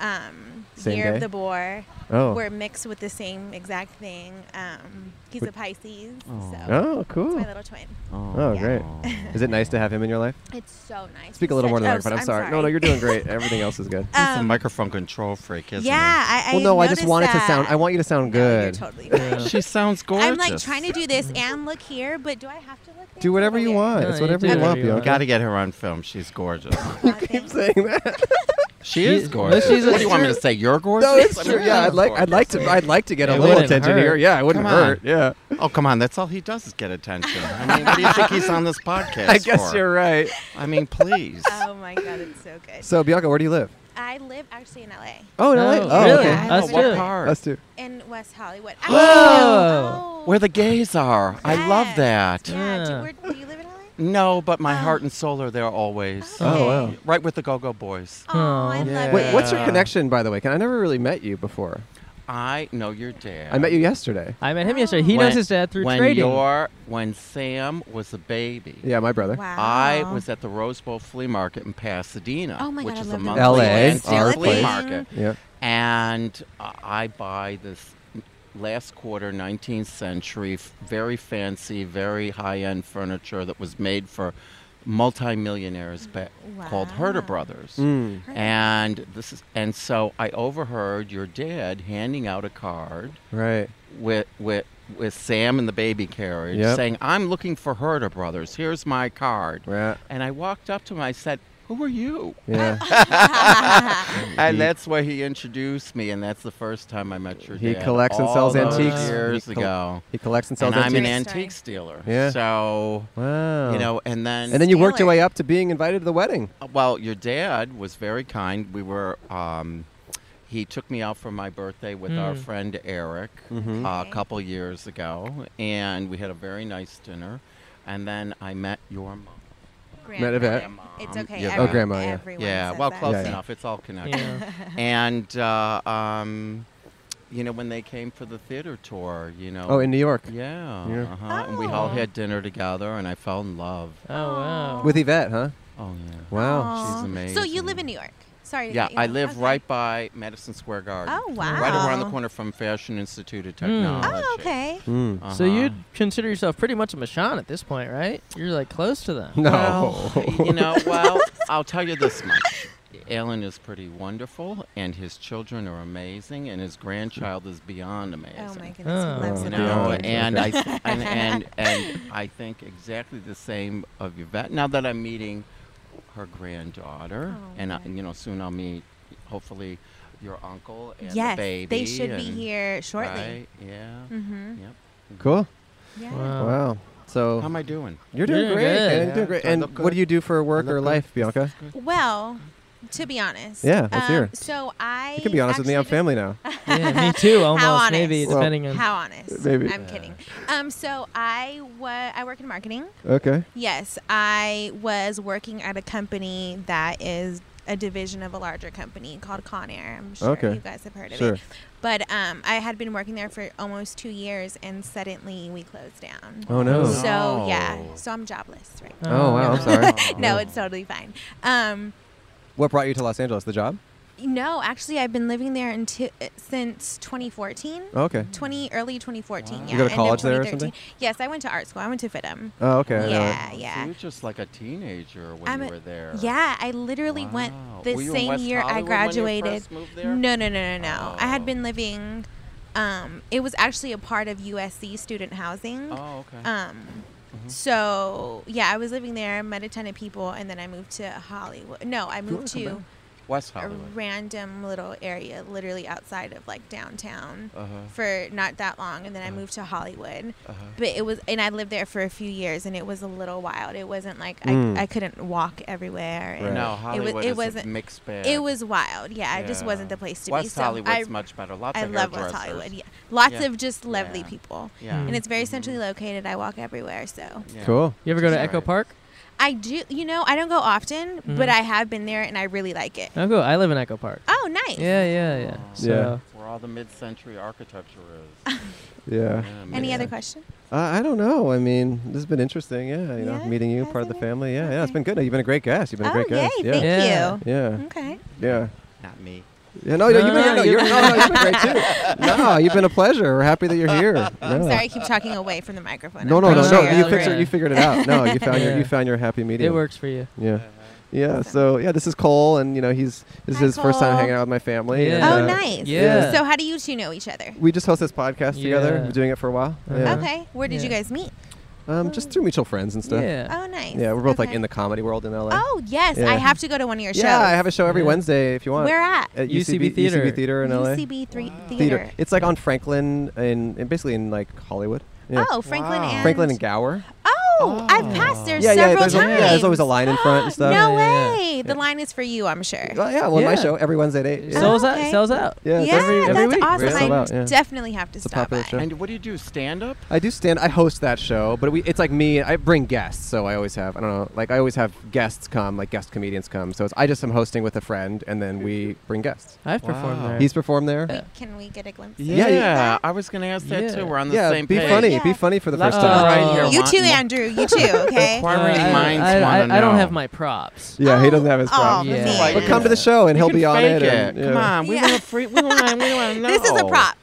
S14: um,
S2: Same
S14: year
S2: day?
S14: of the boar.
S2: Oh.
S14: We're mixed with the same exact thing. Um, he's
S2: Wh-
S14: a Pisces.
S2: Oh.
S14: So
S2: Oh,
S14: it's
S2: cool.
S14: my little twin.
S2: Oh,
S14: Yeah.
S2: great. Is it nice to have him in your life?
S14: It's so nice.
S2: Speak a
S14: He's
S2: little more
S14: such-
S2: into the
S14: oh,
S2: microphone.
S14: s-
S2: I'm,
S14: I'm
S2: sorry.
S14: sorry.
S2: No, no, you're
S14: *laughs*
S2: doing great. Everything else is good.
S13: He's a
S14: Um,
S13: microphone control freak, isn't
S14: yeah, I, I
S2: well, no, I
S14: noticed
S2: just wanted
S14: that.
S2: to sound. I want you to sound good.
S14: totally
S13: she sounds gorgeous.
S14: I'm like trying to do this and look here, but do I have to look?
S2: Do whatever you want.
S13: Oh, No,
S2: it's
S13: you
S2: whatever
S13: do
S2: you
S13: whatever
S2: want,
S13: you want.
S2: Bianca.
S13: Gotta get her on film. She's gorgeous.
S2: You keep saying
S14: *laughs*
S2: that.
S13: She is gorgeous.
S2: she's a-
S13: what do you want me to
S2: sure.
S13: say? You're gorgeous.
S2: No, it's true. Yeah, I'd like, I'd like to, I'd like to get a little attention here. Yeah, it wouldn't
S13: Come on.
S2: hurt. Yeah.
S13: Oh come on, that's all he does is get attention. I mean, what do you think he's on this
S2: *laughs*
S13: podcast?
S2: I guess
S13: for?
S2: you're right.
S13: I
S5: *laughs*
S13: mean, please.
S14: Oh my god, it's so good.
S2: So, Bianca, where do you live?
S14: I live actually in LA.
S2: Oh, no,
S13: Oh,
S2: oh,
S13: really?
S2: okay.
S13: Yeah, I live Oh, what in LA. part?
S2: Us too.
S14: In West Hollywood.
S13: Where the gays are. I love that.
S14: oh, Yeah. Do, where, do you live in Oh. LA?
S13: No, but my heart and soul are there always.
S2: Oh, Okay. wow.
S13: Right with the Go Go Boys.
S5: Oh,
S2: Wait, what's your connection, by the way? Can I never really met you before?
S13: I know your dad.
S2: I met you yesterday.
S5: I met him yesterday. He knows his dad through
S13: when
S5: trading.
S13: Your, when Sam was a baby.
S2: Yeah, my brother. Wow.
S13: I was at the Rose Bowl flea market in Pasadena,
S14: Oh my
S13: which
S14: God, I
S13: is a
S14: love that
S13: monthly
S2: place. LA,
S13: antique
S2: our
S13: flea
S2: place.
S13: market.
S2: Yeah.
S13: And uh, I buy this last quarter 19th century f- very fancy, very high-end furniture that was made for multimillionaires ba- called Herder Brothers.
S2: Mm.
S13: And this is and so I overheard your dad handing out a card
S2: Right.
S13: with with with Sam and the baby carriage
S2: Yep.
S13: saying, "I'm looking for Herder Brothers. Here's my card."
S2: Yeah.
S13: And I walked up to him. I said, "Who are you?"
S2: Yeah.
S13: *laughs* and
S2: He-
S13: that's where he introduced me, and that's the first time I met your
S2: He
S13: dad.
S2: collects and
S13: all
S2: sells
S13: those
S2: antiques.
S13: years
S2: he col-
S13: ago.
S2: He collects and sells
S13: And I'm
S2: antiques.
S13: an antiques dealer.
S2: Yeah.
S13: So
S2: wow.
S13: you know, and then
S2: and then you worked your way up to being invited to the wedding.
S13: Uh, Well, your dad was very kind. We were. Um, he took me out for my birthday with our
S14: Hmm.
S2: Mm.
S13: friend Eric
S2: Mhm.
S13: uh, a couple years ago, and we had a very nice dinner. And then I met your mom.
S14: Grandma. Met Yvette. It's okay,
S13: Your
S14: every-
S2: Oh, grandma, yeah.
S14: everyone
S13: Yeah,
S14: says
S13: well,
S14: that.
S13: close
S14: Yeah, yeah.
S13: enough. It's all connected.
S14: Yeah.
S13: *laughs* and uh, um, you know, when they came for the theater tour, you know.
S2: Oh, in New York.
S13: Yeah.
S2: Yeah.
S13: Uh-huh. And we
S14: Oh.
S13: all had dinner together, and I fell in love.
S5: Oh wow.
S2: With Yvette, huh?
S13: Oh yeah.
S2: Wow. Oh,
S13: She's amazing.
S14: So you live in New York. Sorry. To
S13: Yeah,
S14: cut you
S13: I
S14: off.
S13: live
S14: Okay.
S13: right by Madison Square Garden.
S14: Oh,
S13: Right around the
S14: wow.
S13: corner from Fashion Institute of Technology.
S14: Oh, okay.
S2: Hmm.
S5: Hmm. So
S13: Uh-huh.
S5: you'd consider yourself pretty much a Michonne at this point, right? You're like close
S2: *laughs*
S5: to them.
S13: Well, you know, well, I'll tell you this much. Alan is pretty wonderful, and his children are amazing, and his grandchild is beyond amazing.
S14: Oh my goodness,
S2: Oh. loves
S13: you
S2: him.
S13: know,
S2: Beyond,
S13: and I
S2: okay. *laughs*
S13: th- and, and and I think exactly the same of Yvette. Now that I'm meeting her granddaughter,
S14: Oh,
S13: and I, you know, soon I'll meet, hopefully, your uncle and
S14: Yes,
S13: the
S14: they
S13: baby.
S14: should be
S13: and-
S14: here shortly.
S13: Right? Yeah.
S14: Mhm.
S13: Yep.
S2: Cool.
S14: Yeah.
S2: Wow.
S13: Wow.
S2: So
S13: How am I doing?
S2: You're doing
S13: You're
S2: great.
S13: good.
S2: man.
S13: Yeah.
S2: Doing great.
S13: Do I
S2: And
S13: look
S2: what do
S13: good?
S2: you do for work
S13: I look
S2: or
S13: good?
S2: life, Bianca?
S14: Well, to be honest. um,
S2: Yeah, let's hear it.
S14: So I.
S2: You can be honest with me. I'm
S14: actually
S2: family now.
S5: *laughs* yeah, me
S14: *laughs*
S5: too. Almost,
S14: honest?
S5: maybe
S2: Well,
S5: depending on
S14: How honest?
S2: Maybe.
S14: I'm kidding. Um, so I wa- I work in marketing.
S2: Okay.
S14: Yes, I was working at a company that is a division of a larger company called Conair. I'm sure
S2: Okay.
S14: you guys have heard of
S2: Sure.
S14: it. But um, I had been working there for almost two years, and suddenly we closed down.
S2: Oh, no.
S14: So yeah,
S2: No.
S14: so I'm jobless right
S2: Oh,
S14: now.
S2: wow, I'm sorry.
S14: *laughs* no,
S2: Yeah.
S14: it's totally fine. Um,
S2: What brought you to Los Angeles? The job?
S14: no, actually, I've been living there until uh, since 2014.
S2: Okay.
S14: 20 early 2014. Yeah,
S2: You go to
S14: end of
S2: college there or
S14: 2013.
S2: something?
S14: Yes, I went to art school. I went to FITM.
S2: Oh, okay. I know it.
S14: Yeah,
S13: So
S14: yeah.
S13: you were just like a teenager when
S14: I'm
S13: you
S14: a-
S13: were there.
S14: Yeah, I literally
S13: Wow.
S14: went the
S13: Were you in
S14: same
S13: West
S14: year I
S13: Hollywood when you first
S14: graduated.
S13: moved there? Oh.
S14: No, no, no, no, no. I had been living. Um, it was actually a part of USC student housing.
S13: Oh, okay.
S14: Um,
S13: Mm-hmm.
S14: so yeah, I was living there, met a ton of people, and then I moved to Hollywood. No, I moved
S13: wanna come
S14: to
S13: West
S14: a
S13: Hollywood.
S14: random little area, literally outside of like downtown,
S13: Uh-huh.
S14: for not that long, and then I moved to Hollywood.
S13: Uh-huh.
S14: But it was, and I lived there for a few years, and it was a little wild. It wasn't like
S13: Mm.
S2: Hmm.
S14: I, I couldn't walk everywhere.
S13: Right.
S14: And
S13: No,
S14: it was,
S13: Hollywood
S14: it
S13: is a
S14: wasn't
S13: mixed bag.
S14: It was wild. Yeah, it just wasn't the place to be.
S13: West
S14: So
S13: Hollywood's
S14: I,
S13: much better. Lots
S14: I
S13: of
S14: love West
S13: hairdressers.
S14: Hollywood. Yeah, lots
S13: Yeah.
S14: of just lovely
S13: Yeah.
S14: people.
S13: Yeah. Mm-hmm.
S14: and it's very centrally located. I walk everywhere, so
S2: *laughs* Cool.
S5: You ever go to
S13: That's
S5: Echo
S13: right.
S5: Park?
S14: I do. You know, I don't go often, but
S5: Mhm.
S14: I have been there, and I really like it.
S5: No, go. I live in Echo Park.
S14: Oh, nice.
S5: Yeah, yeah, yeah. So,
S13: Where all the mid-century architecture
S14: *laughs*
S13: is.
S2: Yeah.
S14: Any
S13: amazing.
S14: other questions?
S2: Uh, I don't know. I mean, this has been interesting. Yeah, you know,
S14: Yeah,
S2: meeting you, part of the family. Yeah, yeah, it's been good. You've been a great guest. You've been a
S14: Oh,
S2: great
S14: yay,
S2: guest. Yeah.
S14: thank Yeah. you.
S2: Yeah.
S14: Okay.
S2: Yeah.
S13: Not me.
S2: Yeah, no, no,
S5: No,
S2: you've
S5: no,
S2: been, no,
S5: you've
S2: you're,
S5: been-
S2: no, no, you've been great too. No, you've been a pleasure. We're happy that you're here.
S14: *laughs* I'm
S2: Yeah.
S14: sorry, I keep talking away from the microphone.
S2: No,
S14: I'm
S2: no, no,
S14: pretty
S2: no.
S14: sure
S2: You
S14: I'll
S2: fixed
S14: agree.
S2: it. You figured it out. No, you found your
S5: Yeah.
S2: you found your happy medium.
S5: works for you.
S2: Yeah, yeah. So yeah, this is Cole, and you know he's this is
S14: Hi,
S2: his first time
S14: Cole.
S2: hanging out with my family.
S5: Yeah.
S2: and,
S14: Oh,
S2: uh,
S14: nice.
S5: Yeah.
S14: So, how do you two know each other?
S2: we just host this podcast together.
S5: Yeah.
S2: We're doing it for a while.
S14: Uh-huh.
S2: Yeah.
S14: Okay. Where did you
S5: Yeah.
S14: guys meet?
S2: Um, just through mutual friends and stuff.
S5: Yeah.
S14: Oh, nice.
S2: Yeah, we're both like
S14: Okay.
S2: in the comedy world in LA.
S14: Oh, yes.
S2: Yeah.
S14: I have to go to one of your shows.
S2: Yeah, I have a show every Wednesday if you want.
S14: Where at?
S2: At
S5: UCB
S2: UCB theater.
S5: Theater.
S2: UCB theater in LA.
S14: UCB three theater.
S2: It's like on Franklin and, and basically in like Hollywood. Yeah.
S14: Oh, Franklin and
S2: Franklin and Gower.
S14: Oh, I've passed there
S2: yeah, yeah.
S14: several
S2: There's, a,
S14: times.
S2: yeah, there's always a line in front and stuff.
S14: No
S2: yeah,
S14: way. The line is for you, I'm sure.
S2: Yeah, yeah. Well, my
S5: Yeah.
S2: show every Wednesday at eight. Yeah.
S5: Sells out.
S14: Oh, Okay.
S5: Sells out.
S2: yeah, it's
S14: Yeah,
S2: every, every
S14: that's
S2: week.
S14: awesome.
S2: It's sold
S14: I
S2: out, yeah.
S14: definitely have to
S2: It's a
S14: stop by.
S2: popular show.
S13: And what do you do? Stand up?
S2: I do stand. I host that show, but we, it's like me. I bring guests, so I always have. I don't know. Like I always have guests come, like guest comedians come. So it's I just am hosting with a friend, and then we bring guests.
S5: I've performed
S13: Wow.
S5: there.
S2: He's performed there.
S14: Wait, Can we get a glimpse? of
S13: Yeah,
S2: you-
S13: I was going to ask that
S5: Yeah.
S13: too. We're on the
S2: yeah,
S13: same
S2: be
S13: page. Oh.
S2: funny. Be funny for the
S13: Left
S2: first
S13: and
S2: time.
S13: right here.
S14: You
S13: want-
S14: too, Andrew. You
S2: *laughs*
S14: too. Okay.
S13: Inquiring
S5: *laughs* I-
S13: minds
S5: I,
S13: wanna
S5: I- I don't
S13: know.
S5: have
S2: *laughs*
S5: my props.
S2: Yeah, he doesn't have his props.
S5: Oh, man.
S2: Yeah.
S13: Like,
S2: But come to the show, and
S13: You
S2: he'll
S13: can
S2: be on it.
S13: fake
S2: and-
S13: Come
S2: yeah.
S13: on. We
S14: Oh, Yeah.
S13: want to free. We want to
S14: *laughs*
S13: know.
S14: This is a prop.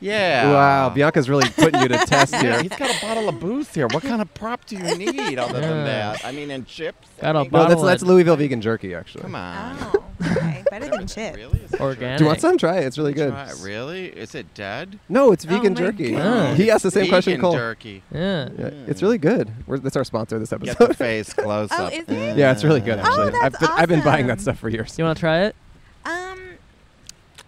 S13: Yeah.
S2: Wow, Bianca's really putting
S13: *laughs*
S2: you to test
S13: Yeah,
S2: here.
S13: he's got a bottle of booze here. What kind of prop do
S5: *laughs*
S13: you need other than
S5: Yeah.
S13: that? I mean, and chips.
S5: Got a
S13: I mean,
S2: No, that's
S5: Bottle
S2: that's
S5: it.
S2: Louisville vegan jerky, actually.
S13: Come on.
S14: Oh, okay. Better than chips.
S13: Really? Is it
S5: Organic.
S2: Do you want some? Try it. It's really good.
S13: Try it. Really? Is it dead?
S2: No, it's vegan
S14: Oh my
S2: jerky.
S5: Oh God.
S2: He asked the same question,
S13: Vegan
S2: Cole.
S13: Turkey.
S5: Yeah.
S2: Yeah, It's really good. We're, that's our sponsor this
S13: Get the
S14: *laughs*
S2: episode.
S13: face close
S14: Oh,
S13: up.
S14: is it?
S2: yeah, it's really good.
S13: Oh,
S2: Actually,
S14: that's
S2: I've, been, I've been buying that
S14: awesome.
S2: stuff for years.
S5: You want to try it?
S14: Um.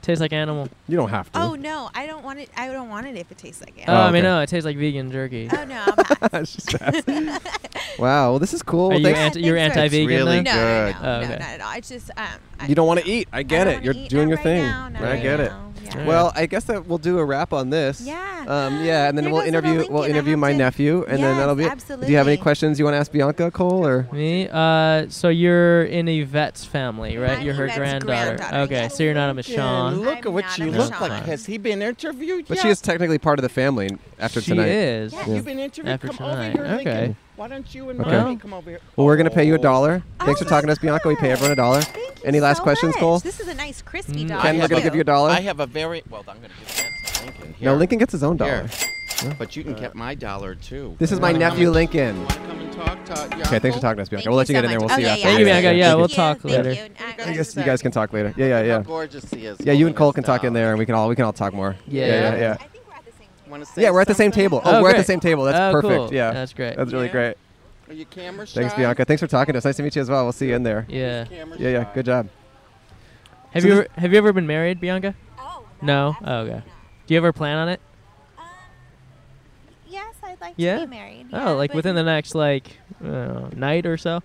S5: Tastes like animal.
S2: You
S14: *laughs*
S2: don't have to.
S14: Oh no, I don't want it. I don't want it if it tastes like it.
S5: Oh,
S2: Oh,
S5: I mean,
S2: okay.
S5: no, it tastes like vegan jerky.
S14: Oh no, I'll pass. *laughs*
S2: She's fast. wow. Well, this is cool.
S5: Are you
S2: Thanks.
S14: Yeah,
S5: anti, you're
S14: thanks for-
S5: anti-vegan?
S13: It's really
S5: then?
S14: no, no,
S13: good.
S14: no,
S5: Oh,
S14: no,
S5: okay.
S14: not at all. It's just um. I,
S2: You don't want to eat. I get
S14: don't
S2: it.
S14: wanna
S2: You're
S14: eat.
S2: doing
S14: Not
S2: your
S14: right
S2: thing.
S14: now, not
S2: I
S14: right
S2: get
S14: now.
S2: it.
S14: Yeah.
S2: Well, I guess that we'll do a wrap on this.
S14: Yeah.
S2: Um, yeah, and then
S14: There
S2: we'll
S14: goes
S2: interview.
S14: little
S2: We'll
S14: Lincoln.
S2: interview
S14: I
S2: my
S14: have to-
S2: nephew, and then
S14: Yes,
S2: that'll be. it. Do you have any
S14: absolutely.
S2: questions you want to ask Bianca Cole or?
S5: Me? Uh, so you're in Yvette's family, right?
S14: I'm
S5: you're her
S14: Yvette's
S5: granddaughter.
S14: granddaughter,
S5: Okay,
S14: yes.
S5: so you're not a
S13: Yeah,
S5: Michonne.
S13: look at
S14: I'm
S13: what
S14: not
S13: you
S14: a
S13: look
S14: Michonne.
S13: like. Has he been interviewed
S2: But
S13: yet?
S2: she is technically part of the family after
S5: she
S2: tonight.
S5: is.
S13: Yeah,
S2: Yeah.
S13: you've been interviewed.
S5: After
S13: come
S5: tonight.
S13: over here, Lincoln.
S5: Okay.
S13: Why don't you and
S2: Okay.
S13: mommy come over here?
S2: Well, we're gonna pay you a
S13: Oh.
S2: dollar. Thanks
S14: Oh
S2: for talking to us,
S14: my
S2: Bianca. We pay
S14: God.
S2: everyone a dollar.
S14: Thank you
S2: Any last
S14: so
S2: questions,
S14: much.
S2: Cole?
S14: This is a nice crispy
S2: Mm.
S14: dollar.
S2: Ken, we're gonna give you a dollar.
S13: I have a very well. I'm going to give that to Lincoln.
S2: No,
S13: Here.
S2: Lincoln gets his own dollar.
S13: Here. But you can get my dollar too.
S2: This is my
S13: Wanna come
S2: nephew
S13: and-
S2: Lincoln.
S13: come and talk to your
S2: Okay, thanks for
S13: uncle?
S2: talking to us, Bianca.
S13: Thank
S2: we'll let you get
S13: you so
S2: in there. We'll
S13: much.
S2: see you
S13: Oh,
S2: after.
S13: yeah, yeah. Thank you,
S5: Bianca. Yeah,
S2: Thank
S5: we'll
S2: you.
S5: talk Thank later.
S2: You.
S5: you.
S2: I guys, you guys can talk later. Yeah, yeah, yeah.
S13: gorgeous he is
S2: Yeah, you and Cole can talk in there, and we can all we can all talk more.
S13: Yeah.
S2: yeah, yeah. yeah.
S13: Wanna say
S2: Yeah, we're at the same
S13: something?
S2: table. Oh,
S13: Oh,
S2: we're at the
S13: great.
S2: same table. That's
S13: Oh,
S2: perfect.
S13: cool.
S2: Yeah,
S13: That's great.
S2: That's really
S13: Yeah.
S2: great.
S13: Are you camera shy?
S2: Thanks, Bianca. Thanks for talking to us. Nice to meet you as well. We'll see you in there.
S5: Yeah.
S13: Camera
S2: Yeah, yeah. Good job.
S5: Have
S2: So
S5: you
S2: this-
S5: ever, have you ever been married, Bianca? Oh. No. Oh, okay. Do you ever plan on it?
S14: Um, Yes, I'd like
S5: yeah.
S14: to be married.
S5: oh, like within the next like I don't know, night or so.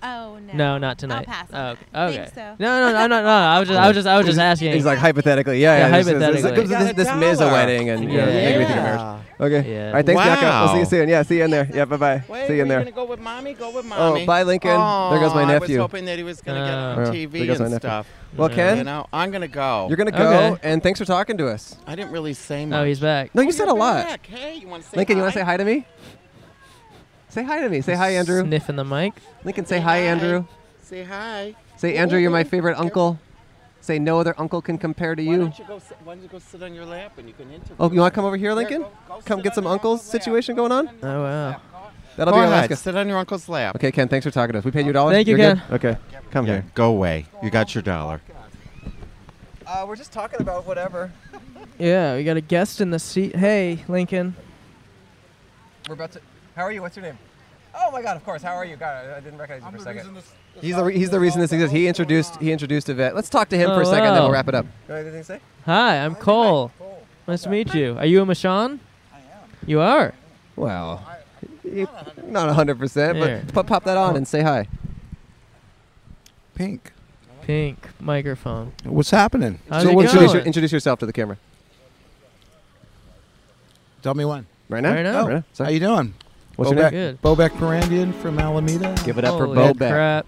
S14: Oh, no.
S5: No, not
S14: I'll
S5: tonight.
S14: pass
S5: Oh,
S14: on
S5: okay.
S14: that.
S5: okay.
S14: Think so.
S5: No, no, no, no, no. I was just, I was just, I was just
S2: He's-
S5: asking.
S2: He's like hypothetically. Yeah,
S5: Yeah,
S2: yeah. this is-
S5: hypothetically.
S2: This, this,
S5: Got a
S2: this, this is a
S5: dollar.
S2: wedding, and yeah,
S5: Yeah.
S2: maybe we think of
S5: Yeah.
S2: marriage. Okay.
S5: Yeah.
S2: All right. Thanks, Bianca. We'll see you
S5: Wow.
S2: soon. Yeah. See you in there. Yeah. Bye bye. See you in there.
S13: Go with mommy. Go with
S2: Oh,
S13: mommy.
S2: bye, Lincoln. There goes my
S13: Aw,
S2: nephew.
S13: I was hoping that he was going to get
S2: Oh.
S13: on
S2: There
S13: TV
S2: goes my
S13: and
S2: nephew.
S13: stuff.
S2: Well, Ken?
S13: you know, I'm going to go.
S2: You're gonna go, and thanks for talking to us.
S13: I didn't really say much.
S5: No, Oh, he's back.
S2: No, you said a lot.
S13: Oh, Back. Hey, you want to say
S2: Lincoln, you
S13: hi?
S2: want to say hi to me? Say hi to me. Say hi, Andrew.
S5: Sniffing the mic.
S2: Lincoln, say hi, Andrew.
S13: Say hi.
S2: Say, Andrew, you're my favorite uncle. Say, no other uncle can compare to
S13: Why
S2: you.
S13: don't you go? Sit, why don't you go sit on your lap and you can interview?
S2: Oh, you
S13: him.
S2: want to come over here, Lincoln? come get some uncles situation going on?
S5: Oh, wow.
S2: That'll
S13: Go
S2: be
S13: ahead,
S2: Alaska.
S13: sit on your uncle's lap.
S2: Okay, Ken, thanks for talking to us. We paid you a dollar?
S13: Thank you,
S2: You're good?
S13: Ken.
S2: Okay, come
S13: Yeah,
S2: here.
S13: Go away. You got your dollar.
S2: Uh, we're just talking about whatever.
S5: Yeah, we got a guest in the seat. Hey, Lincoln.
S2: We're about to. How are you? What's your name? Oh my God! Of course. How are you? God, I I didn't recognize you for a second. he's the re- he's the reason this exists. He introduced he introduced Yvette. Let's talk to him for a
S5: Oh,
S2: second, then
S5: wow.
S2: we'll wrap it up. You have anything to say?
S5: Hi, I'm Cole. Nice to meet you. Are you a Michon? I am. You are.
S2: Well, you- not hundred percent,
S5: There.
S2: but pop, pop that on and say hi.
S15: Pink.
S5: Pink microphone.
S15: What's happening?
S5: How's
S15: So
S5: it
S15: what's
S2: Introduce,
S5: going?
S2: your- introduce yourself to the camera.
S15: Tell me when.
S2: Right now? Right now.
S15: Oh,
S2: Right now. Sorry.
S15: How you doing?
S2: What's your
S15: Bobek,
S2: name?
S15: Bobek Perandian from Alameda.
S2: Give it up for
S15: Holy
S2: Bobeck.
S15: crap.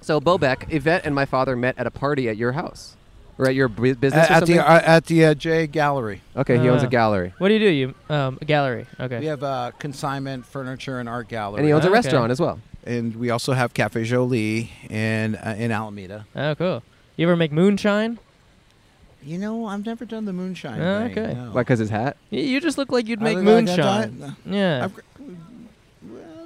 S2: So Bobeck, Yvette and my father met at a party at your house, or at your bu- business
S15: At,
S2: or
S15: at
S2: something.
S15: the uh, at the uh, J Gallery.
S2: okay, he owns a
S5: Uh,
S2: gallery.
S5: What do you do? You um, a gallery. Okay.
S15: We have uh, consignment furniture and art gallery.
S2: And he owns a Okay. restaurant as well.
S15: And we also have Cafe Jolie in uh, in Alameda.
S5: Oh, cool. You ever make moonshine?
S15: You know, I've never done the moonshine
S5: Oh,
S15: thing.
S5: okay.
S15: no.
S2: Why? Because his hat.
S5: Y- You just look like you'd
S15: I
S5: make
S15: look like I've *laughs*
S5: moonshine.
S15: done it?
S5: yeah.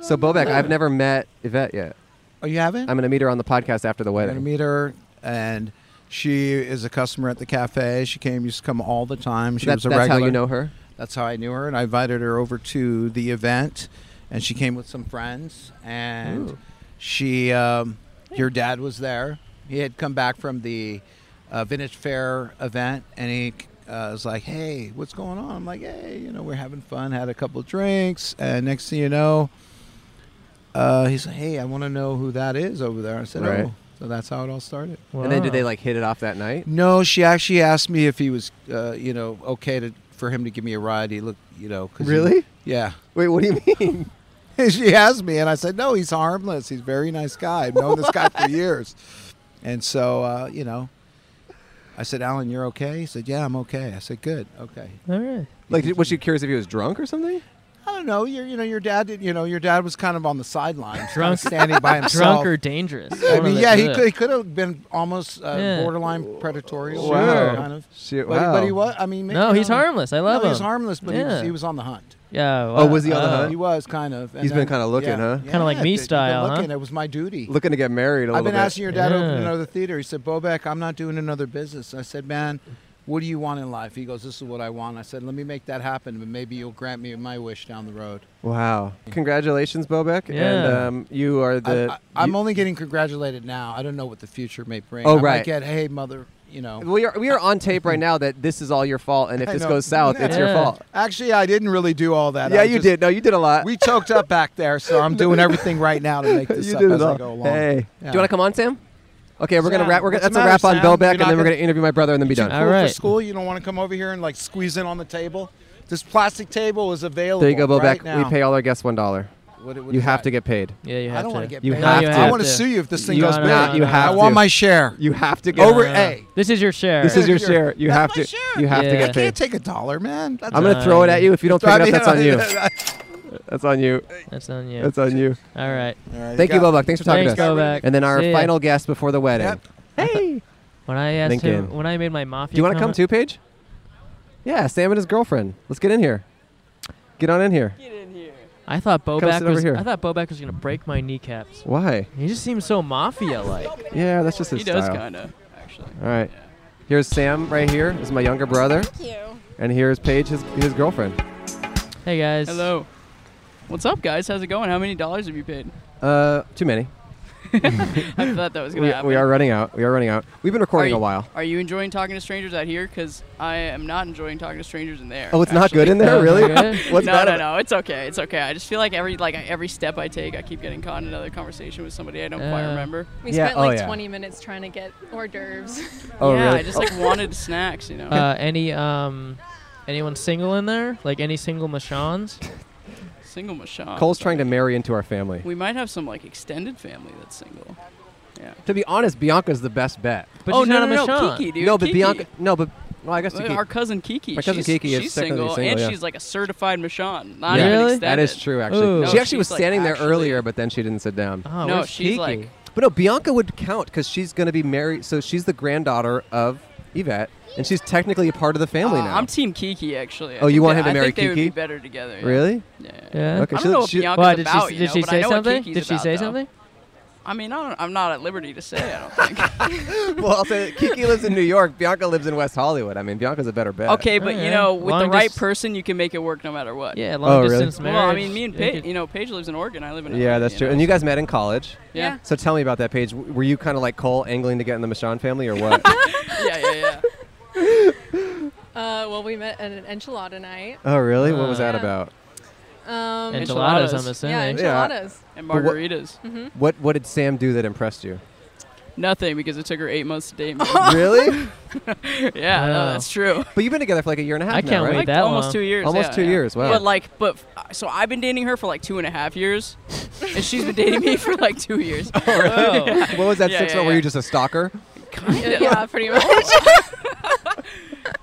S2: So Bobek, I've never met Yvette yet.
S15: Oh, you haven't?
S2: I'm gonna meet her on the podcast after the
S15: I'm gonna
S2: wedding.
S15: meet her, and she is a customer at the cafe. She came, used to come all the time. She
S2: That-
S15: was a
S2: that's how
S15: regular.
S2: you know her?
S15: That's how I knew her, and I invited her over to the event, and she came with some friends, and
S3: Ooh.
S15: she, um, your dad was there. He had come back from the uh, vintage fair event, and he uh, was like, "Hey, what's going on?" I'm like, "Hey, you know, we're having fun. Had a couple drinks, and next thing you know." Uh, he's like, hey, I want to know who that is over there. I said,
S2: Right.
S15: oh, so that's how it all started.
S2: And then did they like hit it off that night?
S15: No, she actually asked me if he was, uh, you know, okay to for him to give me a ride. He looked, you know, 'cause he-
S2: Really?
S15: yeah. *laughs*
S2: Wait, what do
S16: *laughs*
S2: you mean?
S15: she asked me, and I said, no, he's harmless. He's a very nice guy. I've known this guy
S5: *laughs*
S15: for years. And so, uh, you know, I said, Alan, you're okay? He said, yeah, I'm okay. I said, good, okay.
S5: All right.
S2: Like, did- was she curious if he was drunk or something?
S15: I don't know. Your, you know, your dad did. You know, your dad was kind of on the sidelines, kind
S5: Drunk-
S15: of standing by
S5: *laughs* drunk
S15: himself.
S5: or dangerous,
S15: I
S5: one of
S15: mean,
S5: the
S15: yeah, he
S5: two.
S15: could, he could have been almost uh,
S5: Yeah.
S15: borderline predatory.
S5: Sure. Wow.
S15: kind of.
S5: Shit,
S15: but, but he
S5: wow.
S15: was. I mean,
S5: No,
S15: you
S5: he's
S15: know,
S5: harmless. I love
S15: no, He's
S5: him.
S15: harmless, but he, was,
S5: Yeah.
S15: he was on the hunt.
S5: Yeah, uh,
S2: Oh, wow. was he on the hunt?
S15: He was kind of. and
S2: He's been
S15: then-
S2: kinda looking,
S15: yeah,
S2: huh?
S5: Kinda like
S15: yeah,
S5: me
S15: he's been
S5: style, huh?
S15: Looking. It was my duty.
S2: Looking to get married a little
S15: I've been
S2: bit.
S15: asking your dad to open
S5: Yeah.
S15: another theater. He said, Bobek, I'm not doing another business. I said, man, what do you want in life? He goes, this is what I want. I said, let me make that happen, but maybe you'll grant me my wish down the road.
S2: Wow! Congratulations, Bobek, and
S15: Yeah.
S2: um, you are the.
S15: I, am
S2: you-
S15: only getting congratulated now. I don't know what the future may bring.
S2: Oh,
S15: I might
S2: right.
S15: get, hey, mother, you know.
S2: Oh. we are we are on tape right now that this is all your fault, and if
S15: I
S2: this
S15: know.
S2: goes south, it's your fault.
S15: Actually, I didn't really do all that.
S2: Yeah,
S15: I
S2: you
S15: just-
S2: did. No, you did a lot.
S15: We choked up back there, so I'm doing everything right now
S2: *laughs*
S15: to make this
S2: You
S15: up
S2: did it
S15: as
S2: all.
S15: I go along.
S2: Hey. Do you want to come on, Sam? Okay, we're gonna
S15: Sam,
S2: wrap. We're gonna, that's
S15: what's the
S2: a
S15: matter,
S2: wrap on
S15: Sam? You're
S2: Bobek, and
S15: not
S2: then we're
S15: gonna-
S2: gonna interview my brother, and then be done.
S15: Cool For school, you don't want to come over here and like squeeze in on the table. This plastic table is available.
S2: There you go,
S15: right
S2: Bobek.
S15: now.
S2: we pay all our guests one dollar.
S15: What- what
S2: you
S15: is
S2: have
S15: that?
S2: to get paid.
S5: Yeah, you
S15: I
S5: have
S15: don't
S5: to.
S15: wanna get
S2: You
S15: paid.
S2: have
S15: No, you
S2: to.
S15: have I wanna to. sue you if this thing
S2: You-
S15: goes
S2: no,
S15: bad.
S2: you
S15: I
S2: have
S15: want
S2: to.
S15: my share.
S2: You have to get
S15: Over A.
S5: This is your share.
S2: This is your share. You have to. You have to
S15: I
S2: get
S15: can't
S2: paid.
S15: take a dollar, man. That's
S2: I'm gonna throw it at you. If you don't pick it
S15: I
S2: up,
S15: mean,
S2: that's on you.
S15: I-
S2: *laughs* That's on you.
S5: That's on you.
S2: That's on you.
S5: All right.
S2: Thank you, Bobak. Thanks for talking
S5: Thanks,
S2: to us.
S5: Bobak.
S2: And then our
S5: See ya.
S2: final guest before the wedding. Hey.
S5: When I asked him,
S2: LinkedIn.
S5: when I made my mafia.
S2: Do you want to come
S5: comment-
S2: too, Paige? Yeah, Sam and his girlfriend. Let's get in here. Get on in here.
S5: I thought
S2: Come
S5: Bobak
S2: sit over
S5: was.
S2: here.
S5: I thought Bobak was gonna break my kneecaps.
S2: Why?
S5: He just seems so mafia-like.
S2: Yeah, that's just his
S3: He does
S2: style.
S3: kinda, actually.
S2: All right. Here's Sam right here. This is my younger brother.
S3: Thank you.
S2: And here's Paige, his, his girlfriend.
S5: Hey guys.
S3: Hello. What's up, guys? How's it going? How many dollars have you paid?
S2: Uh, too many.
S3: I thought that was gonna
S2: we,
S3: happen.
S2: we are running out. We are running out. We've been recording
S3: Are
S2: a
S3: you-
S2: while.
S3: Are you enjoying talking to strangers out here? Because I am not enjoying talking to strangers in there.
S2: Oh, it's not good
S3: actually.
S2: in
S3: *laughs*
S2: there, really? What's
S3: no,
S2: bad
S3: no,
S2: about-
S3: no. It's okay. It's okay. I just feel like every like every step I take, I keep getting caught in another conversation with somebody I don't quite
S17: Uh,
S3: remember.
S17: We
S2: oh,
S17: spent like 20 minutes trying to get hors d'oeuvres.
S3: yeah, I just
S2: Oh. *laughs*
S3: like wanted snacks, you know.
S5: Uh, any um, anyone single in there? Like any single
S2: *laughs*
S5: Machans?
S3: single Michonne.
S2: Cole's trying to marry into our family.
S3: We might have some like extended family that's single. Yeah.
S2: To be honest, Bianca's the best bet.
S3: But Oh, she's no, not a no, no, Michonne. Kiki, dude,
S2: No, but
S3: Kiki.
S2: Bianca. No, but well, I guess you
S3: Uh,
S2: keep-
S3: Our cousin Kiki.
S2: My cousin
S3: she's,
S2: Kiki is
S3: she's
S2: technically
S3: single,
S2: single,
S3: and
S2: yeah.
S3: she's like a certified Michonne. Not
S2: Yeah.
S3: even
S2: That is
S3: extended.
S2: true, actually.
S3: No,
S2: she actually was
S3: she's, like,
S2: standing there
S3: actually-
S2: earlier, but then she didn't sit down.
S3: Oh, No, where's she's, Kiki? like-
S2: But no, Bianca would count because she's going to be married. So she's the granddaughter of Yvette, and she's technically a part of the family
S3: Uh,
S2: now.
S3: I'm Team Kiki actually. I
S2: Oh, you
S3: think
S2: want
S3: they-
S2: him to
S3: I
S2: marry
S3: think They would be
S2: Kiki?
S3: better together. yeah.
S2: Really?
S3: Yeah.
S2: Yeah. Okay,
S3: I
S2: so
S3: don't know what
S2: she-
S3: Bianca's
S5: Why, did she-
S3: about. you
S5: did
S3: know,
S5: she
S3: but
S5: say
S3: I know what
S5: something?
S3: Kiki's
S5: Did she
S3: about,
S5: say
S3: though.
S5: something?
S3: I mean, I don't, I'm not at liberty to say. I don't think.
S2: *laughs* *laughs* well, I'll say that Kiki lives in New York. Bianca lives in West Hollywood. I mean, Bianca's a better bet.
S3: *laughs* Okay, but you know, with the right person, you can make it work no matter what.
S2: Yeah, long Oh, really? distance
S3: Well, I
S2: marriage,
S3: mean, me and
S2: you
S3: Paige, you know, Paige lives in Oregon. I live in.
S2: Yeah,
S3: LA,
S2: that's
S3: you
S2: true.
S3: know,
S2: And you
S3: so-
S2: guys met in college.
S3: Yeah. Yeah.
S2: So tell me about that, Paige. W- Were you kind of like Cole angling to get in the Michonne family, or
S3: *laughs*
S2: what?
S3: yeah, yeah, yeah.
S17: *laughs* Uh, well, we met at an enchilada night.
S2: oh, really? what was that
S17: Yeah.
S2: about?
S17: Um,
S5: Enchiladas, I'm
S17: Yeah,
S5: assuming.
S17: enchiladas. Mm-hmm.
S3: And
S2: But what-
S3: margaritas. Mhm.
S2: What What did Sam do that impressed you?
S3: Nothing because it took her eight months to date me.
S2: Really?
S3: *laughs* yeah, no, that's true.
S2: *laughs* But you've been together for like a year and a half.
S5: Oh. I
S2: now,
S5: can't
S2: right?
S5: wait that
S3: almost
S5: long.
S3: two years.
S2: Almost
S3: yeah,
S2: two
S3: yeah.
S2: years. Wow. *laughs*
S3: But like, but f- so I've been dating her for like two and a half years, and she's been dating me for like
S2: *laughs*
S3: two years. Oh,
S2: what was that
S3: yeah,
S2: six?
S3: yeah,
S2: month? Were you just a
S3: *laughs*
S2: stalker?
S17: Yeah, yeah, pretty much.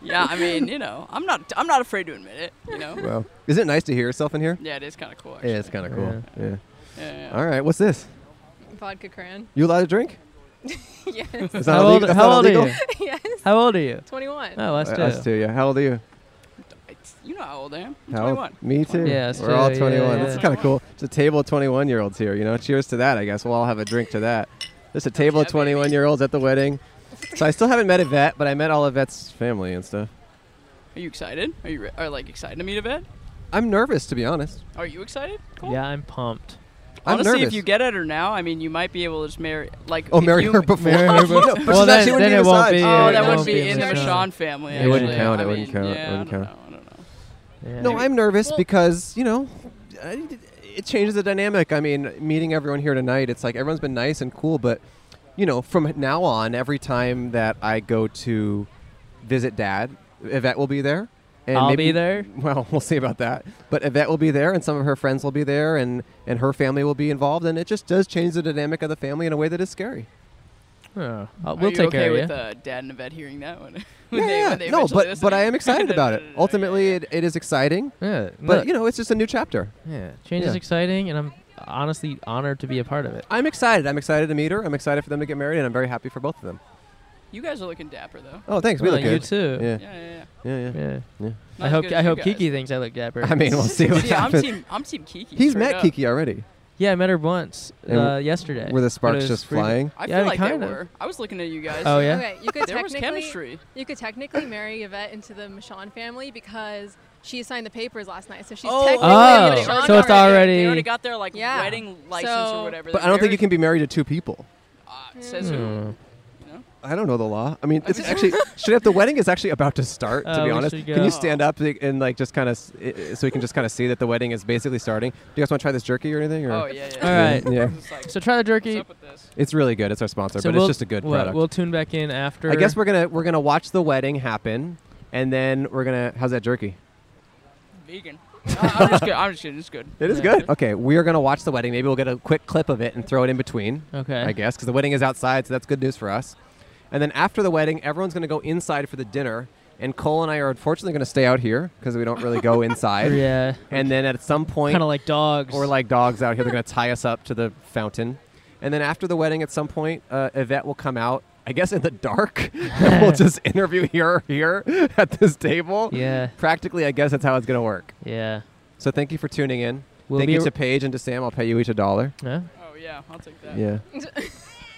S3: yeah, I mean, you know, I'm not, I'm not afraid to admit it. You know.
S2: Well, is it nice to hear yourself in here?
S3: Yeah, it is kinda cool,
S2: Yeah, it's kind of cool. Yeah.
S3: Yeah,
S2: All right. What's this?
S17: Vodka cran.
S2: You allowed to drink?
S17: *laughs* yes.
S2: It's not How old- illegal- that's how not old are illegal?
S3: *laughs*
S2: you?
S17: *laughs* yes.
S5: How old are you?
S17: 21.
S5: Oh, us
S2: Uh,
S5: too.
S2: Us too. Yeah. How old are you?
S3: You know how old I am. I'm
S2: How
S3: 21.
S2: old? Me too.
S5: Yeah, us
S2: We're all
S5: too, yeah,
S2: 21.
S5: yeah.
S2: This is kind of cool. It's a table of 21 year olds here. You know, cheers to that. I guess we'll all have a drink to that. There's a table of 21 year olds at the wedding. So I still haven't met Yvette, but I met all of Yvette's family and stuff.
S3: Are you excited? Are you re- are like excited to meet a vet?
S2: I'm nervous, to be honest.
S3: Are you excited? Cool.
S5: Yeah, I'm pumped.
S2: I'm
S3: Honestly,
S2: nervous.
S3: if you get at her now, I mean, you might be able to just marry like.
S2: Oh,
S3: if
S2: marry
S3: you-
S2: her before. Marry
S3: *laughs*
S2: her before. No, but Well, she's not- then- she wouldn't then be it won't be-
S3: Oh,
S2: it
S3: that
S2: won't
S3: would
S2: be
S3: be in the
S2: Michonne.
S3: Michonne family.
S2: It wouldn't
S3: actually.
S2: count.
S3: I
S2: it wouldn't
S3: mean,
S2: count.
S3: yeah,
S2: it wouldn't count.
S5: Yeah.
S2: No, I'm nervous
S17: Well-
S2: because you know, I- it changes the dynamic. I mean, meeting everyone here tonight, it's like everyone's been nice and cool, but you know, from now on, every time that I go to visit Dad, Yvette will be there.
S5: I'll be there?
S2: *laughs* Well, we'll see about that. But Yvette will be there, and some of her friends will be there, and and her family will be involved, and it just does change the dynamic of the family in a way that is scary.
S5: Uh,
S3: Are
S5: we'll
S3: you
S5: take
S3: okay
S5: care of
S3: with *laughs*
S5: you.
S3: uh, Dad and Yvette hearing that one? *laughs*
S2: yeah, yeah. no, but but I am excited about it. Ultimately, it, it is exciting.
S5: Yeah,
S2: but
S5: look.
S2: you know, it's just a new chapter.
S5: Yeah, change
S2: Yeah.
S5: is exciting, and I'm honestly honored to be a part of it.
S2: I'm excited. I'm excited to meet her. I'm excited for them to get married, and I'm very happy for both of them.
S3: You guys are looking dapper though.
S2: Oh, thanks. We
S5: Well,
S2: look
S5: you
S2: good.
S5: too.
S2: Yeah.
S3: Yeah, yeah,
S2: Yeah, yeah.
S5: Yeah.
S2: Yeah.
S3: Not
S5: I
S3: as
S5: hope
S3: good
S5: I
S3: as you
S5: hope
S3: guys.
S5: Kiki thinks I look dapper.
S2: I
S5: *laughs*
S2: mean, we'll see what *laughs*
S3: See, I'm
S2: happens.
S3: team- I'm team Kiki,
S2: He's
S3: straight
S2: met
S3: up.
S2: Kiki already.
S5: Yeah, I met her once
S2: And
S5: uh,
S2: w-
S5: yesterday.
S2: were the
S5: but it
S2: sparks
S5: was
S2: just
S5: pretty-
S2: flying?
S3: I
S5: yeah,
S3: feel like
S5: kind
S3: they
S5: of.
S3: were. I was looking at you guys.
S5: Oh, yeah?
S17: Okay, you could
S3: there was
S17: technically
S3: chemistry.
S17: you could technically marry Yvette into the Michonne family because she signed the papers last night, so she's
S3: Oh,
S17: technically
S5: oh,
S17: in the Michonne
S5: so it's
S17: family.
S5: already-
S3: They already got their like
S17: Yeah.
S3: wedding license
S17: So-
S3: or whatever.
S2: But I don't think you can be married to two people.
S3: Uh, It says who.
S5: Hmm.
S2: I don't know the law. I mean, it's
S3: *laughs*
S2: actually should have the wedding is actually about to start. To
S5: Uh,
S2: be
S5: we
S2: honest,
S5: should
S2: can
S5: go.
S2: you stand up like, and like just kind of so we can just kind of see that the wedding is basically starting? Do you guys want to try this jerky or anything? Or?
S3: Oh, yeah, yeah.
S5: All right.
S2: yeah.
S5: So try the jerky.
S2: It's really good. It's our sponsor,
S5: So
S2: but
S5: we'll-
S2: it's just a good
S5: what,
S2: product.
S5: We'll tune back in after.
S2: I guess we're gonna we're gonna watch the wedding happen, and then we're gonna how's that jerky?
S3: Vegan. *laughs* No, I'm just kidding. I'm just kidding. It's good.
S2: It is good. Okay, we are gonna watch the wedding. Maybe we'll get a quick clip of it and throw it in between.
S5: Okay.
S2: I guess because the wedding is outside, so that's good news for us. And then after the wedding, everyone's gonna go inside for the dinner. And Cole and I are unfortunately gonna stay out here because we don't really
S5: *laughs*
S2: go inside.
S5: Yeah.
S2: And then at some point,
S5: Kinda like dogs.
S2: or like dogs out here, they're gonna tie us up to the fountain. And then after the wedding, at some point, uh, Yvette will come out I guess in the dark, *laughs* and
S5: *laughs*
S2: we'll just interview here, here at this table.
S5: Yeah.
S2: Practically, I guess that's how it's going to work.
S5: Yeah.
S2: So thank you for tuning in.
S5: We'll
S2: thank
S5: be
S2: you
S5: ar-
S2: to Paige and to Sam. I'll pay you each a dollar.
S5: Yeah.
S3: Oh yeah, I'll take that.
S2: Yeah.
S3: *laughs*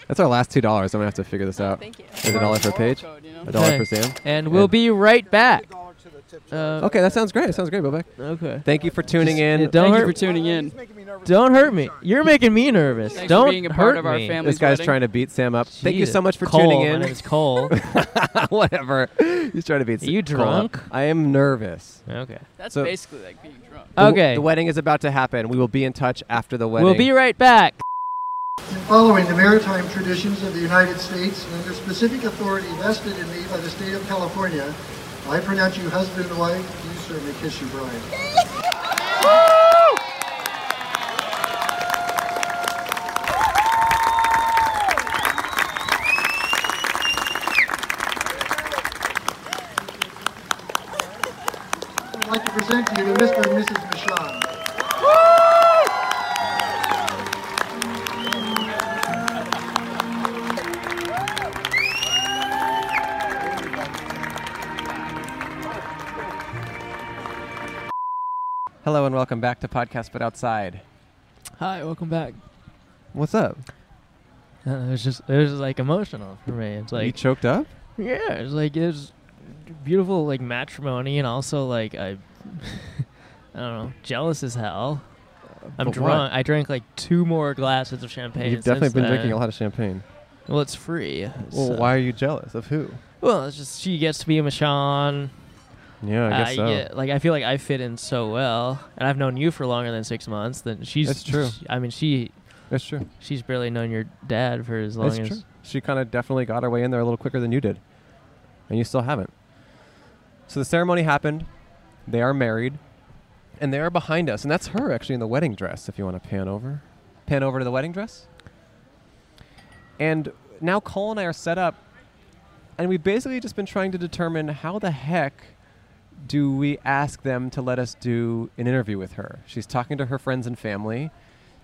S2: That's our last two dollars. I'm gonna have to figure this out.
S3: thank you.
S2: Is a dollar for Paige? A dollar
S5: Okay.
S2: for Sam.
S5: And we'll be right back. Uh,
S2: Okay, that sounds great. That sounds great, Bobek.
S5: Okay.
S2: Thank you for tuning in.
S5: Don't hurt in. Don't hurt me. You're making me nervous.
S3: Thanks for
S5: Don't
S3: being a part
S5: hurt
S3: of our
S5: me.
S3: family's
S2: This guy's trying to beat Sam up. Thank you
S5: Jesus.
S2: so much for
S5: Cole,
S2: tuning
S5: my
S2: in.
S5: name is Cole.
S2: *laughs* Whatever. He's trying to beat.
S5: Are you
S2: Sam up.
S5: drunk?
S2: I am nervous.
S5: Okay.
S3: That's
S2: So-
S3: basically like being drunk.
S2: The w-
S5: Okay.
S2: The wedding is about to happen. We will be in touch after the wedding.
S5: We'll be right back.
S12: Following the maritime traditions of the United States and under specific authority vested in me by the state of California, I pronounce you husband and wife. You certainly kiss your bride.
S2: *laughs*
S12: I'd like to present to you to Mr. and Mrs. Michon.
S2: Hello and welcome back to Podcast But Outside.
S5: Hi, welcome back.
S2: What's up?
S5: Uh, it was just it was just like emotional for me. It's like
S2: you choked up?
S5: Yeah, it's like it was beautiful like matrimony and also like I *laughs* I don't know, jealous as hell. I'm
S2: Uh, but
S5: drunk. I drank like two more glasses of champagne.
S2: You've definitely
S5: since
S2: been drinking
S5: then.
S2: a lot of champagne.
S5: Well, it's free.
S2: Well,
S5: so-
S2: why are you jealous of who?
S5: Well, it's just she gets to be a Michonne.
S2: Yeah, I guess so.
S5: get- like I feel like I fit in so well, and I've known you for longer than six months. Then she's
S2: That's true.
S5: I mean, she.
S2: That's true.
S5: She's barely known your dad for as long
S2: That's
S5: as.
S2: true. She kind of definitely got her way in there a little quicker than you did, and you still haven't. So the ceremony happened. They are married, and they are behind us, and that's her actually in the wedding dress. If you want to pan over, pan over to the wedding dress. And now Cole and I are set up, and we've basically just been trying to determine how the heck do we ask them to let us do an interview with her. She's talking to her friends and family.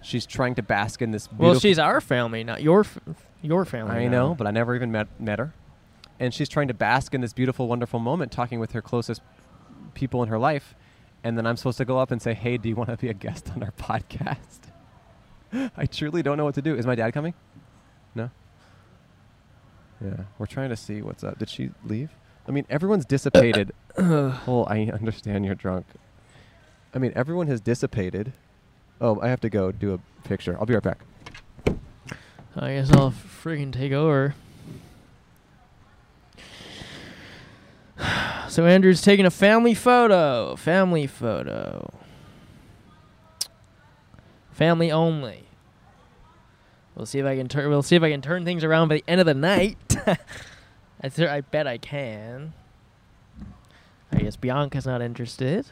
S2: She's trying to bask in this.
S5: Well,
S2: beautiful-
S5: she's our family, not your f- your family.
S2: I
S5: now.
S2: know, but I never even met met her. And she's trying to bask in this beautiful, wonderful moment, talking with her closest people in her life. And then I'm supposed to go up and say, "Hey, do you want to be a guest on our *laughs* podcast?" I truly don't know what to do. Is my dad coming? No. Yeah, we're trying to see what's up. Did she leave? I mean, everyone's dissipated.
S5: *coughs*
S2: oh, I understand you're drunk. I mean, everyone has dissipated. Oh, I have to go do a picture. I'll be right back.
S5: I guess I'll freaking take over. *sighs* So Andrew's taking a family photo. Family photo. Family only. We'll see if I can turn. We'll see if I can turn things around by the end of the night. *laughs* I, th- I bet I can. I guess Bianca's not interested.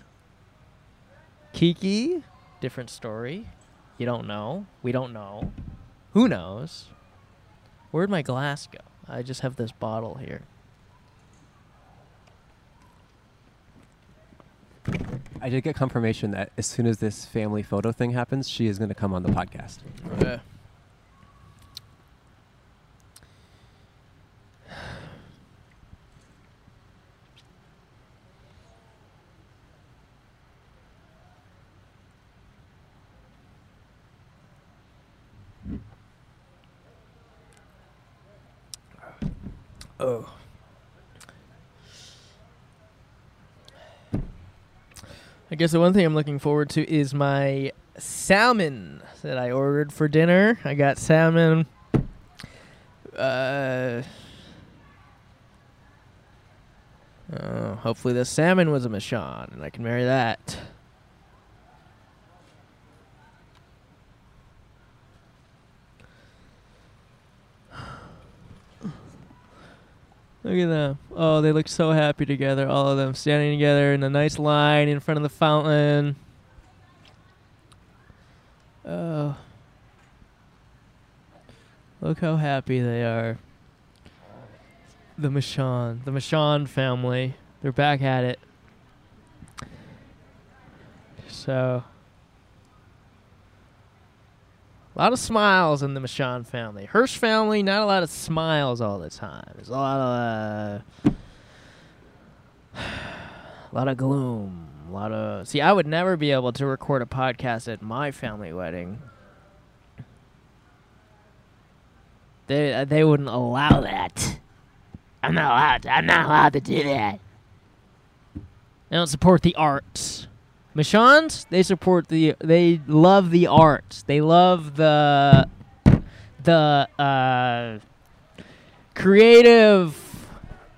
S5: Kiki, different story. You don't know. We don't know. Who knows? Where'd my glass go? I just have this bottle here.
S2: I did get confirmation that as soon as this family photo thing happens, she is going to come on the podcast.
S5: Oh. I guess the one thing I'm looking forward to is my salmon that I ordered for dinner. I got salmon. Uh, oh, hopefully the salmon was a Michonne, and I can marry that. Look at them. Oh, they look so happy together, all of them standing together in a nice line in front of the fountain. Oh. Look how happy they are. The Michon, the Michon family. They're back at it. So A lot of smiles in the Michon family. Hirsch family, not a lot of smiles all the time. There's a lot of, *sighs* uh, a lot of gloom. A lot of. See, I would never be able to record a podcast at my family wedding. They uh, they wouldn't allow that. I'm not allowed. I'm not allowed to do that. They don't support the arts. Michons, they support the they love the arts. They love the the uh creative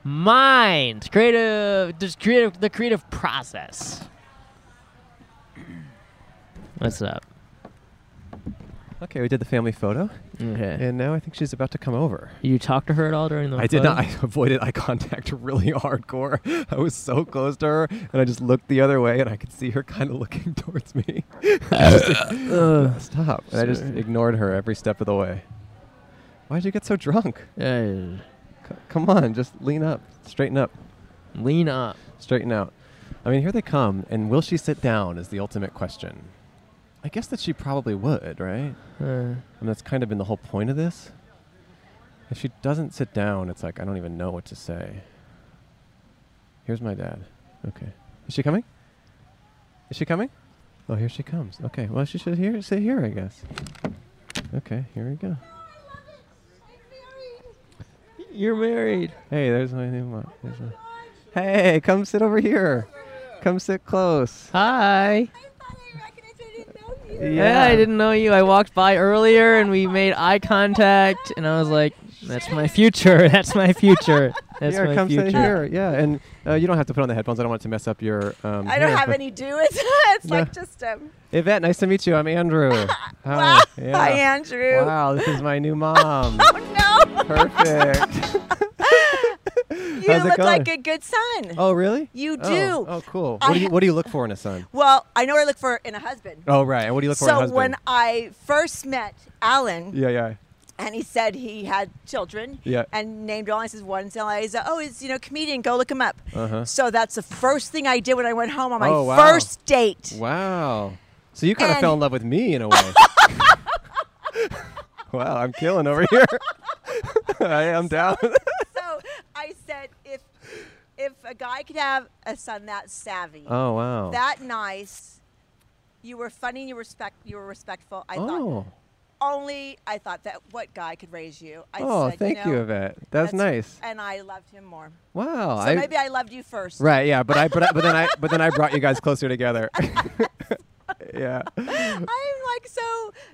S5: mind, creative just creative the creative process. What's up?
S2: Okay, we did the family photo.
S5: Okay.
S2: And now I think she's about to come over.
S5: You talked to her at all during the
S2: I did
S5: photo?
S2: not. *laughs* I avoided eye contact *laughs* really hardcore. I was so close to her, and I just looked the other way, and I could see her kind of looking *laughs* towards me. Just like,
S5: Ugh.
S2: Stop. And I just
S5: uh, Sorry.
S2: ignored her every step of the way. Why'd you get so drunk?
S5: Yeah.
S2: Come on, just lean up, straighten up.
S5: Lean up.
S2: Straighten out. I mean, here they come, and will she sit down is the ultimate question. I guess that she probably would, right?
S5: Uh.
S2: and that's kind of been the whole point of this. If she doesn't sit down, it's like I don't even know what to say. Here's my dad. Okay. Is she coming? Is she coming? Oh, here she comes. Okay. Well, she should here sit here, I guess. Okay. Here we go.
S5: You're married.
S2: Hey, there's my new mom. There's my- hey, come sit over here. Come sit close.
S5: Hi. Yeah, I didn't know you. I walked by earlier and we made eye contact, and I was like, "That's my future. *laughs* That's my future. That's
S2: here,
S5: my
S2: come
S5: future."
S2: sit here. Yeah, and uh, you don't have to put on the headphones. I don't want it to mess up your. Um,
S14: I don't
S2: hair,
S14: have
S2: but-
S14: any do. *laughs* It's, it's
S2: No.
S14: like just um,
S2: Yvette, nice to meet you.
S14: *laughs*
S2: I'm Andrew. Hi. Yeah.
S14: Hi, Andrew.
S2: Wow, this is
S14: *laughs*
S2: my new mom.
S16: *laughs*
S14: oh no. *laughs*
S2: Perfect.
S14: You
S2: How's it
S14: look like
S2: going?
S14: a good son.
S2: Oh, really?
S16: You
S2: Oh,
S16: do.
S2: Oh, cool.
S16: I
S2: What do, you,
S16: ha-
S2: what do you look for in a son?
S16: Well, I know what I look for in a husband.
S2: Oh, right. And what do you look for in a
S16: So
S2: husband?
S16: when I first met Alan,
S2: yeah, yeah.
S16: and he said he had children,
S2: Yeah.
S16: and named all his one's Eliza. Oh, he's you know comedian. Go look him up.
S2: Uh-huh.
S16: So that's the first thing I did when I went home on my
S2: Oh, wow.
S16: first date.
S2: Wow. So you kind of
S16: And-
S2: fell in love with me
S14: *laughs*
S2: in a way. wow, I'm killing over here. *laughs* I am down.
S16: So I said, if if a guy could have a son that savvy,
S2: Oh, wow.
S16: that nice, you were funny, you respect, you were respectful. I
S2: oh.
S16: thought only I thought that what guy could raise you. I
S2: Oh,
S16: said,
S2: thank
S16: know,
S2: you, Yvette. That's nice.
S16: And I loved him more.
S2: Wow.
S16: So
S2: I-
S16: maybe I loved you first.
S2: Right. Yeah. But I. But, I,
S16: *laughs*
S2: but then I. But then I brought you guys closer together. *laughs* yeah.
S16: I'm like so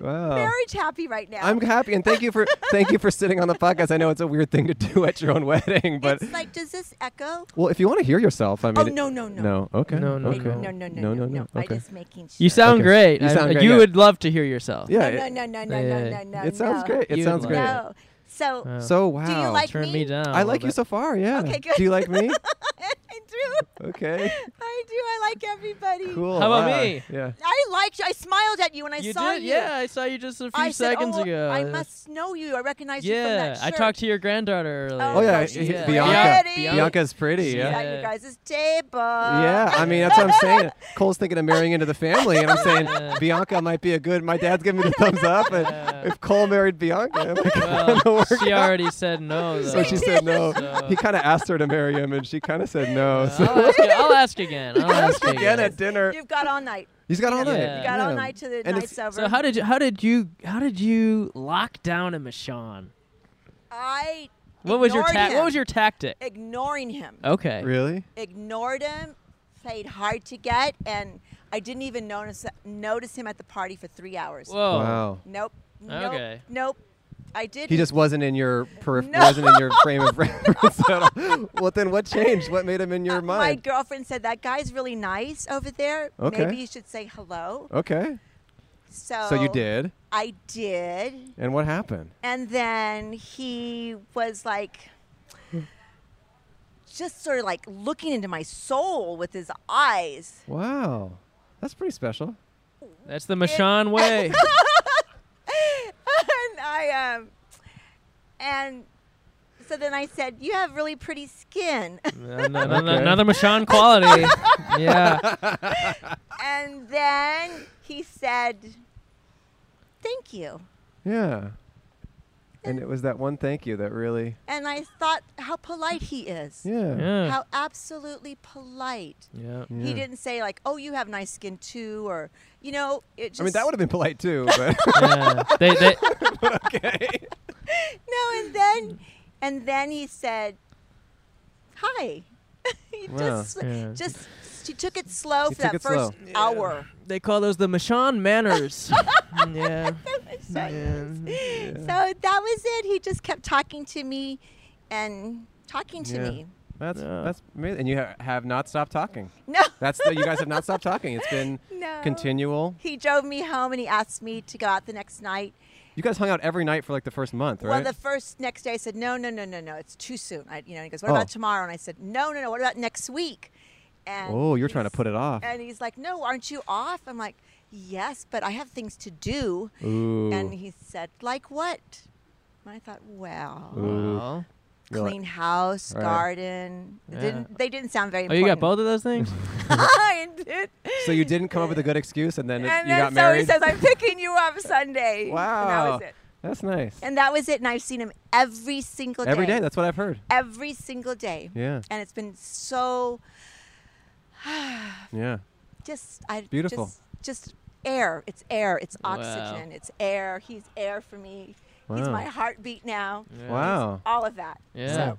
S2: Wow.
S16: marriage happy right now.
S2: I'm happy and thank you for thank you for sitting on the podcast. I know it's a weird thing to do at your own wedding, but
S16: It's like, does this echo?
S2: well, if you want to hear yourself, I mean.
S16: Oh,
S2: it-
S16: no, no, no.
S2: No. Okay.
S5: No, no,
S2: okay.
S5: no.
S16: No, no, no,
S2: No. No. No.
S16: I
S2: Okay.
S16: just making sure.
S5: You sound
S2: Okay.
S5: great.
S2: You
S5: I-
S2: sound great,
S5: You
S16: *laughs*
S2: yeah.
S5: would love to hear yourself.
S2: Yeah,
S16: No, no, no, no, no, no, no.
S2: It sounds
S16: no.
S2: great. It
S5: You'd
S2: sounds
S5: love
S2: great.
S16: No. So,
S5: Wow.
S2: So
S16: do
S2: wow.
S16: you like
S5: Oh. Turn me down.
S2: I like you so far. Yeah.
S16: Okay, good. *laughs*
S2: Do you like me?
S16: I do.
S2: Okay.
S16: I do. I like everybody.
S2: Cool.
S5: How about
S2: wow.
S5: me?
S2: Yeah.
S16: I liked you. I smiled at you when I
S5: You
S16: saw
S5: did?
S16: you.
S5: Yeah, I saw you just a few
S16: I said,
S5: seconds
S16: "Oh,
S5: ago."
S16: I must know you. I recognize you from
S5: Yeah,
S16: that shirt.
S5: I talked to your granddaughter earlier.
S2: Oh, yeah,
S5: She's
S2: yeah, Bianca.
S16: Pretty.
S5: *laughs*
S2: Bianca's *laughs* pretty.
S16: She's
S2: Yeah.
S16: at your guys' table.
S2: Yeah, I
S16: *laughs*
S2: mean that's what I'm saying. Cole's thinking of marrying into the family, and I'm saying Bianca might be a good. My dad's giving me the thumbs up, and if Cole married Bianca, *laughs* it might kinda
S5: Well,
S2: work
S5: she
S2: out. *laughs*
S5: already
S16: *laughs*
S5: said no.
S2: So she
S5: though.
S2: said
S5: *laughs*
S2: no.
S5: So-
S2: He kind of asked her to marry him, and she kind of said no. So.
S5: I'll ask, I'll ask again. I'll ask
S2: again at dinner.
S16: You've got all night.
S2: *laughs* He's got all night.
S16: You got all
S2: Yeah.
S16: night till the
S2: And
S16: night's over.
S5: So how did you how did you how did you lock down a Michon?
S16: I?
S5: What was your
S16: ignored
S5: ta-
S16: him.
S5: what was your tactic?
S16: Ignoring him.
S5: Okay.
S2: Really?
S16: Ignored him. Played hard to get, and I didn't even notice notice him at the party for three hours.
S2: Whoa. Wow.
S16: Nope. Nope.
S5: Okay.
S16: Nope. I did.
S2: He just wasn't in your perif-
S16: No.
S2: wasn't in your frame of *laughs* reference at all. Well, then what changed? What made him in your
S16: Oh My
S2: mind?
S16: girlfriend said that guy's really nice over there.
S2: Okay.
S16: Maybe you should say hello.
S2: okay.
S16: So
S2: So you did?
S16: I did.
S2: And what happened?
S16: And then he was like
S2: Hmm.
S16: just sort of like looking into my soul with his eyes.
S2: Wow, that's pretty special.
S5: That's
S16: *laughs*
S5: the Michon way.
S16: and I um and so then I said, "You have really pretty
S5: *laughs*
S16: skin."
S5: No, no, no, no,
S6: Okay.
S5: another Michon quality. *laughs* yeah.
S2: *laughs*
S16: and then he said, "Thank you."
S2: Yeah. And it was that one thank you that really.
S16: And I thought how polite he is.
S2: Yeah. Yeah.
S16: How absolutely polite.
S2: Yeah.
S16: He didn't say like, "Oh, you have nice skin too," or you know, it just.
S2: I mean, that would have been polite
S16: *laughs*
S2: too, but.
S5: *laughs* yeah. They, they,
S2: but *laughs* okay.
S16: no, and then, and then he said, "Hi." *laughs* he
S5: Wow.
S16: just,
S5: Yeah.
S16: just she took it slow
S5: He
S16: for
S5: took
S16: that
S5: it
S16: first
S5: slow.
S16: hour. *laughs*
S5: They call those the Michon manners.
S2: *laughs*
S5: yeah.
S16: So that was it. He just kept talking to me, and talking to
S2: Yeah.
S16: me.
S2: That's that's amazing. And you ha- have not stopped talking.
S16: No.
S2: That's the, you guys have not stopped talking. It's been
S16: *laughs* No.
S2: continual.
S16: He drove me home and he asked me to go out the next night.
S2: You guys hung out every night for like the first month,
S16: Well,
S2: right?
S16: the first next day, I said, no, no, no, no, no, it's too soon. I, you know, he goes, what
S2: Oh.
S16: about tomorrow? And I said, no, no, no, what about next week? And
S2: oh, you're
S16: he's-
S2: trying to put it off.
S16: And he's like, no, aren't you off? I'm like, yes, but I have things to do.
S2: Ooh.
S16: And he said, like what? And I thought, well,
S2: Ooh. You're like-
S16: clean house,
S2: Right.
S16: garden. They
S2: Yeah.
S16: didn't, they didn't sound very
S5: Oh, you
S16: important.
S5: got both of those things?
S16: I *laughs* did.
S2: *laughs* So you didn't come up with a good excuse, and then it,
S16: And
S2: you
S16: then
S2: got
S16: so
S2: married.
S16: he says, I'm picking you up Sunday.
S2: wow.
S16: And that was it.
S2: That's nice.
S16: And that was it. And I've seen him every single day.
S2: Every day. That's what I've heard.
S16: Every single day.
S2: Yeah.
S16: And it's been so *sighs*
S2: Yeah.
S16: just I
S2: Beautiful.
S16: Just, just air. It's air. It's
S2: Wow.
S16: oxygen. It's air. He's air for me. He's
S2: Wow.
S16: my heartbeat now.
S2: Yeah.
S16: He's
S2: Wow.
S16: All of that. So,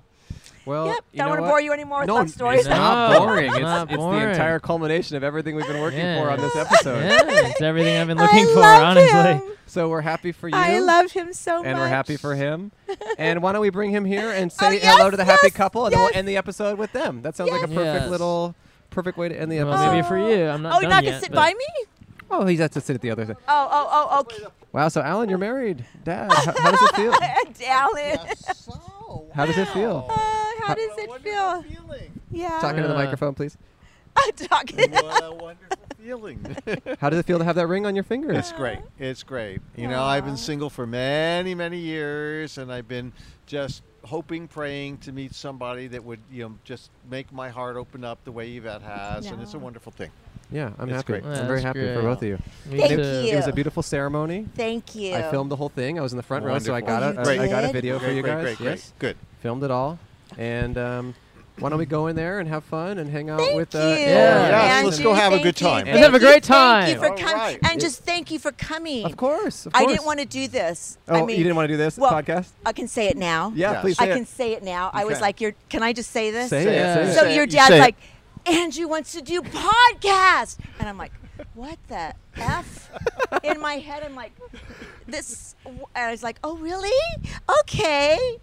S2: Well,
S16: Yep,
S2: you
S16: don't
S2: know
S16: wanna
S2: what?
S16: bore you anymore with
S2: no,
S16: love stories.
S2: It's not
S5: No,
S2: boring.
S5: it's
S2: It's,
S5: not
S2: it's
S5: boring.
S2: the entire culmination of everything we've been working for on this
S5: Yes.
S2: episode.
S5: Yeah, it's everything I've been looking for, honestly.
S2: So we're happy for you.
S16: I love him so much. Oh,
S2: and we're happy for
S16: *laughs*
S2: him. and why don't we bring him here and say
S16: yes,
S2: hello to the happy
S16: yes,
S2: couple, and then we'll end the episode with them. That sounds like a perfect
S5: Yes.
S2: little, perfect way to end the
S5: Well,
S2: episode.
S5: maybe for you. I'm not
S16: oh,
S5: done
S16: you're not
S5: yet,
S16: gonna sit
S5: but-
S16: by me?
S2: Oh, he's has to sit at the other thing.
S16: Oh, oh, oh, okay.
S2: Wow. So Alan, you're married, Dad. How, how does it
S16: *laughs*
S2: feel?
S16: Alan.
S2: How does it feel?
S16: *laughs* Uh, How does it feel? Yeah.
S2: Talking to the microphone,
S16: *laughs*
S2: please.
S16: Talking. *laughs*
S8: What a wonderful feeling.
S2: *laughs* How does it feel to have that ring on your finger?
S8: It's great. It's great. You know, I've been single for many, many years, and I've been just hoping, praying to meet somebody that would, you know, just make my heart open up the way Yvette has, and it's a
S16: No.
S8: wonderful thing.
S2: Yeah, I'm
S8: It's
S2: happy.
S8: great.
S2: I'm very
S8: That's
S2: happy for
S8: great.
S2: both of you.
S8: Me Thank
S2: it,
S16: too.
S2: It was a beautiful ceremony.
S16: Thank you.
S2: I filmed the whole thing. I was in the front row, so I
S8: Wonderful.
S2: got
S8: Oh,
S2: a,
S8: you
S2: I- I got a
S8: did?
S2: video for
S8: Great,
S2: you
S8: great,
S2: guys.
S8: great, great.
S2: Yes,
S8: Good.
S2: Filmed it all, and um, why don't we go in there and have fun and hang out with? Uh,
S16: you.
S2: Nicole
S8: Yeah.
S2: and
S8: Yes,
S2: Alan
S8: let's
S2: and-
S8: go have a good time.
S2: Let's have a great time.
S16: Thank you for
S2: All
S16: coming,
S2: right.
S16: and just thank you for coming.
S2: Of course, of
S16: I didn't
S2: course.
S16: want to do this.
S2: Oh,
S16: I
S2: you
S16: mean,
S2: didn't want to do this
S16: well,
S2: podcast?
S16: I can say it now.
S2: Yeah, Yes. please
S16: I
S2: say it.
S16: can say it now. I
S2: You
S16: was
S2: can.
S16: like, "You're." Can I just say this?
S2: Say it, Yeah. say it.
S16: So
S2: Say it.
S16: your
S2: You
S16: dad's
S2: say it.
S16: like, "Andrew wants to do podcast," and I'm like, "What the f?" In my head, I'm like, "This," and I was like, "Oh, really? Okay."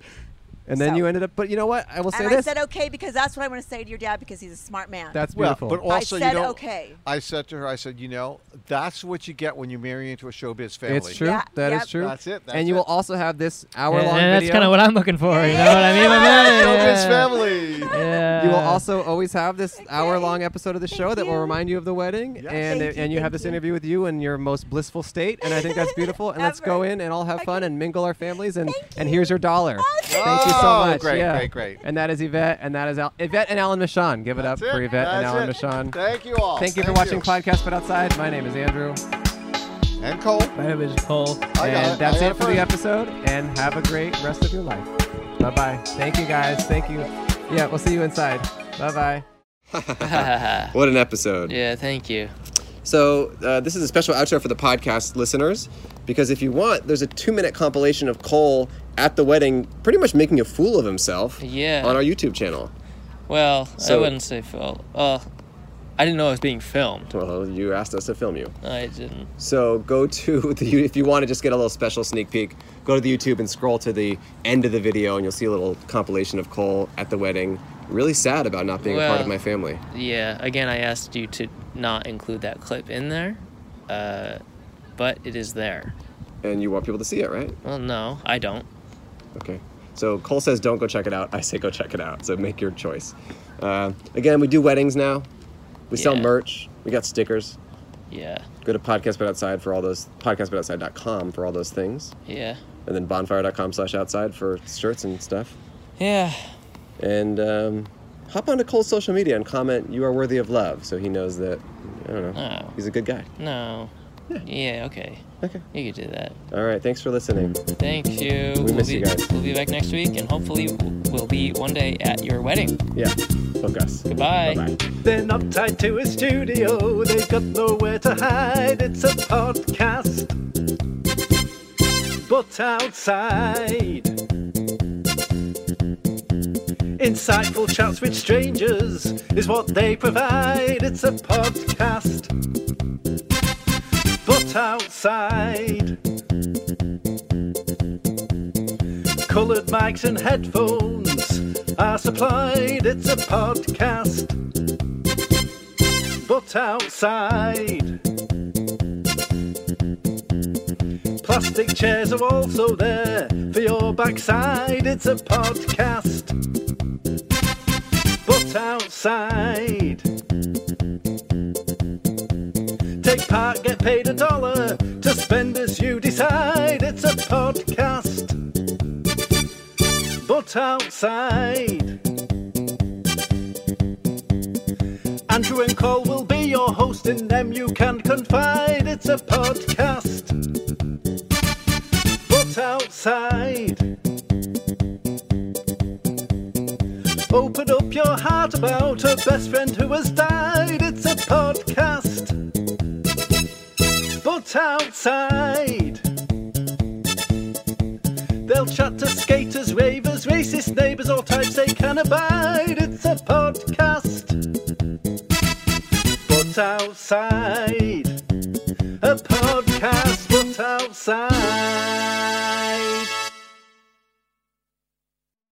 S2: And then you ended up. But you know what? I will say
S16: and
S2: this.
S16: I said okay because that's what I want to say to your dad because he's a smart man.
S2: That's
S8: Well,
S2: beautiful.
S8: but also,
S16: I said
S8: you know,
S16: okay.
S8: I said to her, I said, you know, that's what you get when you marry into a showbiz family.
S2: It's true. That is true.
S8: That's it. That's
S2: and you
S8: it.
S2: will also have this hour-long
S5: and that's
S2: video.
S5: kind of what I'm looking for. You know what I mean, my man?
S2: Showbiz
S5: Yeah.
S2: family.
S5: Yeah.
S2: You will also always have this hour-long episode of the show that will remind you of the wedding, and
S5: Thank you,
S2: and you have
S5: thank
S2: this
S5: you.
S2: interview with you in your most blissful state, and I think that's beautiful. And let's go in and all have fun and mingle our families, and and here's your dollar. thank you so
S8: Oh,
S2: much.
S8: great,
S2: yeah.
S8: great, great.
S2: And that is Yvette, and that is Al- Yvette and Alan Michon. Give it up for Yvette and
S8: That's
S2: Alan
S8: it.
S2: Michon.
S8: Thank you all.
S2: Thank you for
S8: Thank
S2: watching
S8: you.
S2: Podcast But Outside. My name is Andrew.
S8: And Cole.
S2: My name is Cole.
S8: I got it. I
S2: And that's it
S8: got it
S2: for the
S8: first.
S2: episode. And have a great rest of your life. Bye bye. Thank you guys. Thank you. Yeah, we'll see you inside. Bye bye.
S1: what
S2: an episode.
S1: Yeah, thank you.
S2: So, uh, this is a special outro for the podcast listeners because if you want, there's a two minute compilation of Cole at the wedding pretty much making a fool of himself
S1: Yeah.
S2: on our YouTube channel.
S1: Well,
S2: So-
S1: I wouldn't say Phil. Uh, I didn't know I was being filmed.
S2: Well, you asked us to film you.
S1: I didn't.
S2: So, go to *laughs* the, if you want to just get a little special sneak peek, go to the YouTube and scroll to the end of the video and you'll see a little compilation of Cole at the wedding. Really sad about not being a part of
S1: Well-
S2: my family.
S1: Yeah, again, I asked you to not include that clip in there, uh, but it is there.
S2: And you want people to see it, right?
S1: Well, no, I don't.
S2: Okay. So Cole says, don't go check it out. *laughs* I say, go check it out. So make your choice. Uh, again, we do weddings now. We sell
S1: Yeah.
S2: merch. We got stickers.
S1: Yeah,
S2: Go to Podcast But Outside for all those, podcastbutoutside.com for all those things.
S1: yeah,
S2: And then bonfire.com slash outside for shirts and stuff.
S1: yeah.
S2: And um, hop onto Cole's social media and comment, you are worthy of love. So he knows that, I don't know, he's a good guy.
S1: No, Yeah, okay. Okay. You could do that.
S2: All right. Thanks for listening.
S1: Thank you.
S2: We miss
S1: will
S2: you
S1: be,
S2: guys.
S1: We'll be back next week, and hopefully, we'll be one day at your wedding.
S2: Yeah. Look us.
S1: Goodbye.
S4: They're not tied to a studio, they've got nowhere to hide. It's a podcast, but outside. Insightful chats with strangers is what they provide. It's a podcast, but outside. Coloured mics and headphones are supplied. It's a podcast, but outside. Plastic chairs are also there for your backside. It's a podcast, but outside. Take part, get paid a dollar to spend as you decide. It's a podcast but outside. Andrew and Cole will be your host, in them you can confide. It's a podcast, but outside. Open up your heart about a best friend who has died. It's a podcast, but outside. They'll chat to skaters, ravers, racist neighbours, all types they can abide. It's a podcast, but outside. A podcast, but outside.